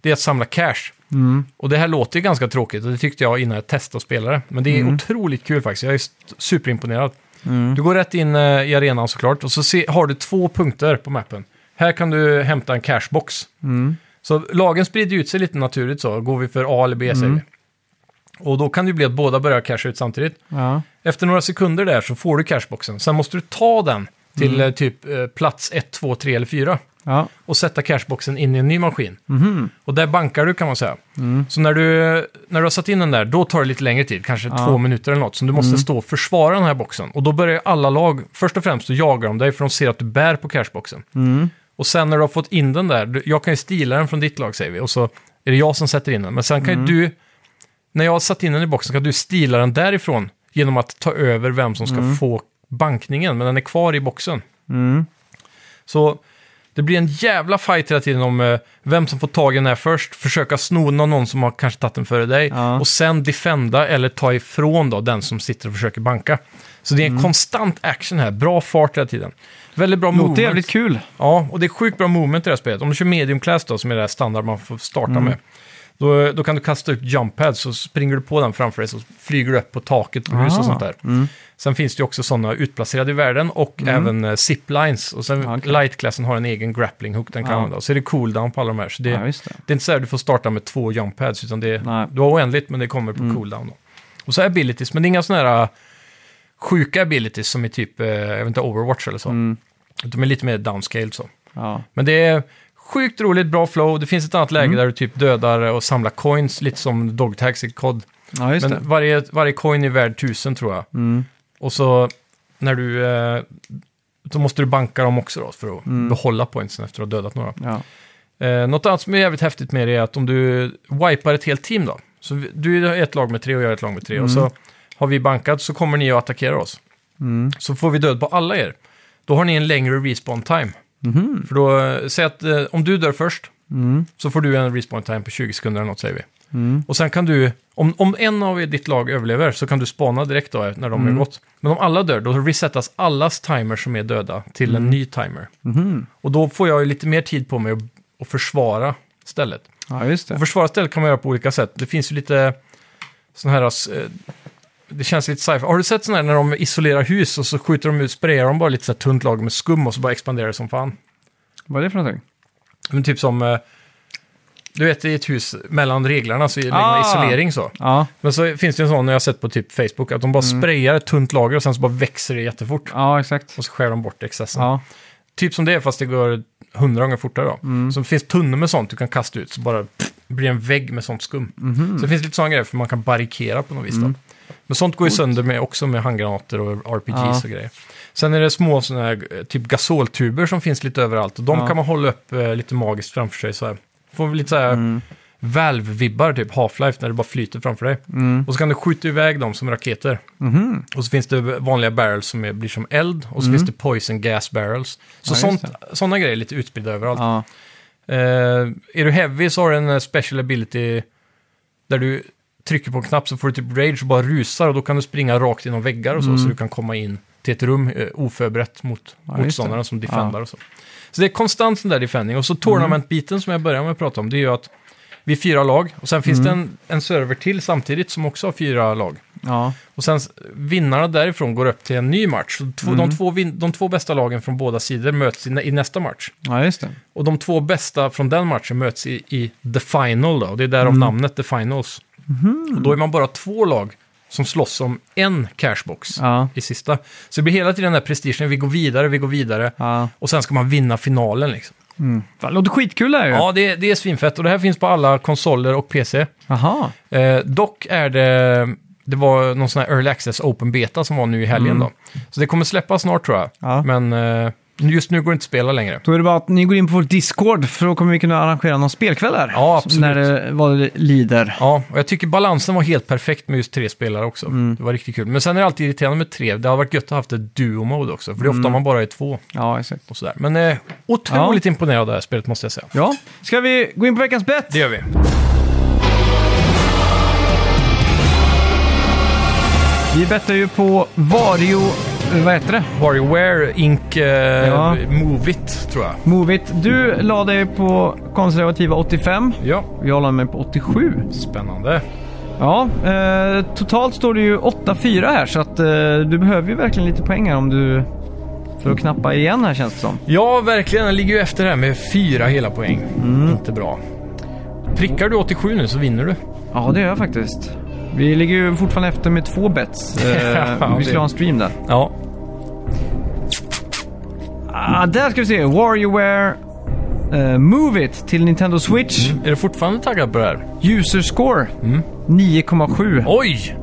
[SPEAKER 1] det är att samla cash.
[SPEAKER 2] mm,
[SPEAKER 1] Och det här låter ju ganska tråkigt och det tyckte jag innan jag testade att spela det. Men det är otroligt kul faktiskt, jag är st- superimponerad.
[SPEAKER 2] mm,
[SPEAKER 1] Du går rätt in eh, i arenan såklart och så se, har du två punkter på mappen. Här kan du hämta en cashbox.
[SPEAKER 2] mm,
[SPEAKER 1] Så lagen sprider ut sig lite naturligt så. Går vi för A eller B säger vi. Och då kan det ju bli att båda börjar casha ut samtidigt.
[SPEAKER 2] Ja.
[SPEAKER 1] Efter några sekunder där så får du cashboxen. Sen måste du ta den till eh, typ eh, plats 1, 2, 3 eller 4
[SPEAKER 2] Ja.
[SPEAKER 1] och sätta cashboxen in i en ny maskin. Och där bankar du kan man säga. Så när du, när du har satt in den där, då tar det lite längre tid, kanske två minuter eller något. Så du måste stå och försvara den här boxen. Och då börjar ju alla lag, först och främst, att jaga dem dig för de ser att du bär på cashboxen. Och sen när du har fått in den där, du- jag kan ju stila den från ditt lag säger vi, och så är det jag som sätter in den. Men sen kan
[SPEAKER 2] Mm.
[SPEAKER 1] ju du, när jag har satt in den i boxen, kan du stila den därifrån genom att ta över vem som ska
[SPEAKER 2] Mm.
[SPEAKER 1] få bankningen, men den är kvar i boxen. Så det blir en jävla fight hela tiden om eh, vem som får tag i den här först, försöka sno den av någon som har kanske tagit den före dig
[SPEAKER 2] Ja.
[SPEAKER 1] och sen defenda eller ta ifrån då den som sitter och försöker banka. Så det är en
[SPEAKER 2] Mm.
[SPEAKER 1] konstant action här, bra fart hela tiden. Väldigt bra
[SPEAKER 2] Låter
[SPEAKER 1] movement.
[SPEAKER 2] jävligt kul.
[SPEAKER 1] Ja, och det är sjukt bra movement i det här spelet. Om du kör medium class då, som är det här standard man får starta
[SPEAKER 2] Mm.
[SPEAKER 1] med, då, då kan du kasta ut jump pads så springer du på den framför dig så flyger du upp på taket på hus
[SPEAKER 2] Ah,
[SPEAKER 1] och sånt där. Sen finns det ju också sådana utplacerade i världen och även eh, ziplines. Och sen
[SPEAKER 2] Ja, Mm. Ah, okej. Ah.
[SPEAKER 1] light-klassen har en egen grappling hook den kan
[SPEAKER 2] Ja.
[SPEAKER 1] använda. Så är det cooldown på alla de här. Så det,
[SPEAKER 2] Ja, just det.
[SPEAKER 1] det är inte så här du får starta med två jump pads, utan det
[SPEAKER 2] Nej. Mm.
[SPEAKER 1] du har oändligt men det kommer på cooldown. Då. Och så abilities, men det är inga sådana här äh, sjuka abilities som är typ, eh, jag vet inte, Overwatch eller så.
[SPEAKER 2] Mm.
[SPEAKER 1] De är lite mer downscaled så.
[SPEAKER 2] Ja.
[SPEAKER 1] Men det är sjukt roligt, bra flow. Det finns ett annat läge
[SPEAKER 2] Mm.
[SPEAKER 1] där du typ dödar och samlar coins, lite som dogtags i COD.
[SPEAKER 2] Ja, just
[SPEAKER 1] Men
[SPEAKER 2] det. Mm,
[SPEAKER 1] varje, varje coin är värd tusen tror jag. Och så när du... eh, Då måste du banka dem också då för att
[SPEAKER 2] Mm.
[SPEAKER 1] behålla pointsen efter att ha dödat några.
[SPEAKER 2] Ja.
[SPEAKER 1] Eh, något annat som är jävligt häftigt med det är att om du wipar ett helt team då. Så vi- du är ett lag med tre och jag är ett lag med tre. Och så har vi bankat så kommer ni att attackera oss.
[SPEAKER 2] mm,
[SPEAKER 1] Så får vi död på alla er. Då har ni en längre respawn time. För då, eh, säg att eh, om du dör först så får du en respawn time på 20 sekunder eller något säger vi. Och sen kan du, om, om en av er- ditt lag överlever så kan du spana direkt då eh, när de är gått. Men om alla dör, då resetas allas timers som är döda till en ny timer. Och då får jag ju lite mer tid på mig att, att försvara stället.
[SPEAKER 2] ja, just
[SPEAKER 1] Och
[SPEAKER 2] det.
[SPEAKER 1] försvara stället kan man göra på olika sätt. Det finns ju lite sådana här... eh, Det känns lite sci-fi. Har du sett sådana här när de isolerar hus och så skjuter de ut, sprayar de bara lite så här tunt lager med skum och så bara expanderar det som fan?
[SPEAKER 2] Vad är det för någonting?
[SPEAKER 1] Men typ som... eh, Du vet, i ett hus mellan reglarna så är det
[SPEAKER 2] Ah.
[SPEAKER 1] isolering så.
[SPEAKER 2] Ja,
[SPEAKER 1] Men så finns det en sån jag har sett på typ Facebook, att de bara sprayar ett tunt lager och sen så bara växer det jättefort.
[SPEAKER 2] Mm. ja exakt.
[SPEAKER 1] Och så skär de bort excessen.
[SPEAKER 2] Ja.
[SPEAKER 1] Typ som det är, fast det går hundra gånger fortare då.
[SPEAKER 2] Mm.
[SPEAKER 1] Så det finns tunnor med sånt du kan kasta ut, så bara pff, blir en vägg med sånt skum.
[SPEAKER 2] Mhm.
[SPEAKER 1] Så det finns lite sån grejer, för man kan barrikera på något vis
[SPEAKER 2] Mm.
[SPEAKER 1] då. Men sånt går ju sönder med, också med handgranater och RPGs
[SPEAKER 2] Ja.
[SPEAKER 1] och grejer. Sen är det små såna här, eh, typ gasoltuber som finns lite överallt. Och de
[SPEAKER 2] Ja.
[SPEAKER 1] kan man hålla upp eh, lite magiskt framför sig så här. Får vi lite så här
[SPEAKER 2] Mm.
[SPEAKER 1] Valve-vibbar, typ Half-Life, när det bara flyter framför dig.
[SPEAKER 2] Mm.
[SPEAKER 1] Och så kan du skjuta iväg dem som raketer.
[SPEAKER 2] Mhm.
[SPEAKER 1] Och så finns det vanliga barrels som är, blir som eld. Och så finns det poison gas barrels. Så
[SPEAKER 2] Ja, just
[SPEAKER 1] sånt,
[SPEAKER 2] det.
[SPEAKER 1] sådana grejer är lite utspridda överallt.
[SPEAKER 2] Ja.
[SPEAKER 1] Eh, är du heavy så har du en eh, special ability där du trycker på en knapp så får du typ rage och bara rusar och då kan du springa rakt genom väggar och så så du kan komma in till ett rum eh, oförberett mot
[SPEAKER 2] det.
[SPEAKER 1] motståndaren som defendar och så. Så det är konstant sån där defending. Och så tournament-biten som jag började med att prata om, det är ju att vi är fyra lag och sen finns det en, en server till samtidigt som också har fyra lag.
[SPEAKER 2] Ja.
[SPEAKER 1] Och sen s- vinnarna därifrån går upp till en ny match. Så två, de, två vin, de två bästa lagen från båda sidor möts i, nä- i nästa match.
[SPEAKER 2] ja, just det.
[SPEAKER 1] Och de två bästa från den matchen möts i, i The Final då. Och det är
[SPEAKER 2] Mm.
[SPEAKER 1] därav namnet The Finals. Och då är man bara två lag som slåss om en cashbox
[SPEAKER 2] Ja.
[SPEAKER 1] i sista. Så det blir hela tiden den här prestigen, vi går vidare, vi går vidare.
[SPEAKER 2] Ja.
[SPEAKER 1] Och sen ska man vinna finalen liksom.
[SPEAKER 2] Fan, låter skitkul det här ju.
[SPEAKER 1] Ja, det, det är svinfett. Och det här finns på alla konsoler och PC.
[SPEAKER 2] Aha.
[SPEAKER 1] Eh, dock är det... Det var någon sån här Early Access Open Beta som var nu i helgen då. Så det kommer släppas snart tror jag.
[SPEAKER 2] Mm. Ja.
[SPEAKER 1] Men eh, just nu går det inte att spela längre.
[SPEAKER 2] Då är det bara att ni går in på vår Discord för då kommer vi kunna arrangera någon spelkväll där.
[SPEAKER 1] Ja, absolut.
[SPEAKER 2] När det vad det lider.
[SPEAKER 1] Ja, och jag tycker balansen var helt perfekt med just tre spelare också. Det var riktigt kul. Men sen är det alltid irriterande med tre. Det hade varit gött att haft ett duo-mode också. För det är ofta man bara är två
[SPEAKER 2] Ja, exakt.
[SPEAKER 1] och sådär. Men eh, otroligt imponerad av det här spelet måste jag säga.
[SPEAKER 2] Ja, ska vi gå in på veckans bett?
[SPEAKER 1] Det gör vi.
[SPEAKER 2] Vi bettar ju på Vario... eh, Vad heter det?
[SPEAKER 1] WarioWare Inc. Eh,
[SPEAKER 2] Ja.
[SPEAKER 1] Move It, tror jag.
[SPEAKER 2] Movit. Du la dig på konservativa 85.
[SPEAKER 1] Ja,
[SPEAKER 2] Jag la mig på 87.
[SPEAKER 1] spännande.
[SPEAKER 2] Ja, eh, totalt står det ju 8-4 här så att eh, du behöver ju verkligen lite poäng här om du... För att knappa igen här känns det som.
[SPEAKER 1] Ja, verkligen. Den ligger ju efter här med fyra hela poäng. Inte bra. Prickar du 87 nu så vinner du.
[SPEAKER 2] Ja, det gör jag faktiskt. Vi ligger ju fortfarande efter med två bets.
[SPEAKER 1] Ja,
[SPEAKER 2] Eh, vi
[SPEAKER 1] det-
[SPEAKER 2] ska ha en stream där.
[SPEAKER 1] Ja.
[SPEAKER 2] Ah, där ska vi se. WarioWare eh, Move It till Nintendo Switch.
[SPEAKER 1] Är du fortfarande taggad på det här?
[SPEAKER 2] User score
[SPEAKER 1] Mm.
[SPEAKER 2] 9,7.
[SPEAKER 1] Oj!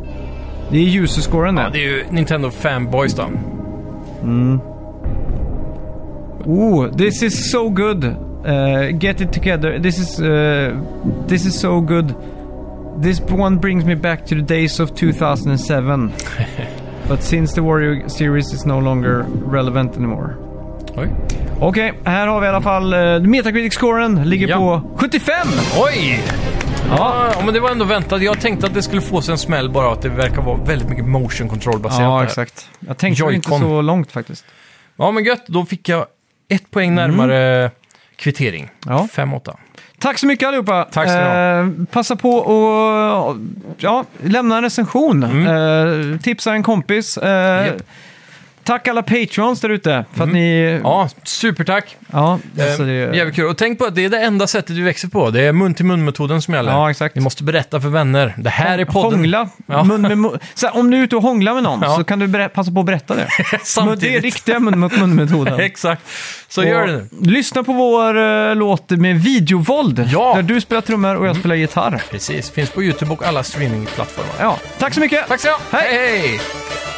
[SPEAKER 2] Det är user scoren
[SPEAKER 1] Ja,
[SPEAKER 2] det.
[SPEAKER 1] det är ju Nintendo Fanboys då.
[SPEAKER 2] Oh, this is so good. Eh, get it together. This is, eh, this is so good. This one brings me back to the days of 2007. But since the Warrior series is no longer relevant anymore.
[SPEAKER 1] Oj.
[SPEAKER 2] Okej, här har vi i alla fall uh, Metacritic-scoren. Ligger
[SPEAKER 1] Ja.
[SPEAKER 2] på 75!
[SPEAKER 1] Oj!
[SPEAKER 2] Ja,
[SPEAKER 1] Ja, men det var ändå väntat. Jag tänkte att det skulle få sig en smäll bara, att det verkar vara väldigt mycket motion control baserat.
[SPEAKER 2] ja
[SPEAKER 1] där.
[SPEAKER 2] exakt. Jag tänkte ju inte
[SPEAKER 1] Joy-Con.
[SPEAKER 2] så långt faktiskt.
[SPEAKER 1] Ja, men gött. Då fick jag ett poäng närmare kvittering.
[SPEAKER 2] Mm. Ja.
[SPEAKER 1] 5-8.
[SPEAKER 2] Tack så mycket allihopa!
[SPEAKER 1] Tack ska ni ha.
[SPEAKER 2] eh, Passa på och ja, lämna en recension.
[SPEAKER 1] Mm.
[SPEAKER 2] Eh, tipsa en kompis. Eh,
[SPEAKER 1] Japp.
[SPEAKER 2] Tack alla patrons där ute för att ni...
[SPEAKER 1] Mm. Ja, supertack.
[SPEAKER 2] ja
[SPEAKER 1] Eh,
[SPEAKER 2] alltså det,
[SPEAKER 1] Jävligt kul. Och tänk på att det är det enda sättet du växer på. Det är mun-till-mun-metoden som gäller.
[SPEAKER 2] Ja, exakt.
[SPEAKER 1] Ni måste berätta för vänner. Det här är podden.
[SPEAKER 2] Hångla.
[SPEAKER 1] Ja.
[SPEAKER 2] Mun med mun. Så här, om du är ute och hånglar med någon
[SPEAKER 1] Ja.
[SPEAKER 2] så kan du berä- passa på att berätta det. Men
[SPEAKER 1] Samtidigt.
[SPEAKER 2] det är riktiga mun mot mun-metoden.
[SPEAKER 1] Exakt. Så gör det nu.
[SPEAKER 2] Lyssna på vår eh, låt med videovåld.
[SPEAKER 1] Ja.
[SPEAKER 2] Där du spelar trummor och jag spelar gitarr.
[SPEAKER 1] Precis. Finns på YouTube och alla streamingplattformar.
[SPEAKER 2] Ja, tack så mycket!
[SPEAKER 1] Tack så mycket.
[SPEAKER 2] Hej.
[SPEAKER 1] hej.